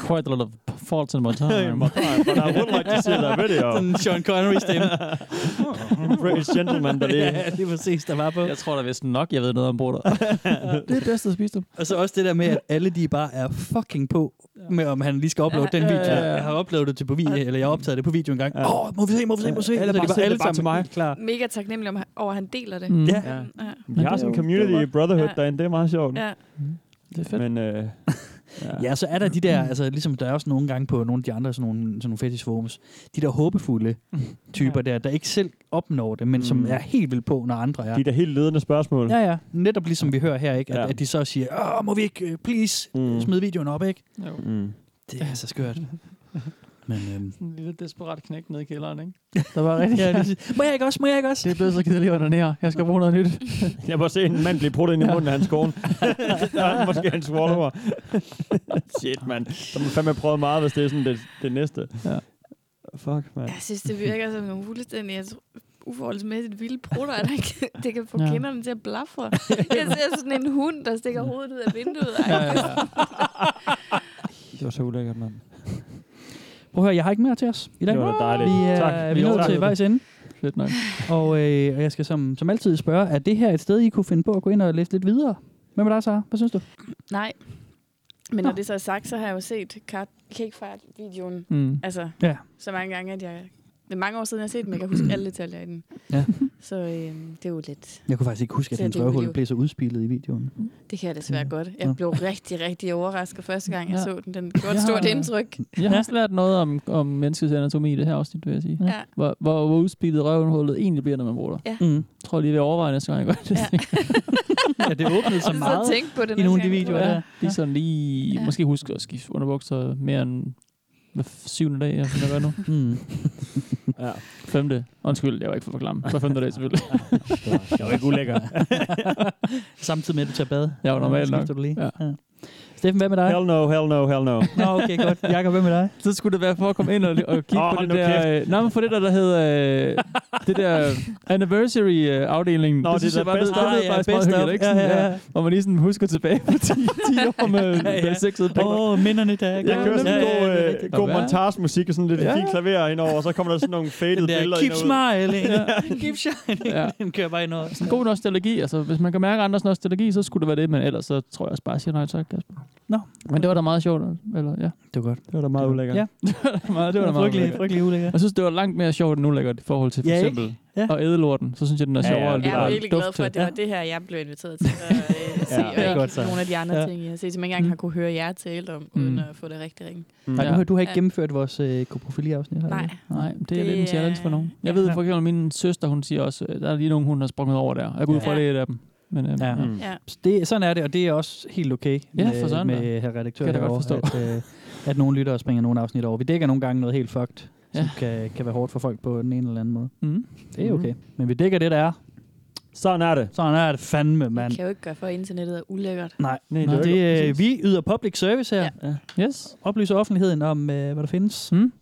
[SPEAKER 5] Quite a lot of faults in my time.
[SPEAKER 6] but <laughs> I would like to see that
[SPEAKER 4] <laughs>
[SPEAKER 6] video.
[SPEAKER 4] Sådan en Sean Connery stemme.
[SPEAKER 6] <laughs> British gentleman, der lige-
[SPEAKER 4] Ja, lige præcis, der var på.
[SPEAKER 5] Jeg tror da vist nok, jeg ved noget om
[SPEAKER 4] <laughs>
[SPEAKER 5] bruder. det er bedst at spise dem.
[SPEAKER 4] Og så også det der med, at alle de bare er fucking på med, om han lige skal uploade den video.
[SPEAKER 5] ja, ja.
[SPEAKER 4] Jeg har uploadet det til på video, eller jeg har optaget det på video en gang. Åh,
[SPEAKER 6] Ja.
[SPEAKER 4] oh, må vi se, må vi se, må vi se.
[SPEAKER 6] Ja, eller
[SPEAKER 4] Så de
[SPEAKER 6] bare
[SPEAKER 4] var
[SPEAKER 6] send
[SPEAKER 4] alle
[SPEAKER 6] det bare
[SPEAKER 4] sammen
[SPEAKER 6] til mig.
[SPEAKER 4] Klar.
[SPEAKER 7] Mega taknemmelig om, over, at han deler det.
[SPEAKER 4] Mm. Ja.
[SPEAKER 7] ja.
[SPEAKER 6] Vi har sådan en community brotherhood derinde. Det er meget sjovt.
[SPEAKER 7] Ja.
[SPEAKER 5] Det er
[SPEAKER 4] fedt.
[SPEAKER 6] Men,
[SPEAKER 4] <laughs>
[SPEAKER 6] øh, ja.
[SPEAKER 4] Ja, så er der de der, altså ligesom der er også nogle gange på nogle af de andre sådan nogle, sådan nogle fetish forums, de der håbefulde typer der, der ikke selv opnår det, men mm. som
[SPEAKER 6] Mm.
[SPEAKER 4] er helt vildt på, når andre er.
[SPEAKER 6] De der helt ledende spørgsmål.
[SPEAKER 4] Ja, ja. Netop ligesom vi hører her, ikke? At, ja. at de så siger, Åh, må vi ikke, øh, please,
[SPEAKER 6] Mm.
[SPEAKER 4] mm. smide videoen op, ikke?
[SPEAKER 5] Jo.
[SPEAKER 6] Mm.
[SPEAKER 4] Det er så skørt. Men, øhm,
[SPEAKER 5] En lille desperat knæk nede i kælderen, ikke? Der var rigtig...
[SPEAKER 4] Ja, lige- må jeg ikke også, må jeg ikke også?
[SPEAKER 5] Det er blevet så kedeligt under her. Jeg skal bruge noget nyt.
[SPEAKER 6] Jeg må se en mand blive brudt ind i munden af hans kone. der er måske en swallower. Shit, mand. Så må man fandme prøve meget, hvis det er sådan det, det næste.
[SPEAKER 5] Ja.
[SPEAKER 6] Fuck, mand.
[SPEAKER 7] Jeg synes, det virker som nogle fuldstændig jeg tror, uforholdsmæssigt vilde prutter, at han kan, det kan få
[SPEAKER 6] Ja.
[SPEAKER 7] ja. kinderne til at blafre. Jeg ser sådan en hund, der stikker hovedet ud af vinduet. Ej,
[SPEAKER 6] Ja, ja. Det var så ulækkert, mand.
[SPEAKER 4] Prøv at høre, jeg har ikke mere til os i dag.
[SPEAKER 6] Det var da dejligt.
[SPEAKER 4] Vi er,
[SPEAKER 6] Tak.
[SPEAKER 4] Vi er nået
[SPEAKER 6] Tak.
[SPEAKER 4] til vejs ende.
[SPEAKER 5] Fedt nok.
[SPEAKER 4] Og, øh, og jeg skal som, som altid spørge, er det her et sted, I kunne finde på at gå ind og læse lidt videre? Hvad med dig, Sara? Hvad synes du?
[SPEAKER 7] Nej. Men når det så er sagt, så har jeg jo set Car- Cakefart-videoen.
[SPEAKER 4] Mm.
[SPEAKER 7] Altså,
[SPEAKER 4] Ja.
[SPEAKER 7] så mange gange, at jeg... Det er mange år siden, jeg har set den, men jeg kan huske alle detaljer i den.
[SPEAKER 4] Ja.
[SPEAKER 7] Så øhm, det er jo lidt...
[SPEAKER 4] Jeg kunne faktisk ikke huske, at
[SPEAKER 7] Så
[SPEAKER 4] hendes
[SPEAKER 7] det er jo-
[SPEAKER 4] røvhul blev så udspillet i videoen.
[SPEAKER 7] Det kan jeg desværre godt. Jeg
[SPEAKER 4] Nå.
[SPEAKER 7] blev rigtig, rigtig overrasket første gang, jeg
[SPEAKER 5] Ja.
[SPEAKER 7] så den. Den gjorde et stort indtryk.
[SPEAKER 5] Jeg har også lært noget om, om menneskets anatomi i det her afsnit, vil jeg sige.
[SPEAKER 7] Ja.
[SPEAKER 5] Hvor, hvor, hvor udspillet røvenhullet egentlig bliver, når man bruger det.
[SPEAKER 7] Ja.
[SPEAKER 4] Mm.
[SPEAKER 5] Jeg tror lige, vi overvejer næste gang, jeg gør det. <laughs>
[SPEAKER 4] ja, det åbnede så
[SPEAKER 5] og
[SPEAKER 4] meget tænke på det i næste nogle af de gang, jeg videoer bruger der. det.
[SPEAKER 5] Lige sådan lige, ja. måske huske at skifte underbukser mere end hver f- syvende dag, jeg finder gør nu. <laughs>
[SPEAKER 4] Mm.
[SPEAKER 6] ja.
[SPEAKER 5] Femte. Undskyld, jeg var ikke for klam. Hver femte dag
[SPEAKER 4] <laughs>
[SPEAKER 5] selvfølgelig.
[SPEAKER 6] Det var ikke ulækker.
[SPEAKER 5] <laughs>
[SPEAKER 4] Samtidig med, at du tager bad.
[SPEAKER 5] Ja, jo, normalt
[SPEAKER 4] Ja,
[SPEAKER 5] nok.
[SPEAKER 4] skifter Du lige. Ja. Ja. Steffen, hvad med dig?
[SPEAKER 6] Hell no, hell no, hell no.
[SPEAKER 4] Nå, okay, godt. Jakob, hvad med dig?
[SPEAKER 5] Så skulle det være for at komme ind og, og kigge
[SPEAKER 6] Åh,
[SPEAKER 5] oh, på
[SPEAKER 6] hold
[SPEAKER 5] det
[SPEAKER 6] nu
[SPEAKER 5] der...
[SPEAKER 6] kæft.
[SPEAKER 5] Øh, nej, men for det der, der hedder... Øh, det der anniversary-afdelingen.
[SPEAKER 6] Nå, det
[SPEAKER 5] synes
[SPEAKER 6] er
[SPEAKER 5] jeg
[SPEAKER 6] der
[SPEAKER 5] bare
[SPEAKER 6] best
[SPEAKER 5] lyder- det
[SPEAKER 6] of.
[SPEAKER 5] lyder
[SPEAKER 6] Ah, ja,
[SPEAKER 5] faktisk meget
[SPEAKER 6] best of.
[SPEAKER 5] hyggeligt, ikke?
[SPEAKER 6] Ja,
[SPEAKER 5] Sådan,
[SPEAKER 6] ja,
[SPEAKER 5] ja,
[SPEAKER 6] ja.
[SPEAKER 5] Hvor man lige sådan husker tilbage på 10,
[SPEAKER 6] <laughs>
[SPEAKER 5] 10 år med ja, ja. sexet på.
[SPEAKER 4] Åh, oh, minderne der.
[SPEAKER 6] <laughs> Jeg kører sådan en god, øh, god
[SPEAKER 5] Hvad?
[SPEAKER 6] montagemusik og sådan lidt
[SPEAKER 5] Ja.
[SPEAKER 6] ja. fint klaver indover, og så kommer der sådan nogle faded
[SPEAKER 4] Den der
[SPEAKER 6] billeder
[SPEAKER 4] keep
[SPEAKER 6] ind og ud.
[SPEAKER 4] smiling. keep shining.
[SPEAKER 5] Ja.
[SPEAKER 4] Den kører bare ind over.
[SPEAKER 5] Sådan god nostalgi. Altså, hvis man kan mærke andres nostalgi, så skulle det være det, men ellers så tror jeg også bare, at jeg siger nej tak, Kasper.
[SPEAKER 4] Nå.
[SPEAKER 5] Men det var da meget sjovt. Eller, ja.
[SPEAKER 4] Det var godt.
[SPEAKER 6] Det var da meget ulækkert.
[SPEAKER 4] Ja.
[SPEAKER 5] <laughs> det var meget, det var da meget
[SPEAKER 4] Frygtelig-
[SPEAKER 5] ulækkert.
[SPEAKER 4] frygtelig ulækkert.
[SPEAKER 5] Jeg synes, det var langt mere sjovt end ulækkert i forhold til for
[SPEAKER 4] Ja, ikke?
[SPEAKER 5] eksempel
[SPEAKER 4] ja.
[SPEAKER 5] og ædelorten. Så synes jeg, den er
[SPEAKER 4] Ja, ja,
[SPEAKER 5] sjovere.
[SPEAKER 4] det
[SPEAKER 5] Ja,
[SPEAKER 7] Jeg er virkelig glad
[SPEAKER 5] duft
[SPEAKER 7] for, at
[SPEAKER 5] til.
[SPEAKER 7] det var det her, jeg blev inviteret til at
[SPEAKER 5] <laughs>
[SPEAKER 7] øh, se,
[SPEAKER 5] Ja,
[SPEAKER 7] og
[SPEAKER 5] det er
[SPEAKER 7] ikke
[SPEAKER 5] godt så.
[SPEAKER 7] nogle af de andre
[SPEAKER 5] Ja. Mm.
[SPEAKER 7] ja. ting, jeg har set, som jeg ikke engang har kunne høre jer tale om, uden at få det rigtig ringe.
[SPEAKER 4] Mm. Nej, du, har- du har ikke gennemført vores øh, profilafsnit her.
[SPEAKER 7] Nej.
[SPEAKER 5] Nej, det er
[SPEAKER 7] Det
[SPEAKER 5] lidt en challenge for nogen. Jeg ved for eksempel, at min søster, hun siger også, øh, der er lige nogen, hun har sprunget over der. Jeg går ud fra,
[SPEAKER 4] Ja.
[SPEAKER 5] ja. det er et af dem. Men, øhm,
[SPEAKER 4] Ja.
[SPEAKER 5] Mm.
[SPEAKER 4] Ja. Så det, sådan er det, og det er også helt okay
[SPEAKER 5] Ja,
[SPEAKER 4] med,
[SPEAKER 5] for sådan da.
[SPEAKER 4] med her redaktør
[SPEAKER 5] Kan jeg da godt
[SPEAKER 4] herovre, at, øh, at nogle lyttere springer nogle afsnit over. Vi dækker nogle gange noget helt fucked, ja. som kan, kan være hårdt for folk på den ene eller anden måde.
[SPEAKER 5] Mm.
[SPEAKER 4] Det er okay. Men vi dækker det, der er.
[SPEAKER 6] Sådan er det.
[SPEAKER 4] Sådan er det fandme, mand.
[SPEAKER 7] kan jeg jo ikke gøre for, at internettet er ulækkert.
[SPEAKER 4] Nej,
[SPEAKER 6] Nej,
[SPEAKER 4] Nej
[SPEAKER 6] det er
[SPEAKER 4] Nå,
[SPEAKER 6] jo ikke-
[SPEAKER 4] det,
[SPEAKER 6] præcis.
[SPEAKER 4] øh, vi yder public service her.
[SPEAKER 5] Ja. Yes.
[SPEAKER 4] Oplyser offentligheden om, øh, hvad der findes.
[SPEAKER 5] Mm.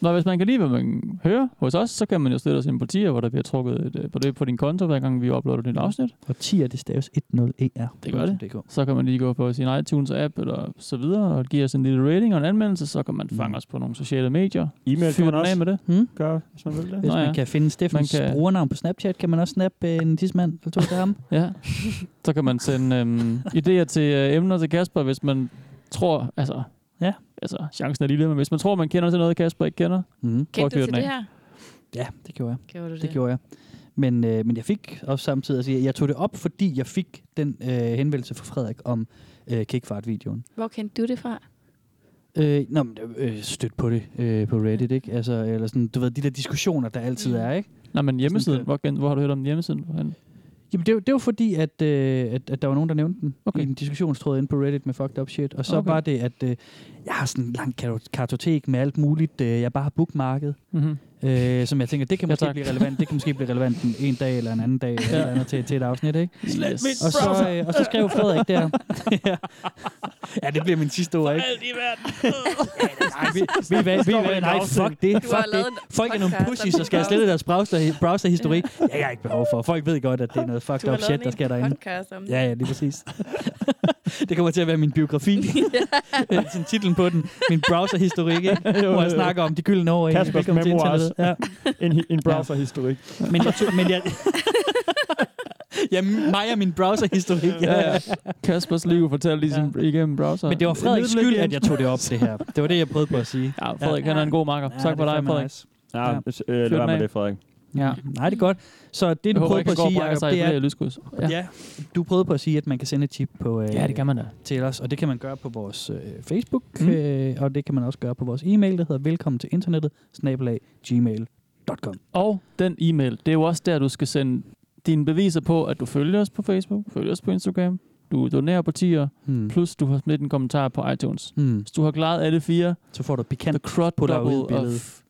[SPEAKER 5] Nå, hvis man kan lide, hvad man hører hos os, så kan man jo støtte os i en partier, hvor der bliver trukket et øh, beløb på din konto, hver gang vi uploader et nyt afsnit.
[SPEAKER 4] Og 10 det staves e 10er.
[SPEAKER 5] Det gør det. Så kan man lige gå på sin iTunes-app eller så videre, og give os en lille rating og en anmeldelse, så kan
[SPEAKER 4] Mm.
[SPEAKER 5] man fange os på nogle sociale medier.
[SPEAKER 6] E-mail kan
[SPEAKER 5] Fyr
[SPEAKER 6] man
[SPEAKER 5] den af
[SPEAKER 6] også
[SPEAKER 5] med det.
[SPEAKER 4] Hmm?
[SPEAKER 6] Gør, hvis man vil det.
[SPEAKER 4] Hvis
[SPEAKER 5] Nå, ja.
[SPEAKER 4] man kan finde Steffens
[SPEAKER 5] Man
[SPEAKER 4] man
[SPEAKER 5] kan-
[SPEAKER 4] kan... brugernavn på Snapchat, kan man også snappe øh, en tidsmand eller to til ham.
[SPEAKER 5] Ja, så kan man sende øhm, idéer til øh, emner til Kasper, hvis man tror, altså,
[SPEAKER 4] ja.
[SPEAKER 5] altså, chancen er lille, men hvis man tror, man kender til noget, Kasper ikke kender,
[SPEAKER 4] mm.
[SPEAKER 7] Kendte du til det her?
[SPEAKER 4] Ja, det gjorde jeg.
[SPEAKER 7] Gjorde du det?
[SPEAKER 4] det gjorde jeg. Men, øh, men jeg fik også samtidig, altså jeg, jeg tog det op, fordi jeg fik den øh, henvendelse fra Frederik om øh, kickfart-videoen.
[SPEAKER 7] Hvor kendte du det fra?
[SPEAKER 4] Øh, nå, men øh, støt på det øh, på Reddit, ikke? Altså, eller sådan, du ved, de der diskussioner, der altid er, ikke? øh,
[SPEAKER 5] Nej, men hjemmesiden, hvor, gen- hvor har du hørt om hjemmesiden? Hvorhen?
[SPEAKER 4] Jamen, det, var- det var fordi, at, øh, at, at der var nogen, der nævnte den okay. i en diskussionstråd inde på Reddit med fucked up shit. Og så
[SPEAKER 5] Okay.
[SPEAKER 4] okay. var det, at øh, jeg har sådan en lang kar- kartotek med alt muligt, øh, jeg bare har bookmarket.
[SPEAKER 5] Mhm.
[SPEAKER 4] Øh, som jeg tænker, det kan
[SPEAKER 5] Ja,
[SPEAKER 4] måske
[SPEAKER 5] tak.
[SPEAKER 4] blive relevant. Det kan måske blive relevant en, en dag eller en anden dag eller
[SPEAKER 5] Ja.
[SPEAKER 4] et eller andet til, til et afsnit, ikke?
[SPEAKER 5] Slet Yes. mit
[SPEAKER 4] Og så,
[SPEAKER 5] browser.
[SPEAKER 4] øh, og så skrev Frederik
[SPEAKER 5] <laughs>
[SPEAKER 4] der. ja. ja, det bliver min sidste ord, ikke? Nej, vi, vi, vi, vi, vi, nej, fuck det.
[SPEAKER 5] Du har
[SPEAKER 4] Fuck
[SPEAKER 5] lavet
[SPEAKER 4] det.
[SPEAKER 5] en
[SPEAKER 4] Folk er nogle
[SPEAKER 5] podcast
[SPEAKER 4] pussies,
[SPEAKER 5] om
[SPEAKER 4] så skal jeg
[SPEAKER 5] browser.
[SPEAKER 4] slette deres browser, browserhistorik. Ja, jeg har ikke behov for. Folk ved godt, at det er noget fucked
[SPEAKER 7] har
[SPEAKER 4] up
[SPEAKER 7] lavet
[SPEAKER 4] shit,
[SPEAKER 7] en
[SPEAKER 4] der sker derinde.
[SPEAKER 7] podcast om det.
[SPEAKER 4] Ja, ja, lige præcis. <laughs> det kommer til at være min biografi. <laughs> Øh, Sådan titlen på den. Min browserhistorik, ikke?
[SPEAKER 6] Jo,
[SPEAKER 4] hvor
[SPEAKER 6] jo.
[SPEAKER 4] jeg snakker om de gyldne år.
[SPEAKER 6] Kaspers memoirs. <laughs> en, en browserhistorik. <laughs>
[SPEAKER 4] Men jeg, tog- men jeg, <laughs> ja, mig og min browserhistorik.
[SPEAKER 5] Ja, ja. Kaspers liv fortæller lige ja. igennem browser.
[SPEAKER 4] Men det var Frederiks skyld, at jeg tog det op, det her. <laughs> Det var det, jeg prøvede på at sige.
[SPEAKER 5] Ja, Frederik, han er en god makker. Tak for
[SPEAKER 4] det er
[SPEAKER 5] dig,
[SPEAKER 4] fandme
[SPEAKER 5] Frederik.
[SPEAKER 6] Ja,
[SPEAKER 4] Ja.
[SPEAKER 6] ja. Øh, lad være med det, Frederik.
[SPEAKER 4] Ja, nej, det er godt. Så det, du
[SPEAKER 5] håber
[SPEAKER 4] prøvede
[SPEAKER 5] ikke,
[SPEAKER 4] på
[SPEAKER 5] han
[SPEAKER 4] at
[SPEAKER 5] går og
[SPEAKER 4] sige,
[SPEAKER 5] brækker
[SPEAKER 4] Jacob,
[SPEAKER 5] sig i
[SPEAKER 4] det
[SPEAKER 5] flere
[SPEAKER 4] er...
[SPEAKER 5] lydskud. Ja.
[SPEAKER 4] Ja. ja. Du prøvede på at sige, at man kan sende et tip på, øh,
[SPEAKER 5] Ja, det kan man da.
[SPEAKER 4] til os, og det kan man gøre på vores øh, Facebook, mm. øh, og det kan man også gøre på vores e-mail, der hedder velkommen til internettet, snabelag, gmail.com.
[SPEAKER 5] Og den e-mail, det er jo også der, du skal sende dine beviser på, at du følger os på Facebook, følger os på Instagram, du donerer på tier,
[SPEAKER 4] Hmm.
[SPEAKER 5] plus du har smidt en kommentar på iTunes.
[SPEAKER 4] Hmm.
[SPEAKER 5] Hvis du har klaret alle fire,
[SPEAKER 4] så får du pikant
[SPEAKER 5] crud
[SPEAKER 4] på dig ud
[SPEAKER 5] double
[SPEAKER 4] billede,
[SPEAKER 5] of-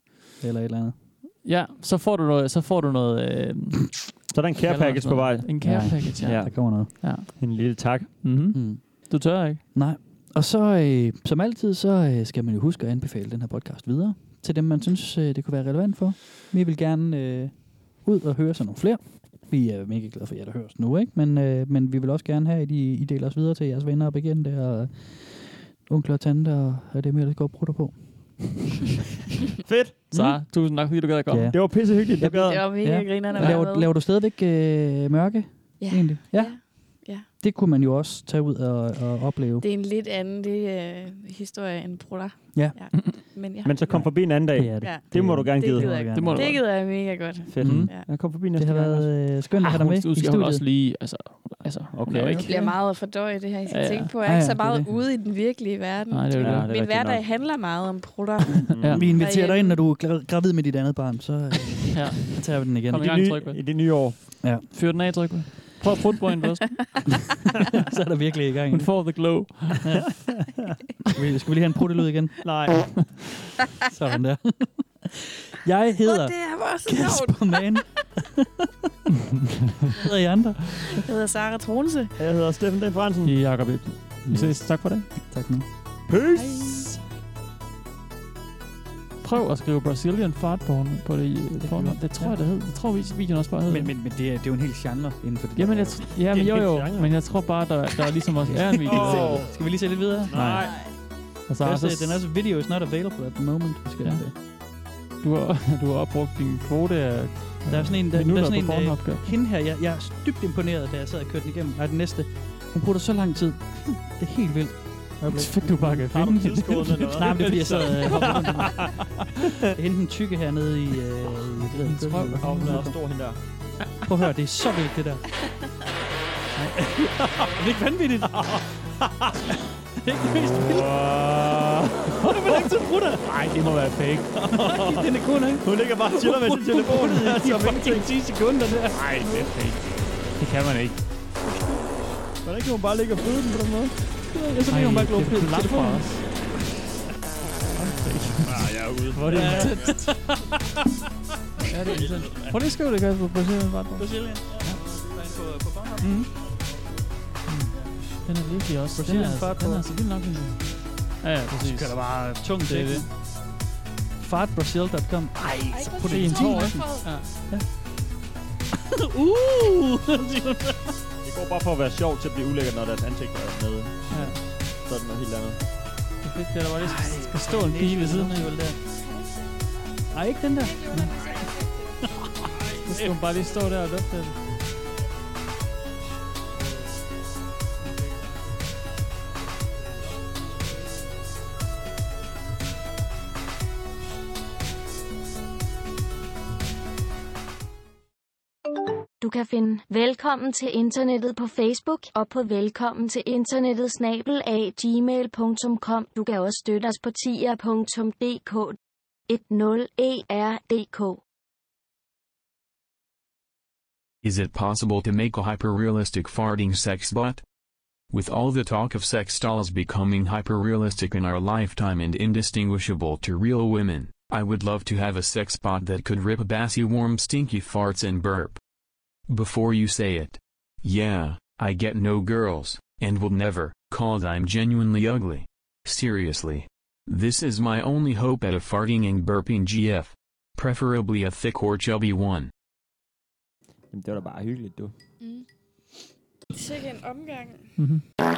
[SPEAKER 4] eller et eller andet.
[SPEAKER 5] Ja, så får du noget... Så, får du noget øh,
[SPEAKER 6] så er der en care package på vej.
[SPEAKER 5] En care package, ja.
[SPEAKER 4] Der kommer noget.
[SPEAKER 5] Ja.
[SPEAKER 6] En lille tak.
[SPEAKER 5] Mm-hmm.
[SPEAKER 4] Mm.
[SPEAKER 5] Du tør ikke?
[SPEAKER 4] Nej. Og så, øh, som altid, så øh, skal man jo huske at anbefale den her podcast videre til dem, man synes, øh, det kunne være relevant for. Vi vil gerne øh, ud og høre sådan nogle flere. Vi er mega glade for jer, der hører os nu, ikke? Men, øh, men vi vil også gerne have, at I, I deler os videre til jeres venner og bekendte og øh, onkler og tanter og og dem, jeg ellers går og brutter på.
[SPEAKER 6] Fedt.
[SPEAKER 5] Så, tusind tak, fordi du gad at komme.
[SPEAKER 4] Mm. Ja.
[SPEAKER 6] Det var pissehyggeligt, du gad.
[SPEAKER 7] Det var mega grineren at være
[SPEAKER 4] laver,
[SPEAKER 7] med.
[SPEAKER 4] laver du stadigvæk øh, mørke,
[SPEAKER 7] Ja.
[SPEAKER 4] egentlig? Ja.
[SPEAKER 7] Ja.
[SPEAKER 4] Det kunne man jo også tage ud og, og opleve.
[SPEAKER 7] Det er en lidt anden det, øh, historie end Bruder.
[SPEAKER 4] Ja.
[SPEAKER 5] <laughs>
[SPEAKER 7] Men, ja.
[SPEAKER 6] Men så kom forbi en anden dag.
[SPEAKER 4] Det er det.
[SPEAKER 7] Ja.
[SPEAKER 6] Det må du gerne
[SPEAKER 7] det
[SPEAKER 6] give.
[SPEAKER 7] gider jeg, det, det gider jeg mega godt.
[SPEAKER 6] Fedt.
[SPEAKER 7] Mm.
[SPEAKER 6] Mm.
[SPEAKER 7] Ja.
[SPEAKER 6] Ja. Kom forbi
[SPEAKER 4] Det
[SPEAKER 6] næste
[SPEAKER 4] har
[SPEAKER 6] gang. også.
[SPEAKER 4] været øh, skønt at have dig
[SPEAKER 5] hun-
[SPEAKER 4] med i
[SPEAKER 5] Ah, du skal hun
[SPEAKER 4] studiet.
[SPEAKER 5] også lige... Altså, altså,
[SPEAKER 6] Okay,
[SPEAKER 5] okay.
[SPEAKER 7] Det bliver meget at fordøje det her, jeg skal
[SPEAKER 5] Ja,
[SPEAKER 7] ja,
[SPEAKER 5] ja.
[SPEAKER 7] ja. tænke på. Jeg
[SPEAKER 5] Ja,
[SPEAKER 7] er
[SPEAKER 5] ja,
[SPEAKER 7] ikke så
[SPEAKER 5] det er
[SPEAKER 7] meget
[SPEAKER 5] det.
[SPEAKER 7] ude i den virkelige verden.
[SPEAKER 5] Nej, det er jo det. Ja, det er
[SPEAKER 7] Min
[SPEAKER 5] rigtigt
[SPEAKER 7] hverdag
[SPEAKER 5] nok.
[SPEAKER 7] handler meget om
[SPEAKER 5] <laughs>
[SPEAKER 7] brutter.
[SPEAKER 4] Ja. Vi inviterer dig
[SPEAKER 7] Derhjemme.
[SPEAKER 4] ind, når du er gra- gravid med dit andet barn, så <laughs> øh,
[SPEAKER 5] ja.
[SPEAKER 4] tager vi den igen.
[SPEAKER 5] Kom i gang, tryk på.
[SPEAKER 6] I det nye år.
[SPEAKER 4] Ja.
[SPEAKER 5] Fyr den af, tryk på. Prøv at putte på hende først.
[SPEAKER 4] <laughs> så er der virkelig i gang.
[SPEAKER 5] Hun får the glow.
[SPEAKER 4] Ja. Skal vi- Skal vi lige have en pruttelyd igen?
[SPEAKER 6] Nej.
[SPEAKER 4] <laughs> Sådan der. Jeg hedder
[SPEAKER 7] Åh, det er bare så sjovt.
[SPEAKER 4] Kasper
[SPEAKER 7] <laughs>
[SPEAKER 4] Mann. Hvad hedder I andre?
[SPEAKER 7] Jeg hedder Sara Tronse.
[SPEAKER 6] Jeg hedder Steffen Dan Fransen.
[SPEAKER 5] Jakob Ibsen. Vi ses. Tak for det.
[SPEAKER 4] Tak nu.
[SPEAKER 6] Peace!
[SPEAKER 5] Prøv at skrive Brazilian fart porn på det. øh, porn. Det tror jeg, det hed. Jeg tror, vi videoen også bare hed.
[SPEAKER 4] Men, men, men det, er, det er jo en hel genre inden for det.
[SPEAKER 5] Jamen,
[SPEAKER 4] der.
[SPEAKER 5] jeg tr- ja, men jo jo, men jeg tror bare, der, der ligesom også er en video.
[SPEAKER 4] Åh. Skal vi lige se lidt videre?
[SPEAKER 5] Nej. Og så,
[SPEAKER 4] Den er også,
[SPEAKER 5] så,
[SPEAKER 4] den er også video is not available at the moment. Vi skal
[SPEAKER 5] Ja.
[SPEAKER 4] ja. det.
[SPEAKER 5] du, har, du har opbrugt din kvote af
[SPEAKER 4] Der er sådan en, der, der
[SPEAKER 5] minutter
[SPEAKER 4] er sådan
[SPEAKER 5] på
[SPEAKER 4] en
[SPEAKER 5] Pornhub.
[SPEAKER 4] øh, hende her, jeg, jeg er dybt imponeret, da jeg sad og kørte den igennem. Nej, den næste. Hun bruger så lang tid. Det er helt vildt.
[SPEAKER 5] Så fik du bare kan
[SPEAKER 4] Har du
[SPEAKER 5] finde
[SPEAKER 4] tidskoden
[SPEAKER 5] hende.
[SPEAKER 4] eller noget? Nej, men det er fordi, jeg sad, øh, hoppede rundt. Hende den tykke hernede i... Øh, i det
[SPEAKER 6] Hendes røv. Åh, hun er også stor, hende der.
[SPEAKER 4] Prøv at høre, det er så vildt,
[SPEAKER 6] <laughs>
[SPEAKER 4] det der. Nej. er det ikke vanvittigt? det er <laughs> ikke det mest vildt. Hvor er det vel ikke til brutter?
[SPEAKER 6] Nej, det må være fake.
[SPEAKER 4] <laughs> den er kun, ikke?
[SPEAKER 6] Hun ligger bare og chiller med sin telefon.
[SPEAKER 4] i fucking 10 sekunder der.
[SPEAKER 6] Nej, det er fake. Det kan man ikke. Hvordan kan hun bare ligge og føde den på den måde?
[SPEAKER 4] Ja, så bliver hun bare gået på
[SPEAKER 6] <laughs>
[SPEAKER 4] telefonen.
[SPEAKER 6] Nej, jeg er ude. Hvor
[SPEAKER 5] er det
[SPEAKER 6] intenst.
[SPEAKER 5] Ja, det er Prøv lige at skrive det, Kasper. Brazilian fart porn.
[SPEAKER 4] Brazilian.
[SPEAKER 5] Ja. på, på Pornhub. Mm. Den er virkelig også.
[SPEAKER 4] Præcis,
[SPEAKER 5] den er,
[SPEAKER 4] fart
[SPEAKER 5] altså, den
[SPEAKER 4] på.
[SPEAKER 5] er altså vild nok. den der. Ja, ja, præcis.
[SPEAKER 4] Så kører der bare tung
[SPEAKER 5] Det er
[SPEAKER 4] tekst.
[SPEAKER 5] det.
[SPEAKER 4] Fartbrasil.com. Ej, så put det i en
[SPEAKER 5] præcis.
[SPEAKER 4] tår, ikke?
[SPEAKER 5] Ja.
[SPEAKER 4] Ja.
[SPEAKER 5] uh!
[SPEAKER 6] det går bare for at være sjovt til at blive ulækkert, når deres ansigter er med. Ja. Så er det noget helt andet.
[SPEAKER 5] Det er fedt, det der var lige skal, skal stå en pige ved siden af, vel der.
[SPEAKER 4] Ej, ikke den der.
[SPEAKER 5] <laughs> Så skal hun bare lige stå der og lufte den.
[SPEAKER 2] Du kan finde Velkommen til internettet på Facebook og på velkommen til internettet snabel af gmail.com. Du kan også støtte os på tier.dk E 10erdk.
[SPEAKER 8] Is it possible to make a hyper-realistic farting sex bot? With all the talk of sex dolls becoming hyper-realistic in our lifetime and indistinguishable to real women, I would love to have a sex bot that could rip bassy warm stinky farts and burp. Before you say it. Yeah, I get no girls, and will never, cause I'm genuinely ugly. Seriously. This is my only hope at a farting and burping GF. Preferably a thick or chubby one.
[SPEAKER 6] Jamen, det var da bare hyggeligt, du.
[SPEAKER 7] Sikke en omgang.
[SPEAKER 5] Mm-hmm.